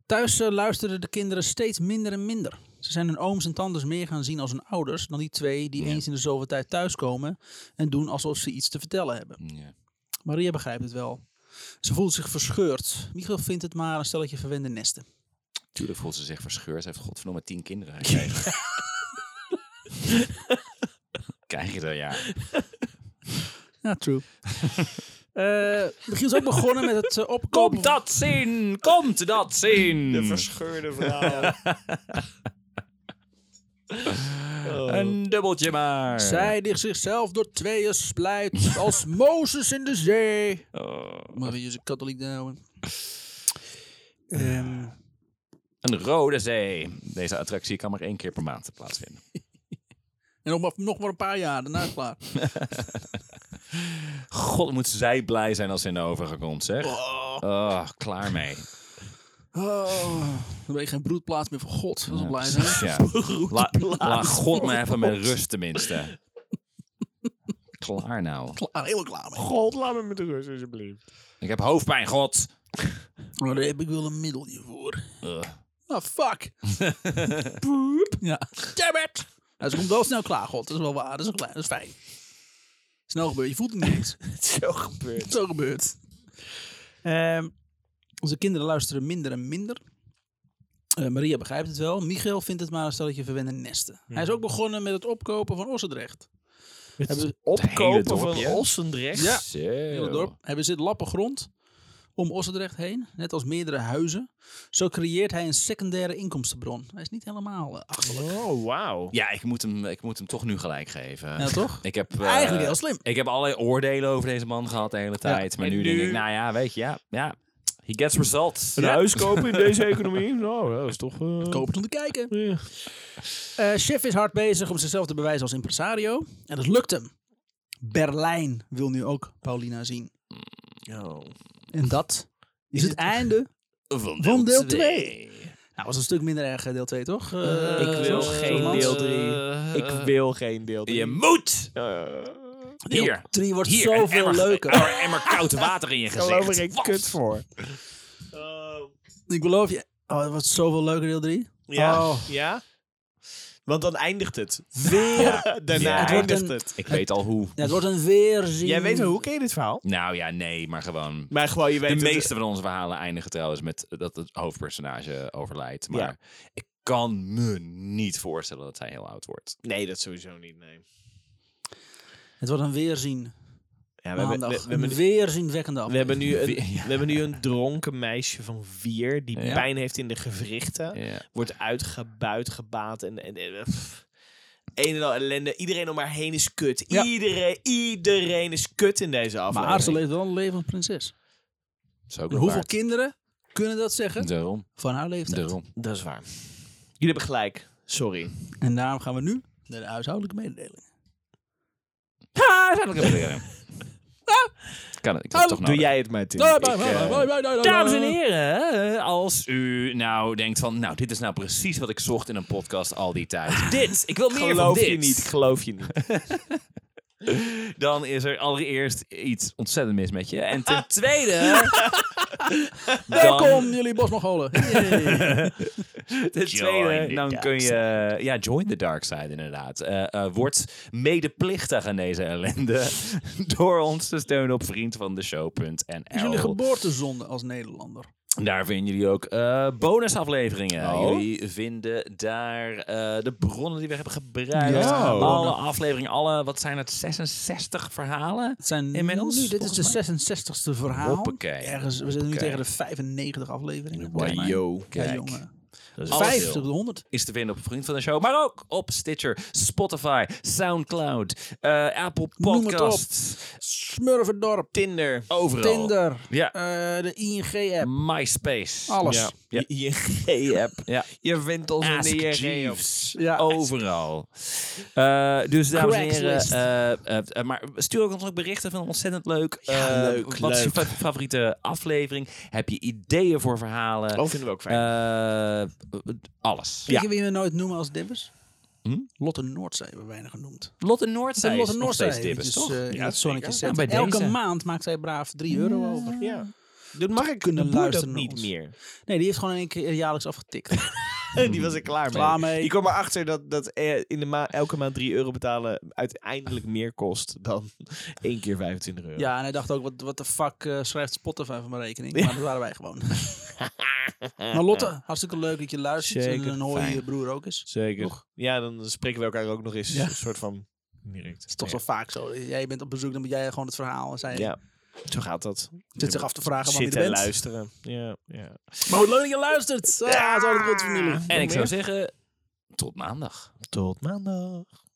Speaker 3: Thuis eh, luisterden de kinderen steeds minder en minder. Ze zijn hun ooms en tantes meer gaan zien als hun ouders dan die twee die eens in de zoveel tijd thuiskomen en doen alsof ze iets te vertellen hebben.
Speaker 2: ja.
Speaker 3: Maria begrijpt het wel. Ze voelt zich verscheurd. Michiel vindt het maar een stelletje verwende nesten.
Speaker 2: Tuurlijk voelt ze zich verscheurd. Ze heeft godverdomme tien kinderen gekregen. Krijg je dat, ja.
Speaker 3: Ja, true. Eh Michiel is ook begonnen met het eh, opkopen.
Speaker 2: dat zien! Komt dat zien!
Speaker 1: De verscheurde vrouw.
Speaker 2: Een dubbeltje maar.
Speaker 3: Zij die zichzelf door tweeën splijt als Mozes in de zee.
Speaker 2: Oh.
Speaker 3: Maar wie is een katholiek Ehm, nou?
Speaker 2: Een rode zee. Deze attractie kan maar één keer per maand plaatsvinden.
Speaker 3: en nog maar, nog maar een paar jaar, daarna is klaar.
Speaker 2: God, moet zij blij zijn als ze in de overige komt, zeg. Oh, klaar mee.
Speaker 3: Oh, dan ben je geen broedplaats meer voor God. Dat is wel blij zijn.
Speaker 2: Ja. La, laat God me even met rust tenminste. Klaar nou.
Speaker 3: Klaar, helemaal klaar mee.
Speaker 1: God, laat me met rust, alsjeblieft.
Speaker 2: Ik heb hoofdpijn, God.
Speaker 3: Maar daar heb ik wel een middeltje voor.
Speaker 2: Ugh.
Speaker 3: Ah, fuck. Boep. Ja. Damn it. Nou, ze komt wel snel klaar, God. Dat is wel waar. Dat is, wel klaar. Dat is fijn. Snel gebeurt. Je voelt het niet eens.
Speaker 1: Het is zo gebeurd.
Speaker 3: Zo gebeurt. Ehm, onze kinderen luisteren minder en minder. Eh, Maria begrijpt het wel. Michael vindt het maar een stelletje verwende nesten. Hij is ook begonnen met het opkopen van Ossendrecht. Hebben ze
Speaker 2: hele
Speaker 1: Opkopen van
Speaker 2: dorpje.
Speaker 1: Ossendrecht.
Speaker 3: Ja.
Speaker 2: Zo.
Speaker 3: hele dorp. Hebben zit lappen grond om Ossendrecht heen, net als meerdere huizen. Zo creëert hij een secundaire inkomstenbron. Hij is niet helemaal eh, achterlijk.
Speaker 1: Oh, wauw.
Speaker 2: Ja, ik moet, hem, ik moet hem toch nu gelijk geven.
Speaker 3: Ja, toch?
Speaker 2: Ik heb, eh,
Speaker 3: Eigenlijk heel slim.
Speaker 2: Ik heb allerlei oordelen over deze man gehad de hele tijd. Maar
Speaker 1: en
Speaker 2: nu, denk
Speaker 1: nu-
Speaker 2: ik, nou ja, weet je, ja. ja. He gets results.
Speaker 1: Een huis kopen in deze economie? Nou, dat is toch... eh,
Speaker 3: Kopen om te kijken.
Speaker 1: ja.
Speaker 3: Eh, chef is hard bezig om zichzelf te bewijzen als impresario. En dat lukt hem. Berlijn wil nu ook Paulina zien. En dat is het einde.
Speaker 2: Van
Speaker 3: Van deel
Speaker 2: twee.
Speaker 3: twee. Nou, was een stuk minder erg eh, deel 2, toch? Eh,
Speaker 1: Ik wil
Speaker 3: zoals-
Speaker 1: geen
Speaker 3: zoals-
Speaker 1: deel drie. Ik wil geen deel.
Speaker 2: Je moet!
Speaker 3: Deel
Speaker 2: Hier.
Speaker 3: 3 wordt
Speaker 2: Hier, een
Speaker 3: zoveel
Speaker 2: emmer,
Speaker 3: leuker.
Speaker 1: Oh.
Speaker 2: Een emmer koud water in je gezicht.
Speaker 1: geloof er geen
Speaker 2: Wat?
Speaker 1: kut voor.
Speaker 3: Ik beloof je. Oh, het wordt zoveel leuker, deel 3.
Speaker 1: Ja?
Speaker 3: Oh.
Speaker 1: Ja? Want dan eindigt het. Weer. Daarna
Speaker 2: Ja. Het wordt
Speaker 1: eindigt
Speaker 3: een-
Speaker 1: het.
Speaker 2: Ik weet al hoe.
Speaker 3: Ja, het wordt een weerzien.
Speaker 1: Jij weet wel, hoe ken je dit verhaal?
Speaker 2: Nou ja, nee, maar gewoon...
Speaker 1: Maar gewoon, je
Speaker 2: De
Speaker 1: weet
Speaker 2: meeste van onze verhalen eindigen trouwens met dat het hoofdpersonage overlijdt. Maar ik kan me niet voorstellen dat hij heel oud wordt.
Speaker 1: Nee, dat sowieso niet, nee.
Speaker 3: Het wordt een weerzien.
Speaker 1: Ja, we, hebben, we,
Speaker 3: Maandag.
Speaker 1: we hebben,
Speaker 3: een weerzienwekkende
Speaker 1: we
Speaker 3: aflevering.
Speaker 1: hebben nu een,
Speaker 2: Ja.
Speaker 1: we hebben nu een dronken meisje van vier die
Speaker 2: Ja.
Speaker 1: pijn heeft in de gewrichten.
Speaker 2: Ja.
Speaker 1: Wordt uitgebuit, gebaat en... en, en, eh, pff. Een en al ellende. Iedereen om haar heen is kut.
Speaker 3: Ja.
Speaker 1: Iedereen, iedereen is kut in deze
Speaker 3: Maar
Speaker 1: aflevering.
Speaker 3: Aarzel leeft wel een leven als prinses.
Speaker 2: Zo ook
Speaker 3: En hoeveel kinderen kunnen dat zeggen?
Speaker 2: Daarom,
Speaker 3: Van haar leeftijd.
Speaker 2: daarom.
Speaker 1: Dat is waar. Jullie hebben gelijk. Sorry.
Speaker 3: En daarom gaan we nu naar de huishoudelijke mededeling.
Speaker 2: Ah. Kan het, ik had het toch
Speaker 1: Doe
Speaker 2: nodig.
Speaker 1: jij het maar,
Speaker 3: Nou,
Speaker 1: Tim. Ik, eh,
Speaker 2: Oh, Dames en heren, als u nou denkt van, nou, dit is nou precies wat ik zocht in een podcast al die tijd. dit, ik wil meer van
Speaker 1: Geloof
Speaker 2: dit.
Speaker 1: je niet, geloof je niet.
Speaker 2: Dan is er allereerst iets ontzettend mis met je. En ten tweede... dan,
Speaker 3: Welkom jullie bosmogolen.
Speaker 2: ten tweede,
Speaker 1: the
Speaker 2: dan
Speaker 1: dark
Speaker 2: kun je... Ja, join the dark side inderdaad. Eh eh, word medeplichtig aan deze ellende door ons te steunen op
Speaker 3: Is jullie
Speaker 2: vriendvandeshow.nl.
Speaker 3: geboortezonde als Nederlander?
Speaker 2: Daar vinden jullie ook eh, bonusafleveringen.
Speaker 1: Oh.
Speaker 2: Jullie vinden daar eh, de bronnen die we hebben gebruikt.
Speaker 1: Ja.
Speaker 2: Alle afleveringen, alle, wat zijn het, 66 verhalen?
Speaker 3: Het zijn
Speaker 2: Inmiddels,
Speaker 3: nu- dit is
Speaker 2: volgens
Speaker 3: de 66ste verhaal.
Speaker 2: Hoppakee.
Speaker 3: Ergens, we zitten nu
Speaker 2: Hoppakee.
Speaker 3: tegen de 95 afleveringen. volgens mij.
Speaker 1: Wajo.
Speaker 3: Ja,
Speaker 2: Kijk.
Speaker 3: jongen.
Speaker 2: Dat
Speaker 3: 50 tot 100.
Speaker 2: is te vinden op Vriend van de Show. Maar ook op Stitcher, Spotify, Soundcloud, eh, Apple
Speaker 3: Noem het
Speaker 2: Podcasts.
Speaker 3: Smurvendorp.
Speaker 1: Tinder.
Speaker 2: Overal.
Speaker 3: Tinder.
Speaker 2: Ja.
Speaker 3: eh, de ING-app.
Speaker 2: MySpace.
Speaker 3: Alles.
Speaker 2: Ja. Ja.
Speaker 1: Je G-app.
Speaker 2: Ja.
Speaker 1: Je vindt ons
Speaker 2: Ask
Speaker 1: in de
Speaker 2: Jeeves.
Speaker 3: eh, Ja.
Speaker 2: Overal. Eh, dus dames en heren,
Speaker 3: Craigslist.
Speaker 2: eh, eh, eh, maar stuur ook ons ook berichten van ontzettend leuk.
Speaker 1: Ja,
Speaker 2: Eh,
Speaker 1: leuk,
Speaker 2: Wat is je
Speaker 1: leuk.
Speaker 2: fa- favoriete aflevering? Heb je ideeën voor verhalen?
Speaker 1: Oh, vinden we ook fijn.
Speaker 2: Eh, alles.
Speaker 3: Weet je wie we nooit noemen als dippers?
Speaker 2: Hm?
Speaker 3: Lotte Noordzee hebben we weinig genoemd.
Speaker 2: Lotte Noordzee
Speaker 3: Lotte
Speaker 2: is nog steeds
Speaker 3: Noordzee
Speaker 2: tippers,
Speaker 3: is
Speaker 2: toch?
Speaker 3: eh in
Speaker 1: Ja,
Speaker 3: het zonnetje
Speaker 1: zeker.
Speaker 2: Ja,
Speaker 3: zetten.
Speaker 2: bij
Speaker 3: Elke
Speaker 2: deze.
Speaker 3: maand maakt zij braaf 3 euro over.
Speaker 1: ja. Dat mag ik
Speaker 3: kunnen
Speaker 1: kunnen luisteren
Speaker 3: luisteren naar
Speaker 1: niet
Speaker 3: ons.
Speaker 1: meer.
Speaker 3: Nee, die heeft gewoon in één keer jaarlijks afgetikt.
Speaker 1: Die was ik klaar mee.
Speaker 3: Klaar mee.
Speaker 1: Ik kwam erachter dat, dat eh, in de ma elke maand 3 euro betalen uiteindelijk meer kost dan één keer 25 euro.
Speaker 3: ja, en hij dacht ook, wat what the fuck eh, schrijft Spotify van mijn rekening? Maar dat waren wij gewoon. maar Lotte, hartstikke leuk dat je luistert.
Speaker 1: Zeker,
Speaker 3: en dan hoor je
Speaker 1: fijn.
Speaker 3: je broer ook eens.
Speaker 1: Zeker.
Speaker 3: Toch?
Speaker 1: Ja, dan spreken we elkaar ook nog eens
Speaker 3: Ja.
Speaker 1: een soort van direct.
Speaker 3: Dat is toch zo vaak zo. Jij bent op bezoek, dan ben jij gewoon het verhaal. En zij
Speaker 1: Ja. Zo gaat dat.
Speaker 3: zit zich af te vragen wanneer je
Speaker 1: Zitten
Speaker 3: er
Speaker 1: en
Speaker 3: bent.
Speaker 1: luisteren. Ja, ja.
Speaker 3: Maar goed, leuk dat je Ah, luistert. Ja, zo goed familie.
Speaker 2: En ik zou zeggen, tot maandag.
Speaker 1: Tot maandag.